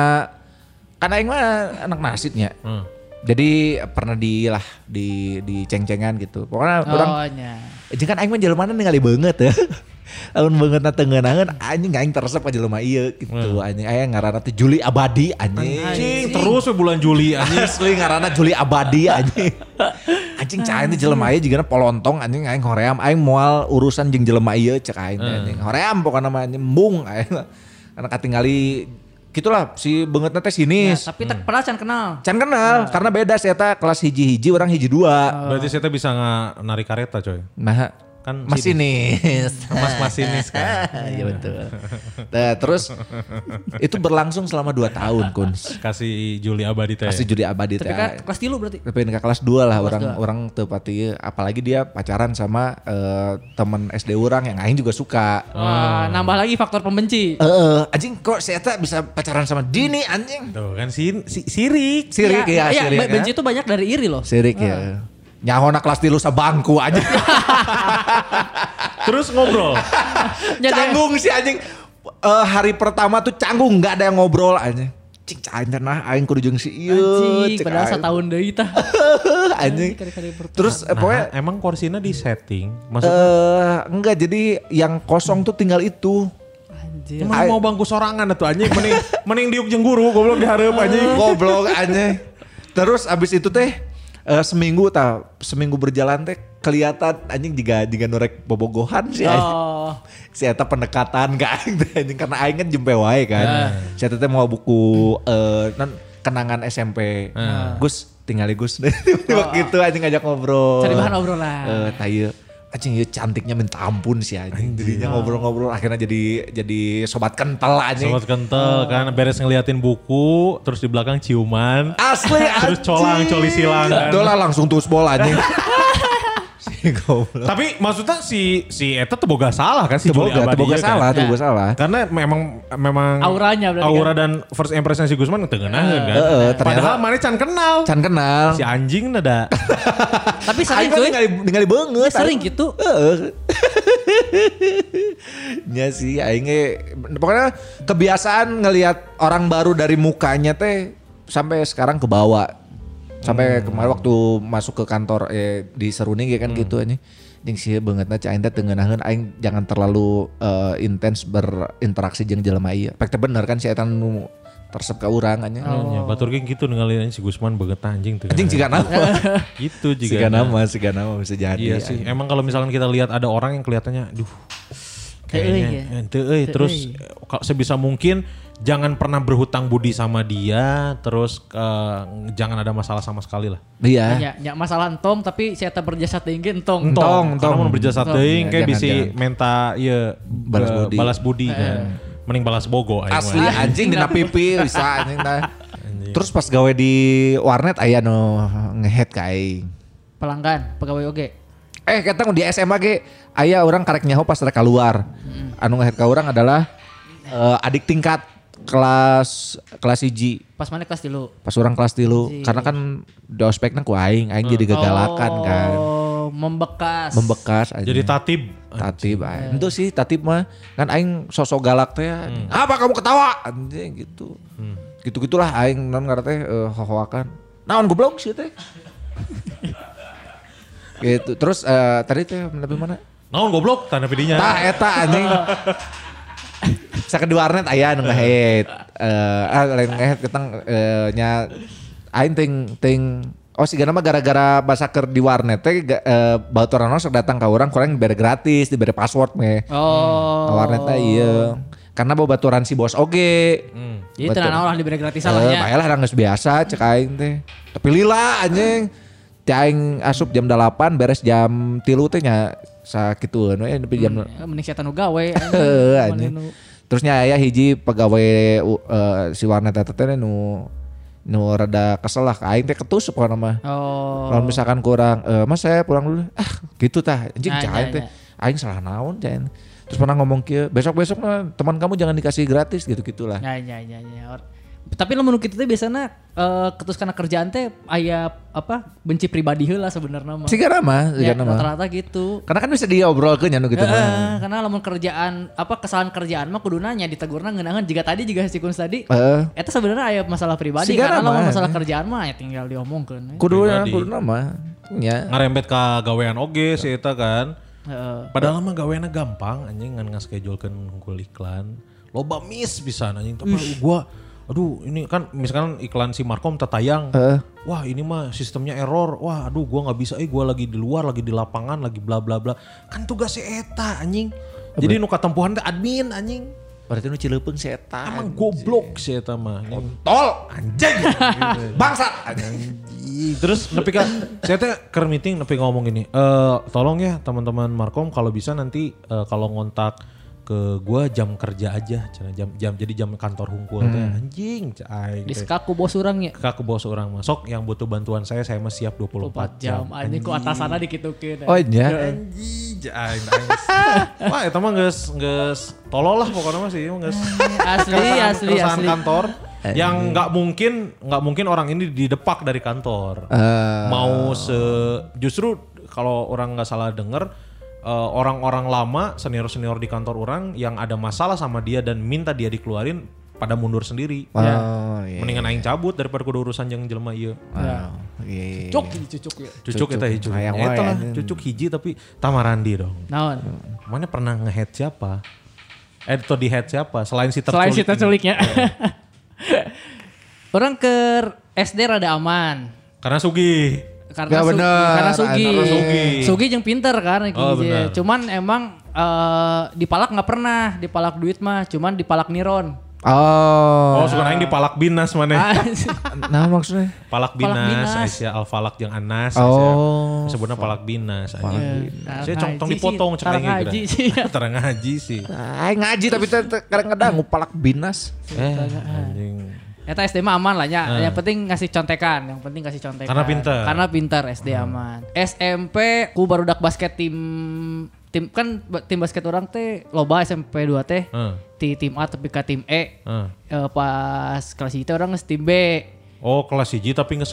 Speaker 3: karena aing mah anak nasibnya.
Speaker 4: Hmm.
Speaker 3: Jadi pernah di lah di di ceng-cengan gitu. Pokoknya orang
Speaker 5: Oh, nya.
Speaker 3: Jeung kan aing mah jelema ningali banget ya. Lamun banget na tengeunangeun anjing aing teresep ka jelema ieu gitu anjing aya ngaranna teh Juli Abadi anjing.
Speaker 4: Anjing, terus we bulan Juli anjing.
Speaker 3: Asli ngaranna Juli Abadi anjing. Anjing cai teh jelema ieu jigana polontong anjing aing hoream aing moal urusan jeung jelema ieu cek aing teh anjing. Hoream pokona mah anjing mung aing. Karena katingali gitulah si banget teh sinis.
Speaker 5: Nah, tapi tak pernah can kenal.
Speaker 3: Can kenal karena beda saya eta kelas hiji-hiji orang hiji
Speaker 5: Oh.
Speaker 3: dua.
Speaker 4: Berarti saya bisa nga- narik kareta coy.
Speaker 3: Nah,
Speaker 4: Kan
Speaker 3: Mas sinis.
Speaker 4: Mas-mas sinis kan.
Speaker 3: Iya betul. Nah, terus itu berlangsung selama 2 tahun Kuns.
Speaker 4: Kasih Juli Abadi teh.
Speaker 3: Pasti judi abadi
Speaker 5: Tapi
Speaker 3: teh.
Speaker 5: kan kelas tilu berarti.
Speaker 3: Tapi ke kelas 2 lah orang orang tepati apalagi dia pacaran sama eh, temen SD orang yang aing juga suka.
Speaker 5: Wah, nambah lagi faktor pembenci.
Speaker 3: Eh, anjing kok saya tak bisa pacaran sama Dini anjing.
Speaker 4: Tuh kan si, si, sirik.
Speaker 3: Sirik ya,
Speaker 5: iya,
Speaker 3: sirik.
Speaker 5: benci
Speaker 3: ya.
Speaker 5: itu banyak dari iri loh.
Speaker 3: Sirik ya. Nyahona kelas tilu sabangku anjing.
Speaker 4: Terus ngobrol.
Speaker 5: Ya, deh.
Speaker 3: canggung sih anjing. Eh, hari pertama tuh canggung nggak ada yang ngobrol anjing. Cing cain nah aing kudu jeung si ieu.
Speaker 5: Anjing,
Speaker 3: cek
Speaker 5: padahal
Speaker 3: aing. Eh,
Speaker 5: setahun deui tah.
Speaker 3: anjing.
Speaker 5: Kali-kali pertama.
Speaker 3: Terus eh,
Speaker 4: Nah,
Speaker 3: pokoknya
Speaker 4: emang korsina di setting.
Speaker 3: eh
Speaker 4: Maksudnya
Speaker 3: enggak jadi yang kosong tuh tinggal itu.
Speaker 5: Anjir.
Speaker 4: emang mau bangku sorangan atuh anjing mending mending diuk jeung guru goblok dihareup anjing.
Speaker 3: Goblok anjing. Terus abis itu teh eh, seminggu tah seminggu berjalan teh kelihatan anjing jika jika norek bobogohan sih anjing.
Speaker 5: Oh,
Speaker 3: si eta pendekatan ke aing teh anjing karena aing kan jempe wae
Speaker 5: Eh.
Speaker 3: kan. Si eta teh mau buku eh non kenangan SMP.
Speaker 5: Eh.
Speaker 3: Gus tinggal Gus deh. Tiba-tiba gitu anjing ngajak ngobrol.
Speaker 5: Oh. Cari bahan obrolan.
Speaker 3: Eh tayu anjing ya cantiknya minta ampun sih anjing. Jadinya ngobrol-ngobrol akhirnya jadi jadi sobat kental anjing.
Speaker 4: Sobat
Speaker 3: Oh.
Speaker 4: kental kan beres ngeliatin buku, terus di belakang ciuman.
Speaker 3: Asli
Speaker 4: Terus colang, coli silang kan.
Speaker 3: Udah lah langsung tuh bola anjing. si goblok.
Speaker 4: Tapi maksudnya si si Eta tuh boga salah kan si Juli
Speaker 3: Teboga,
Speaker 4: Abadi.
Speaker 3: teboga
Speaker 4: iya kan?
Speaker 3: salah, teboga salah.
Speaker 4: Karena memang memang
Speaker 5: Auranya berarti kan?
Speaker 4: aura dan first impression si Gusman ngeuteuneuneun kan.
Speaker 3: Eh, eh, ternyata-
Speaker 4: Padahal mana can kenal.
Speaker 3: Can kenal.
Speaker 4: Si anjing nada.
Speaker 5: tapi
Speaker 3: Aing
Speaker 5: sering
Speaker 3: kan
Speaker 5: cuy.
Speaker 3: ningali ningali beungeut.
Speaker 5: eh? Sering
Speaker 3: anjing.
Speaker 5: gitu.
Speaker 3: Nya Iya sih aing ge- pokoknya kebiasaan Kan ngelihat orang baru dari mukanya teh sampai sekarang ke bawah. Sampai
Speaker 4: Hmm.
Speaker 3: kemarin waktu masuk ke kantor eh, di Seruning ya kan gitu anjing. Jeung sih banget na aing teh teu ngeunaheun, aing jangan terlalu eh, intens berinteraksi jeung jelema ieu. Pek teh bener kan si eta nu tersep ka urang anjing.
Speaker 4: Ya, batur ge gitu ninggalin si Gusman banget anjing tuh.
Speaker 3: Anjing jika nama.
Speaker 4: Gitu
Speaker 3: Jika
Speaker 4: juga.
Speaker 3: nama, jika nama bisa jadi.
Speaker 4: Iya sih. Emang kalau misalkan kita lihat ada orang yang kelihatannya duh
Speaker 5: euy ya.
Speaker 4: kayaknya ente euy terus
Speaker 3: ya?
Speaker 4: eh, kalau sebisa mungkin jangan pernah berhutang budi sama dia terus eh, jangan ada masalah sama sekali lah.
Speaker 3: Iya.
Speaker 5: Ya, ya, masalah entong tapi saya tak berjasa tinggi entong.
Speaker 3: Entong, entong.
Speaker 4: Karena mau berjasa teuing
Speaker 3: Iya,
Speaker 4: kayak
Speaker 3: jangan,
Speaker 4: bisa
Speaker 3: jangan.
Speaker 4: minta ya
Speaker 3: Balas budi.
Speaker 4: balas budi kan. Mending balas bogo eh. aing mah.
Speaker 3: Asli anjing dina pipi bisa anjing tah. Terus pas gawe di warnet aya nu ngehead ka aing.
Speaker 5: Pelanggan, pegawai oge.
Speaker 3: Eh kata di SMA ge aya orang karek nyaho pas rek keluar. Anu ngehead ka orang adalah eh, adik tingkat kelas kelas hiji
Speaker 5: Pas mana kelas dulu.
Speaker 3: pas orang kelas tilu karena kan dospekna ku aing aing jadi gagalakan kan
Speaker 5: Hmm. Oh, membekas.
Speaker 3: membekas aja
Speaker 4: Jadi tatib.
Speaker 3: tatib aing itu sih tatib mah kan aing sosok galak teh apa kamu ketawa anjing gitu gitu gitulah aing non ngarep teh eh, hohoakan naon goblok sih teh gitu terus eh, tadi teh lebih mana
Speaker 4: Naon goblok tanda pidinya.
Speaker 3: tah eh, eta anjing Saya di warnet aya nu ngehit. Eh ah lain ngehit ketang eh, nya aing ting ting Oh sih mah gara-gara basaker di warnet teh ga- eh, baturan orang sok datang ka urang kurang dibere gratis, dibere password meh.
Speaker 5: Oh.
Speaker 3: Ka warnet teh iya. Karena bawa baturan si bos oge.
Speaker 5: Jadi Hmm. Iya, tenang
Speaker 3: Betul.
Speaker 5: orang diberi ya. gratis
Speaker 3: Eh,
Speaker 5: salahnya.
Speaker 3: bae lah orang geus biasa cek aing teh. Tapi lila anjing. Teh aing asup jam 8 beres jam 3 teh nya sakitueun we tapi ya, jam
Speaker 5: Mending saya tanu gawe.
Speaker 3: Heeh,
Speaker 5: Mending
Speaker 3: anjing.
Speaker 5: nu-
Speaker 3: Terusnya aya hiji pegawai u- eh, si warnet eta teh nu nu rada kesel lah ka aing teh ketusuk kana mah.
Speaker 5: Oh.
Speaker 3: Kalau misalkan kurang, eh mas saya pulang dulu. Ah gitu tah, anjing
Speaker 5: Nah,
Speaker 3: cain
Speaker 5: iya,
Speaker 3: teh. Aing salah naon cain. Terus pernah ngomong ke besok-besok mah teman kamu jangan dikasih gratis gitu-gitulah.
Speaker 5: Ya ya ya ya. Or- Tapi lamun kita teh biasanya eh, ketus karena kerjaan teh aya apa benci pribadi heula sebenarnya mah.
Speaker 3: Sigana mah,
Speaker 5: Ya,
Speaker 3: sigana mah.
Speaker 5: rata-rata gitu.
Speaker 3: Karena kan bisa diobrolkeun ya nu
Speaker 5: Iya.
Speaker 3: gitu mah.
Speaker 5: Heeh, karena lamun kerjaan apa kesalahan kerjaan mah kudu nanya ditegurna ngeunaan jika tadi juga si Kuns tadi.
Speaker 3: Heeh.
Speaker 5: Eta sebenarnya aya masalah pribadi
Speaker 3: Sigana
Speaker 5: karena lamun
Speaker 3: mah.
Speaker 5: masalah kerjaan mah ya tinggal diomongkeun.
Speaker 3: Kudu
Speaker 4: Pribadi.
Speaker 3: kudu nama. Ya.
Speaker 4: Ngarempet ka gawean oge si eta kan.
Speaker 5: Heeh.
Speaker 4: Padahal mah gaweannya gampang anjing ngan ngaskedulekeun ngumpul iklan. Loba miss bisa anjing tapi gua aduh ini kan misalkan iklan si Markom tertayang. Wah ini mah sistemnya error. Wah aduh gua nggak bisa. Eh gua lagi di luar, lagi di lapangan, lagi bla bla bla. Kan tugas si eta anjing. Jadi nu katempuhan teh admin anjing.
Speaker 3: Berarti nu cileupeng si eta.
Speaker 4: Emang goblok sih eta mah.
Speaker 3: Tol anjing. Bangsat anjing.
Speaker 4: Terus nepi kan saya teh ker meeting nepi ngomong gini, "Eh, tolong ya teman-teman Markom kalau bisa nanti eh, kalau ngontak ke gua jam kerja aja, cenah jam jam jadi jam kantor hungkul teh anjing, ca- aing.
Speaker 5: Di
Speaker 4: teh.
Speaker 5: sekaku bos orang ya.
Speaker 4: Kak bos orang masuk yang butuh bantuan saya saya mah siap 24
Speaker 5: 4
Speaker 4: jam.
Speaker 5: jam. Anjing ku atasannya dikitukin.
Speaker 3: Oh iya.
Speaker 4: Anjing, ca- aing aing. Wah, eta mah geus geus tolol lah pokoknya mah sih, geus
Speaker 5: Asli,
Speaker 4: keresahan-
Speaker 5: asli,
Speaker 4: keresahan
Speaker 5: asli.
Speaker 4: kantor
Speaker 3: Eh,
Speaker 4: yang nggak mungkin nggak mungkin orang ini didepak dari kantor
Speaker 3: Eh.
Speaker 4: mau se justru kalau orang nggak salah denger eh, orang-orang lama senior-senior di kantor orang yang ada masalah sama dia dan minta dia dikeluarin pada mundur sendiri
Speaker 3: Wow.
Speaker 4: Ya.
Speaker 3: iya.
Speaker 4: mendingan aing cabut daripada kudu urusan yang jelema ieu
Speaker 3: Wow. Iya, iya, iya.
Speaker 5: Cuk, dicucuk ya.
Speaker 4: cucuk
Speaker 3: Cucuk.
Speaker 4: eta hiji
Speaker 3: Hayang
Speaker 4: Eta
Speaker 3: wae, ya.
Speaker 4: lah,
Speaker 3: anjing.
Speaker 4: cucuk hiji tapi tamarandi dong
Speaker 5: Naon?
Speaker 4: mana pernah ngehead siapa eh atau di head siapa selain si terculik
Speaker 5: Selain si
Speaker 4: ini.
Speaker 5: terculiknya. Orang ke SD rada aman.
Speaker 4: karena Sugi
Speaker 5: Karena
Speaker 3: Gak
Speaker 5: Su-
Speaker 3: bener,
Speaker 5: karena Sugi.
Speaker 3: karena
Speaker 4: Sugi.
Speaker 5: Sugi yang pinter kan
Speaker 4: Oh,
Speaker 5: Gigi.
Speaker 4: bener.
Speaker 5: Cuman emang eh, dipalak nggak pernah, dipalak duit mah, cuman dipalak niron.
Speaker 3: Oh.
Speaker 4: Oh, suka aing di Palak Binas
Speaker 5: Ah.
Speaker 4: mana?
Speaker 3: Nah maksudnya.
Speaker 4: Palak
Speaker 5: Palak
Speaker 4: Binas,
Speaker 5: Binas.
Speaker 4: Aisyah Al-Falak yang Anas.
Speaker 3: Oh.
Speaker 4: Sebutnya Palak Binas. anjing.
Speaker 5: Binas.
Speaker 4: Saya cong tong
Speaker 5: Ngaji
Speaker 4: dipotong
Speaker 5: sih,
Speaker 4: cek aing
Speaker 5: tarang ngaji sih, ya.
Speaker 4: Tarang ngaji sih.
Speaker 3: Ay, ngaji tapi te- te- kadang-kadang ngupalak binas.
Speaker 4: Eh, anjing.
Speaker 5: Eta SD mah aman lah ya. Yang penting ngasih contekan, yang penting ngasih contekan.
Speaker 4: Eh. Karena pinter. Hmm.
Speaker 5: Karena pintar SD aman. SMP ku baru dak basket tim tim kan ba- tim basket orang teh loba SMP 2 teh.
Speaker 4: Heeh.
Speaker 5: Ti tim A tapi ke tim E.
Speaker 4: Heeh.
Speaker 5: Eh, pas kelas itu orang nges tim B.
Speaker 4: Oh, kelas hiji tapi nggak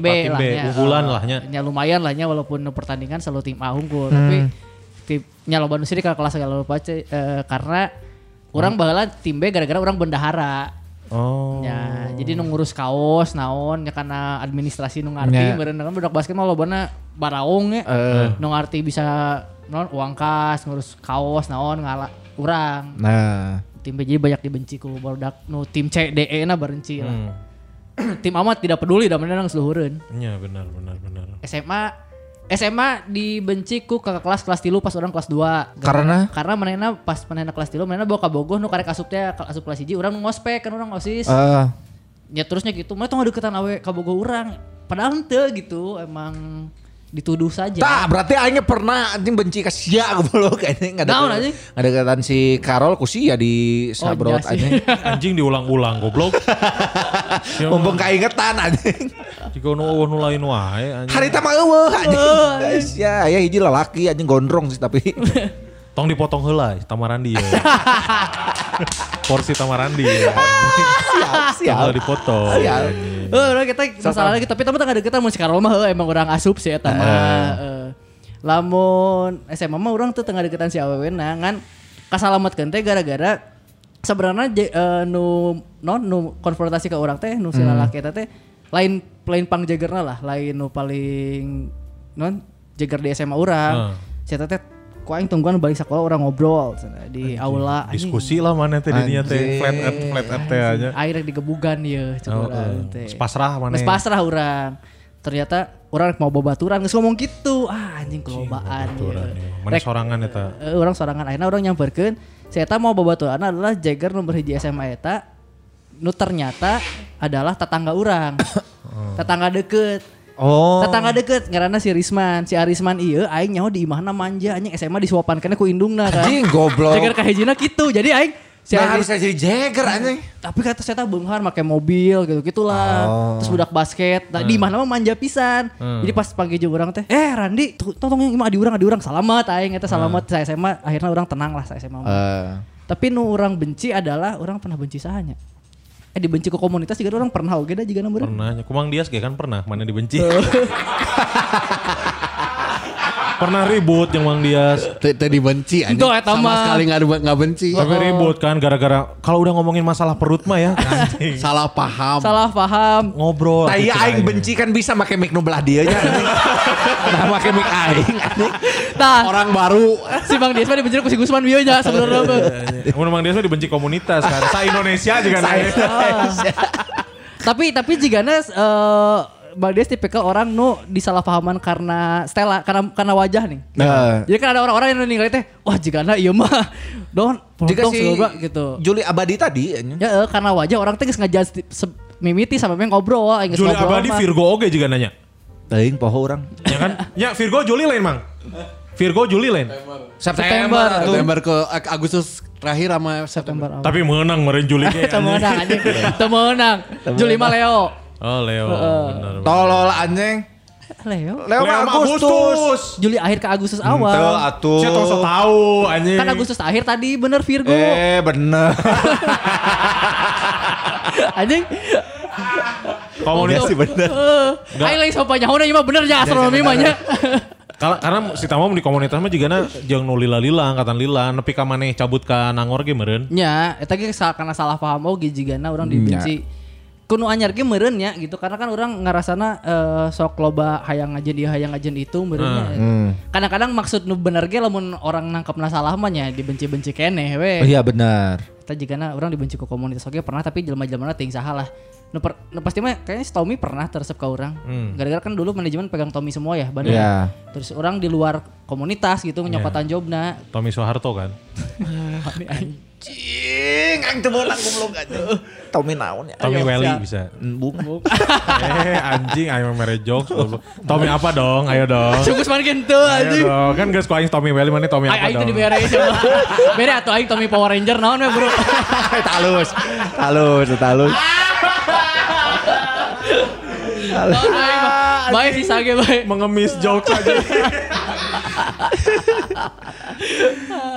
Speaker 4: asup
Speaker 5: B,
Speaker 4: ka Ah, tim B.
Speaker 5: lahnya.
Speaker 4: Unggulan
Speaker 5: Eh,
Speaker 4: lahnya.
Speaker 5: Ya lumayan lahnya walaupun pertandingan selalu tim A unggul, tapi tim nya loba nu sirik ka kelas kalau pace eh, karena orang
Speaker 4: Hmm.
Speaker 5: bakalan tim B gara-gara orang bendahara.
Speaker 4: Oh.
Speaker 5: Ya, jadi nu ngurus kaos naon ya karena administrasi nu ngarti
Speaker 3: Ya.
Speaker 5: beureun kan budak basket mah lobana baraong ya. Nu ngarti bisa naon uang kas, ngurus kaos naon ngala urang.
Speaker 3: Nah.
Speaker 5: Tim B jadi banyak dibenci ku barudak nu tim C D E na barenci lah. tim amat tidak peduli da menang seluhureun.
Speaker 4: Iya, benar benar benar.
Speaker 5: SMA SMA dibenci ku kakak kelas kelas tilu pas orang kelas 2
Speaker 3: Karena?
Speaker 5: Karena manehna pas manehna kelas tilu manehna bawa kabogoh nu karek asup teh asup kelas hiji urang nu ngospek kan urang osis
Speaker 3: Eh,
Speaker 5: ya terusnya gitu mereka nggak deketan awe kabogo urang padahal ente gitu emang dituduh saja Oh,
Speaker 3: tak berarti aingnya pernah anjing benci ka sia goblok anjing ada
Speaker 5: Naon, anjing?
Speaker 3: ada katan si Karol ku sia di sabrot
Speaker 5: nya iya sih.
Speaker 3: anjing.
Speaker 4: Anjing diulang-ulang goblok.
Speaker 3: Mumpung kaingetan anjing.
Speaker 4: Jika nu eueuh nu lain wae anjing.
Speaker 3: Harita mah
Speaker 5: Oh,
Speaker 3: eueuh
Speaker 5: iya.
Speaker 3: anjing. Sia, aya hiji lelaki anjing gondrong sih tapi.
Speaker 4: Tong dipotong heula tamarandi ya. Porsi tamarandi. ya.
Speaker 3: Siap,
Speaker 4: Tong
Speaker 3: siap.
Speaker 4: dipotong.
Speaker 3: Siap.
Speaker 5: eh orang kita masalah lagi tapi tapi nggak deketan mau sekarang mah eh, emang orang asup sih eta mah eh. lamun SMA mah orang tuh tengah deketan si awewe nah ngan kasalametkeun teh gara-gara sebenarnya je- eh, nu non nu konfrontasi ke orang teh nu si lalaki eta teh lain lain pangjagerna lah lain nu paling non jager di SMA orang
Speaker 4: Heeh.
Speaker 5: si eta teh ku aing tungguan balik sekolah orang ngobrol cenah, di aula anjing,
Speaker 4: Diskusi lah mana teh di dinya teh flat earth flat earth teh aja.
Speaker 5: air rek digebugan ya
Speaker 4: Oh,
Speaker 5: urang
Speaker 4: eh, sepasrah mana?
Speaker 5: Geus pasrah orang ternyata orang mau bobaturan geus ngomong gitu ah anjing kelobaan
Speaker 4: Aturan
Speaker 5: ye.
Speaker 4: ya. Mana
Speaker 5: Rek,
Speaker 4: sorangan eta.
Speaker 5: eh, orang sorangan akhirnya orang nyamperkeun si eta mau bobaturan adalah Jagger nomor hiji SMA eta nu ternyata adalah tetangga orang tetangga deket
Speaker 3: Oh.
Speaker 5: Tetangga deket ngarana si Risman, si Arisman iya aing nyaho di imahna manja anjing SMA disuapan kana ku indungna kan.
Speaker 3: Anjing goblok.
Speaker 5: Jagger kahijina kitu. Jadi aing si
Speaker 3: Nah,
Speaker 5: Aris-
Speaker 3: harusnya jadi jagger anjing.
Speaker 5: tapi kata saya benghar pakai mobil gitu gitulah terus budak basket nah, di mana mah manja pisan jadi pas pagi jam orang teh eh Randi tuh, tong tong yang ima adi urang adi urang salamat aing eta salamat saya SMA akhirnya orang tenang lah saya SMA
Speaker 3: Eh,
Speaker 5: tapi nu orang benci adalah orang pernah benci sahanya eh dibenci ke komunitas juga orang pernah oge dah juga nomor
Speaker 4: Pernah Kumang Dias ge kan pernah mana dibenci. pernah ribut yang Mang Dias.
Speaker 2: Teh teh dibenci anjing.
Speaker 5: Tuh, eta
Speaker 2: Sama
Speaker 5: mah.
Speaker 2: sekali nggak ada- nggak benci.
Speaker 4: Tapi ribut kan gara-gara kalau udah ngomongin masalah perut mah ya anjing.
Speaker 2: Salah paham.
Speaker 5: salah paham
Speaker 4: ngobrol.
Speaker 3: tai
Speaker 4: gitu,
Speaker 3: aing benci kan bisa make mic nu belah dieu nya. anjing. Nah, make mic aing anjing.
Speaker 5: nah
Speaker 2: Orang baru.
Speaker 5: si Bang Dias mah dibenci ku si Gusman bieu nya sebenarnya mah.
Speaker 4: Iya. Mun Mang Dias mah dibenci komunitas kan. Sa Indonesia juga kan.
Speaker 5: Ah. tapi tapi jigana eh Bang Dias tipikal orang nu disalahpahaman karena Stella karena karena wajah nih
Speaker 3: Nah,
Speaker 5: Jadi kan ada orang-orang yang ninggalin teh, wah jika na iya mah, don
Speaker 3: Jika
Speaker 5: Pronto,
Speaker 3: si
Speaker 5: loba, gitu.
Speaker 3: Juli Abadi tadi anjing.
Speaker 5: Ya eh, karena wajah orang teh geus ngajudge ti- se- mimiti sama meh ngobrol, aing geus
Speaker 4: Juli
Speaker 5: ngobrol
Speaker 4: Abadi
Speaker 5: mah.
Speaker 4: Virgo oke juga nanya.
Speaker 3: Teuing poho orang.
Speaker 4: Ya kan? ya Virgo Juli lain mang. Virgo Juli lain.
Speaker 5: September.
Speaker 3: tuh.
Speaker 2: September ke Ag- Agustus terakhir sama September.
Speaker 5: September.
Speaker 4: Tapi menang meren Juli ge,
Speaker 5: Teu
Speaker 4: anjing.
Speaker 5: menang anjing. Teu menang. Juli mah Leo.
Speaker 4: Oh Leo. benar, benar.
Speaker 3: Tolol anjing.
Speaker 5: Leo.
Speaker 3: Leo
Speaker 4: Leo sama
Speaker 3: Agustus.
Speaker 5: Juli akhir ke Agustus
Speaker 3: Hmm, Teu
Speaker 5: awal.
Speaker 3: atuh.
Speaker 4: Sia tong tahu anjing.
Speaker 5: Kan Agustus akhir tadi bener Virgo.
Speaker 3: Eh bener.
Speaker 5: Anjing. Eh.
Speaker 4: Komunikasi
Speaker 3: Iya bener.
Speaker 5: Aing lain sopanya hono ieu mah bener ya astronomi mah nya.
Speaker 4: Kala, karena si Tama di komunitas mah juga na jeung nu lila-lila angkatan lila nepi ka maneh cabut ka Nangor ge meureun.
Speaker 5: Nya, eta ge sa- karena salah paham oh, oge jigana urang dibenci. Kuno anyar ge meureun nya gitu karena kan urang ngarasana eh, sok loba hayang aja dia hayang aja itu meureunnya. Kadang-kadang maksud nu bener ge lamun orang nangkepna salah mah nya dibenci-benci keneh we.
Speaker 3: Iya bener.
Speaker 5: Eta jigana orang dibenci ku komunitas oke pernah tapi jelema-jelema ting salah lah. Nu, per- nu pasti mah kayaknya si Tommy pernah teresep ke orang. Gara-gara kan dulu manajemen pegang Tommy semua ya, benar.
Speaker 3: Iya.
Speaker 5: Terus orang di luar komunitas gitu nyokotan jobna.
Speaker 4: Tommy Soeharto kan.
Speaker 3: Cing, aing teu meunang goblok anjing. Tommy naon ya?
Speaker 4: Tommy
Speaker 5: Ayo,
Speaker 4: Welly
Speaker 5: siap.
Speaker 4: bisa.
Speaker 3: Bunga.
Speaker 4: eh anjing ayo mere jokes. goblok. Tommy apa dong? Ayo dong.
Speaker 5: Cukup semakin gitu
Speaker 4: Ayo
Speaker 5: anjing.
Speaker 4: dong. Kan geus ku aing Tommy Welly mana Tommy apa
Speaker 5: Aing itu
Speaker 4: dong.
Speaker 5: dibere coba. Bere atau aing Tommy Power Ranger naon we, Bro?
Speaker 3: Talus. Talus, talus.
Speaker 5: Naon aing mah. Bae sisa ge bae.
Speaker 4: Mengemis jokes aja.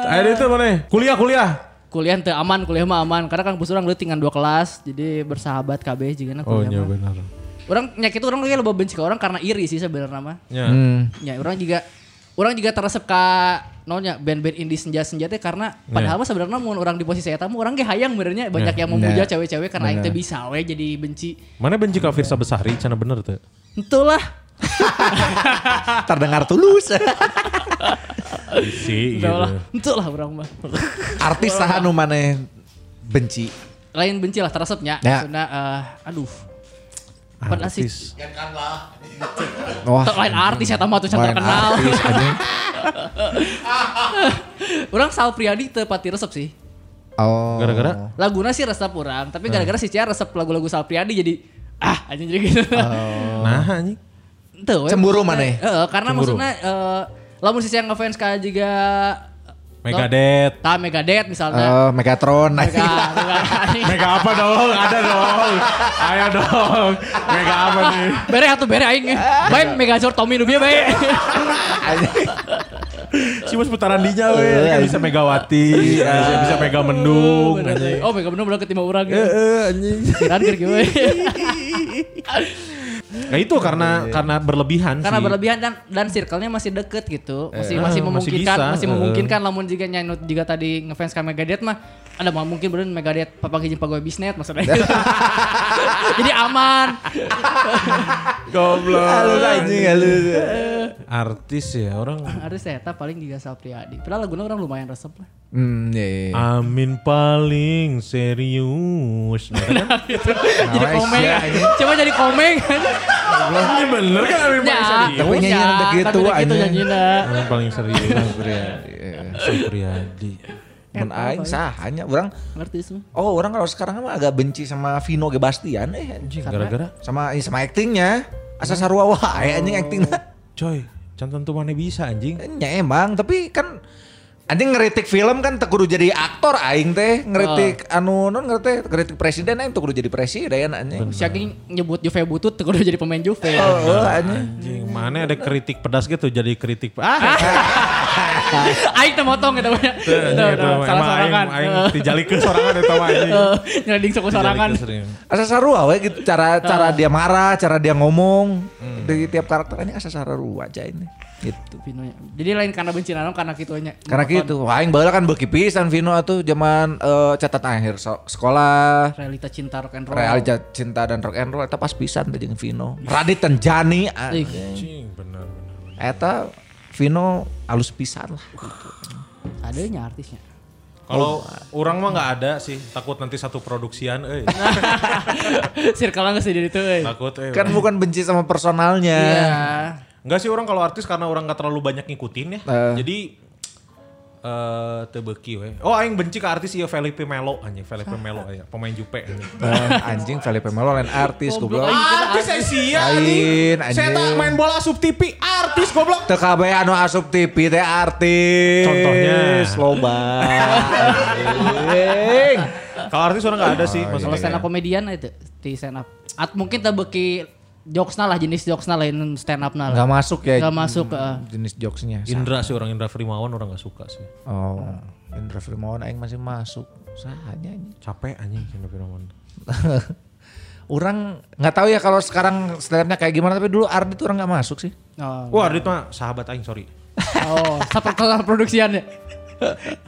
Speaker 4: Ayo itu mana? Kuliah kuliah.
Speaker 5: Kuliah teu aman, kuliah mah aman. Karena kan pusur orang leutik ngan dua kelas, jadi bersahabat kabeh jigana
Speaker 4: Oh
Speaker 5: kuliah.
Speaker 4: iya
Speaker 5: mah.
Speaker 4: benar.
Speaker 5: Orang nyakit orang kayak lebih benci ke orang karena iri sih sebenarnya mah.
Speaker 4: Ya.
Speaker 5: Ya orang juga orang juga teresep ke nonnya band-band indie senja-senja teh karena
Speaker 4: Iya.
Speaker 5: padahal mah sebenarnya mun orang di posisi eta mah orang ge hayang benernya banyak yang
Speaker 4: Iya.
Speaker 5: memuja cewek-cewek karena aing teh bisa we jadi benci.
Speaker 4: Mana benci ka Firsa Besari cenah bener tuh.
Speaker 5: Entulah.
Speaker 3: Terdengar tulus.
Speaker 4: Isi
Speaker 5: Entulah.
Speaker 4: gitu.
Speaker 5: Entulah orang mah.
Speaker 3: Artis saha nu maneh benci.
Speaker 5: Lain benci lah teresepnya.
Speaker 3: Ya.
Speaker 5: Maksudna eh, aduh. Padahal sih
Speaker 4: Artis.
Speaker 3: Wah.
Speaker 5: Tuh, lain artis eta mah tuh can
Speaker 3: Lain
Speaker 5: terkenal.
Speaker 3: artis, anjing.
Speaker 5: Orang Sal Priadi teu pati resep sih.
Speaker 3: Oh.
Speaker 4: Gara-gara
Speaker 5: Laguna sih resep orang, tapi
Speaker 3: Hmm.
Speaker 5: gara-gara si Cia resep lagu-lagu Sal Priadi jadi ah anjing jadi gitu.
Speaker 4: nah anjing.
Speaker 5: Tuh,
Speaker 3: Oh. Cemburu ya? maneh?
Speaker 5: Heeh, karena
Speaker 4: Cemburu.
Speaker 5: maksudnya eh lamun sisi yang ngefans ka juga
Speaker 4: Megadeth.
Speaker 5: Tah Megadeth misalnya.
Speaker 3: Eh, Megatron.
Speaker 5: Mega, Mega.
Speaker 4: Mega apa dong? Ada dong. Ayo dong. Mega apa nih?
Speaker 5: Bere atuh bere aing. Baik Megazord Tommy nu bieu bae.
Speaker 4: Cuma seputaran dinya we. Kan bisa Megawati, bisa, bisa Mega Mendung. anjing.
Speaker 5: Oh, Mega bener bener ketimpa urang.
Speaker 4: Eh, anjing.
Speaker 5: Kirain keur kieu we.
Speaker 4: Nah itu karena karena berlebihan
Speaker 5: Karena
Speaker 4: sih.
Speaker 5: berlebihan dan dan circle-nya masih deket gitu.
Speaker 4: Eh,
Speaker 5: Masih masih
Speaker 4: masih
Speaker 5: memungkinkan,
Speaker 4: bisa,
Speaker 5: masih,
Speaker 4: eh.
Speaker 5: memungkinkan lamun jika nyanut jika tadi ngefans ka Megadeth mah ada mah mungkin bener Megadeth papanggih jeung pegawai bisnet maksudnya. Jadi aman.
Speaker 4: Goblok.
Speaker 3: Halus anjing, halus.
Speaker 4: Ah. Artis ya orang.
Speaker 5: Ada Seta paling juga Sapriadi. Padahal lagunya orang lumayan resep lah.
Speaker 3: Hmm, iya, iya.
Speaker 4: Ah. Amin paling serius. Nah,
Speaker 5: jadi komeng.
Speaker 3: ya,
Speaker 5: Coba jadi komeng.
Speaker 4: kan? Ini bener kan Amin
Speaker 5: ya,
Speaker 4: paling serius.
Speaker 3: Tapi nyanyian
Speaker 5: ya,
Speaker 3: udah
Speaker 5: tapi
Speaker 3: gitu,
Speaker 5: udah gitu
Speaker 3: anjing.
Speaker 5: nyanyinya.
Speaker 4: Amin paling serius.
Speaker 3: Iya.
Speaker 4: Supriyadi.
Speaker 3: Men aing sahanya orang
Speaker 5: Ngerti semua.
Speaker 3: Oh orang kalau sekarang mah agak benci sama Vino Gebastian eh anjing.
Speaker 4: Gara-gara
Speaker 3: sama iya, sama actingnya asa sarua wae anjing actingnya
Speaker 4: coy. Cantan tuh mana bisa anjing.
Speaker 3: Ya emang, tapi kan anjing ngeritik film kan teu kudu jadi aktor aing teh, ngeritik anu non ngeritik ngeritik presiden aing teu kudu jadi presiden anjing.
Speaker 5: Si Aking nyebut Juve butut, tuh udah jadi pemain Juve.
Speaker 3: Oh, anjing.
Speaker 4: Anjing, mana ada kritik pedas gitu jadi kritik. Ah,
Speaker 5: Aing teh motong gitu
Speaker 4: Iya,
Speaker 5: banyak.
Speaker 4: Tuh, emang
Speaker 5: Salah sorangan.
Speaker 4: Aing, Iya. aing dijalik ke sorangan itu mah anjing.
Speaker 5: Eh, Nyelading sok sorangan.
Speaker 4: Dijalik ke sering.
Speaker 3: Asa sarua we gitu cara cara dia marah, cara dia ngomong di tiap karakter ini asa sarua aja ini. Gitu.
Speaker 5: Tuh, Vino nya. Jadi lain karena benci naon karena kituanya.
Speaker 3: Karena gitu, wah, aing baheula kan beuki pisan Vino atuh zaman eh, catatan akhir so- sekolah
Speaker 5: Realita cinta rock and roll.
Speaker 3: Oh. Real Ja- cinta dan rock and roll eta pas pisan teh jeung Vino. Radit dan Jani anjing.
Speaker 4: Anjing, bener. bener.
Speaker 3: Eta Vino alus pisan lah.
Speaker 5: Adanya artisnya.
Speaker 4: Kalau
Speaker 5: Oh.
Speaker 4: orang mah nggak ada sih, takut nanti satu produksian, eh
Speaker 5: Nah, Circle-nya sih jadi itu. eh.
Speaker 4: takut, eh
Speaker 3: Kan bukan benci sama personalnya.
Speaker 5: Iya. Eh.
Speaker 4: Enggak sih orang kalau artis karena orang nggak terlalu banyak ngikutin ya, jadi eh teu beuki we. Oh aing benci ke artis ieu Felipe Melo anjing, Felipe Melo aya, pemain Jupe anjing.
Speaker 3: Eh, anjing Felipe Melo lain artis goblok.
Speaker 4: Artis saya sia anjing.
Speaker 3: Lain, anjing.
Speaker 4: Saya tak main bola sub TV, artis goblok.
Speaker 3: Teu kabeh anu asup TV teh artis.
Speaker 4: Contohnya.
Speaker 3: loba. Anjing.
Speaker 4: Kalau artis orang enggak ada sih
Speaker 5: Kalau stand
Speaker 4: maksudnya.
Speaker 5: up komedian itu di stand up. At mungkin tebeki jokesna lah jenis jokesna lain stand up lah.
Speaker 3: Enggak masuk ya.
Speaker 5: Nggak masuk, eh.
Speaker 3: jenis jokesnya.
Speaker 4: Indra sih orang Indra Frimawan orang enggak suka sih.
Speaker 3: Oh, Indra Firmawan aing masih masuk. Sahanya anjing.
Speaker 4: Capek anjing Indra Frimawan.
Speaker 3: Orang nggak tahu ya kalau sekarang standarnya kayak gimana tapi dulu Ardi tuh orang nggak masuk sih.
Speaker 5: Oh,
Speaker 4: Wah, Ardit mah sahabat aing, sorry.
Speaker 5: oh sampai kelas produksiannya.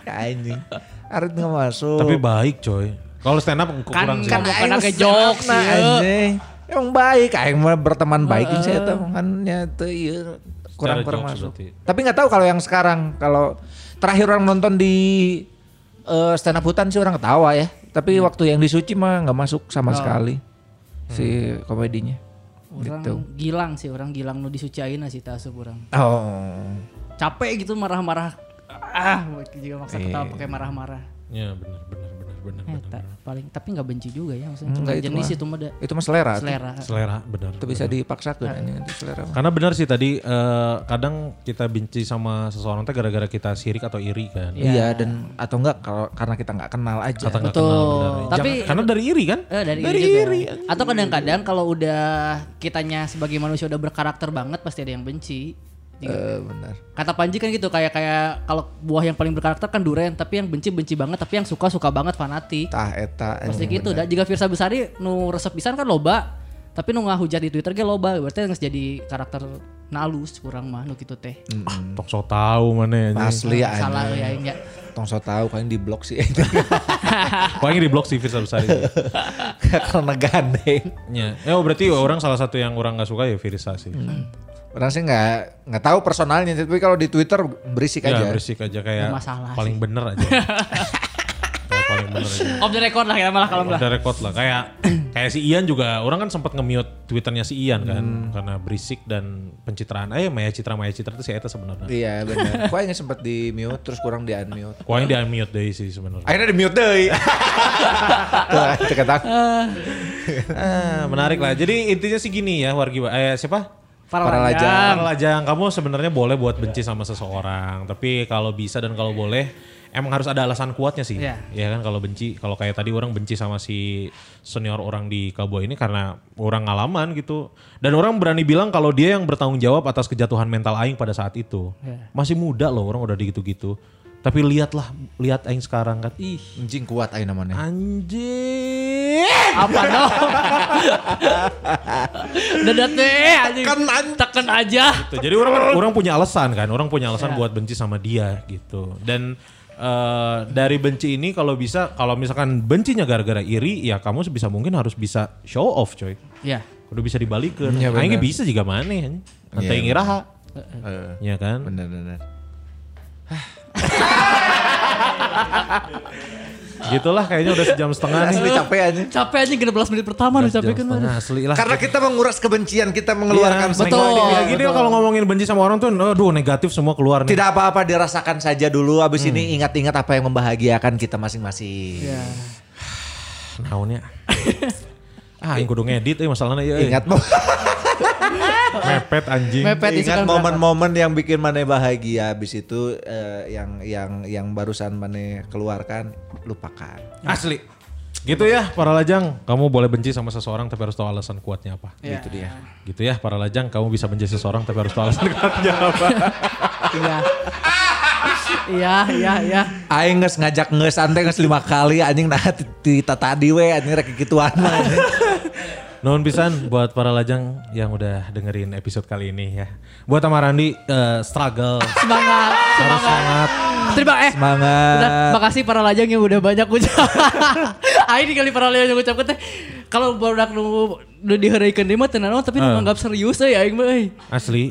Speaker 3: Anjing. Ardi nggak masuk.
Speaker 4: Tapi baik coy. Kalau stand up kurang sih.
Speaker 5: kan bukan
Speaker 3: Aing mah
Speaker 5: ke jokes
Speaker 3: senang,
Speaker 5: ya.
Speaker 3: anjing. Emang baik, aing mah berteman baik ini saya tahu makanya tuh iya kurang-kurang
Speaker 4: jokes
Speaker 3: masuk.
Speaker 4: berarti.
Speaker 3: Tapi nggak tahu kalau yang sekarang kalau terakhir orang nonton di eh, stand up hutan sih orang ketawa ya.
Speaker 5: Iya.
Speaker 3: Tapi waktu yang di Suci mah nggak masuk sama
Speaker 5: Oh.
Speaker 3: sekali
Speaker 4: Hmm.
Speaker 3: si komedinya.
Speaker 5: Orang
Speaker 3: Gitu.
Speaker 5: gilang sih, orang gilang nu disuciain lah sih tasup orang.
Speaker 3: Oh.
Speaker 5: Capek gitu marah-marah. Ah, juga maksa
Speaker 3: Iya.
Speaker 5: ketawa pakai marah-marah.
Speaker 4: Ya benar benar benar benar.
Speaker 5: Eh,
Speaker 4: benar.
Speaker 5: tak, paling tapi nggak benci juga ya maksudnya. Cuma
Speaker 3: Enggak, itu
Speaker 5: jenis
Speaker 3: mah.
Speaker 5: itu mah da-
Speaker 3: Itu mah selera. tuh.
Speaker 5: selera.
Speaker 4: Selera benar.
Speaker 3: Itu bisa dipaksakan anjing itu selera. mah.
Speaker 4: Karena benar sih tadi eh, kadang kita benci sama seseorang teh gara-gara kita sirik atau iri kan.
Speaker 3: Iya dan atau enggak kalau karena kita nggak kenal aja.
Speaker 4: Kata nggak
Speaker 5: Betul.
Speaker 4: kenal, benar. Jangan-
Speaker 5: Tapi-
Speaker 4: karena dari iri kan?
Speaker 5: Eh, dari,
Speaker 4: Dari
Speaker 5: iri juga.
Speaker 4: iri,
Speaker 5: Atau kadang-kadang kalau udah kitanya sebagai manusia udah berkarakter banget pasti ada yang benci. Iya.
Speaker 3: Eh, benar.
Speaker 5: Kata Panji kan gitu kayak kayak kalau buah yang paling berkarakter kan duren, tapi yang benci benci banget, tapi yang suka suka banget fanatik.
Speaker 3: Tah eta
Speaker 5: Pasti
Speaker 3: anjing,
Speaker 5: gitu.
Speaker 3: Iya, benar.
Speaker 5: Da, jika Firsa Besari nu resep pisan kan loba, tapi nu ngahujat di Twitter ge loba, berarti nggak jadi karakter nalus kurang mah nu gitu teh.
Speaker 4: Tok so tahu mana ya.
Speaker 3: Asli ya.
Speaker 5: Salah
Speaker 3: anjing.
Speaker 5: ya ya.
Speaker 3: Tong so tahu kalian di blok sih
Speaker 4: Paling di blok sih Firsa Besari.
Speaker 3: karena gandeng.
Speaker 4: ya. ya berarti orang salah satu yang orang nggak suka ya Firsa sih.
Speaker 5: Hmm.
Speaker 3: Orang sih nggak nggak tahu personalnya, tapi kalau di Twitter berisik
Speaker 4: Ya
Speaker 3: aja.
Speaker 4: berisik aja kayak
Speaker 5: Nggak masalah
Speaker 4: paling bener aja. Kayak paling bener aja.
Speaker 5: Off the record lah ya malah kalau
Speaker 4: Udah record lah kayak kayak si Ian juga orang kan sempat nge-mute twitternya si Ian kan karena berisik dan pencitraan eh Maya Citra Maya Citra itu si Eta sebenarnya
Speaker 3: Iya benar. Gua yang sempat di mute terus kurang di unmute.
Speaker 4: Kau yang di unmute deh sih sebenarnya
Speaker 3: Akhirnya di mute deh. Tuh, teka tak.
Speaker 4: Ah, menarik lah jadi intinya sih gini ya wargi eh siapa
Speaker 3: Para
Speaker 4: Lajang,
Speaker 3: lajang.
Speaker 4: lajang. Kamu sebenarnya boleh buat benci sama seseorang, tapi kalau bisa dan kalau boleh emang harus ada alasan kuatnya sih. Iya
Speaker 5: Iya.
Speaker 4: kan kalau benci, kalau kayak tadi orang benci sama si senior orang di Cowboy ini karena orang ngalaman gitu. Dan orang berani bilang kalau dia yang bertanggung jawab atas kejatuhan mental aing pada saat itu. Masih muda loh orang udah digitu-gitu. Tapi lihatlah, lihat aing sekarang kan. Ih,
Speaker 3: Anjing kuat aja namanya.
Speaker 4: anjing.
Speaker 5: apa dong? Dadat deh anjing. Tekan aja.
Speaker 4: gitu. Jadi orang orang punya alasan kan, orang punya alasan buat benci sama dia gitu. Dan eh, dari benci ini kalau bisa kalau misalkan bencinya gara-gara iri, ya kamu sebisa mungkin harus bisa show off, coy.
Speaker 5: Ya.
Speaker 4: Udah bisa dibalikin.
Speaker 3: Iya, benar.
Speaker 4: Aingnya bisa juga maneh. Nanti
Speaker 3: Iya,
Speaker 4: yang ngiraha.
Speaker 3: Heeh.
Speaker 4: Ya kan?
Speaker 3: Benar benar.
Speaker 4: Gitulah kayaknya udah sejam setengah nih.
Speaker 3: Asli capek aja.
Speaker 5: Capek anjing 16 menit pertama udah capek kan.
Speaker 4: Setengah asli lah.
Speaker 3: Karena kita menguras kebencian, kita mengeluarkan
Speaker 4: Iya,
Speaker 3: semua
Speaker 5: betul.
Speaker 4: Kayak gini kalau ngomongin benci sama orang tuh, aduh negatif semua keluar nih.
Speaker 3: Tidak apa-apa dirasakan saja dulu. Abis ini ingat-ingat apa yang membahagiakan kita masing-masing.
Speaker 5: Ya.
Speaker 4: Naonnya. ah, yang kudu ngedit eh masalahnya ya. eh.
Speaker 3: Ingat mau.
Speaker 4: mepet anjing.
Speaker 5: Mepet itu
Speaker 3: Ingat
Speaker 5: kan
Speaker 3: momen-momen yang bikin Mane bahagia habis itu eh, yang yang yang barusan Mane keluarkan lupakan.
Speaker 4: Asli. Gitu ya para lajang, kamu boleh benci sama seseorang tapi harus tahu alasan kuatnya apa.
Speaker 5: Iya.
Speaker 3: Itu dia.
Speaker 4: Gitu ya para lajang, kamu bisa benci seseorang tapi harus tahu alasan kuatnya apa.
Speaker 5: Iya. Iya, iya, iya.
Speaker 3: Aing nges ngajak nges santai nges lima kali anjing nah ti- ti- ta tadi we anjing rek gituan mah. anjing.
Speaker 4: Nuhun pisan buat para lajang yang udah dengerin episode kali ini ya. Buat sama Randi eh, struggle
Speaker 5: Semangat,
Speaker 4: harus
Speaker 5: semangat.
Speaker 4: sangat
Speaker 5: Terima eh. Udah,
Speaker 3: Semangat.
Speaker 5: makasih para lajang yang udah banyak ucap. Ayo kali para lajang yang ucap teh. Kalau baru nu udah dihereukeun deui mah teu nanaon, tapi nu nganggap serius euy aing mah eh. euy.
Speaker 4: asli.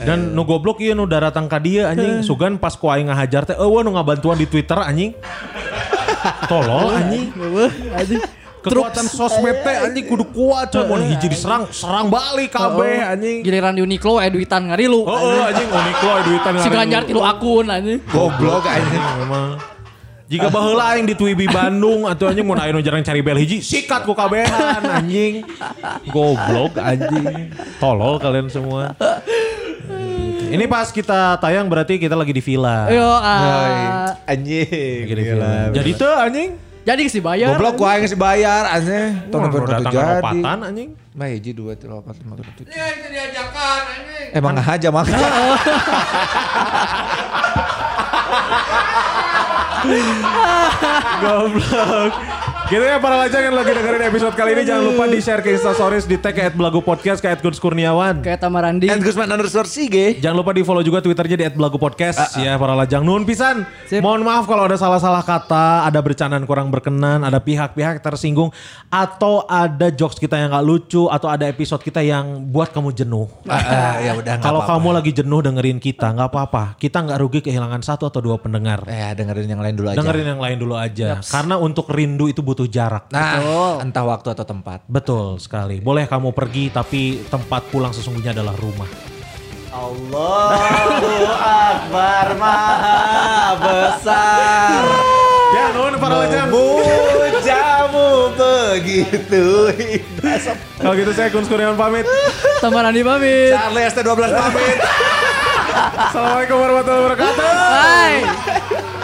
Speaker 4: Dan nu goblok ieu nu daratang ka dia anjing. Sugan pas ku aing ngahajar teh eueuh nu ngabantuan di Twitter anjing. Tolol anjing.
Speaker 5: Wah, anjing.
Speaker 4: Kekuatan sosmed teh anjing kudu kuat coy. Mau hiji diserang, serang balik kabeh anjing.
Speaker 5: Giliran di Uniqlo eh duitan ngarilu.
Speaker 4: Oh, oh anjing Uniqlo duitan
Speaker 5: Si
Speaker 4: ngaran.
Speaker 5: Ganjar tilu akun anjing.
Speaker 4: Goblok anjing Iya, memang. Jika baheula aing di Twibi Bandung atau anjing mun ayeuna jarang cari bel hiji, sikat ku kabehan anjing. Goblok anjing. Tolol kalian semua. Ini pas kita tayang berarti kita lagi di villa.
Speaker 5: Ah. Yo,
Speaker 8: Eh, Anjing.
Speaker 4: Lagi di villa. Jadi tuh anjing.
Speaker 5: jadi sih bayar.
Speaker 8: Goblok gua yang sih bayar anjing. Tahun
Speaker 4: Wah,
Speaker 8: baru
Speaker 4: datang
Speaker 8: katu
Speaker 4: ke
Speaker 8: jadi.
Speaker 4: opatan anjing.
Speaker 8: Mah hiji dua tiga empat lima enam tujuh. Iya itu diajakan anjing. Emang aja mah.
Speaker 4: Goblok. Gitu ya para lajang yang lagi dengerin episode kali ini jangan lupa di share ke Instastories di tag ke @belagu podcast ke @gunskurniawan.
Speaker 5: Kayak Tamarandi.
Speaker 8: Ed Gusman underscore sige.
Speaker 4: Jangan lupa di follow juga twitternya di @belagu_podcast
Speaker 8: Ah,
Speaker 4: ya para lajang nun pisan. Mohon maaf kalau ada salah-salah kata, ada bercandaan kurang berkenan, ada pihak-pihak tersinggung atau ada jokes kita yang gak lucu atau ada episode kita yang buat kamu jenuh.
Speaker 8: Ah, ah, ya udah nggak
Speaker 4: Kalau
Speaker 8: apa-apa.
Speaker 4: kamu lagi jenuh dengerin kita nggak apa-apa, kita nggak rugi kehilangan satu atau dua pendengar.
Speaker 8: Eh dengerin yang lain dulu aja.
Speaker 4: Dengerin yang lain dulu aja, karena untuk rindu itu butuh jarak.
Speaker 8: Nah, entah waktu atau tempat.
Speaker 4: Betul sekali. Boleh kamu pergi tapi tempat pulang sesungguhnya adalah rumah.
Speaker 8: Akbar maha besar.
Speaker 4: Ya, nun para lajang.
Speaker 8: Mujamu begitu indah.
Speaker 4: Kalau gitu saya Kun Kurniawan pamit.
Speaker 5: Tamarandi pamit.
Speaker 8: Charlie ST12 pamit.
Speaker 4: Assalamualaikum warahmatullahi wabarakatuh.
Speaker 5: Bye.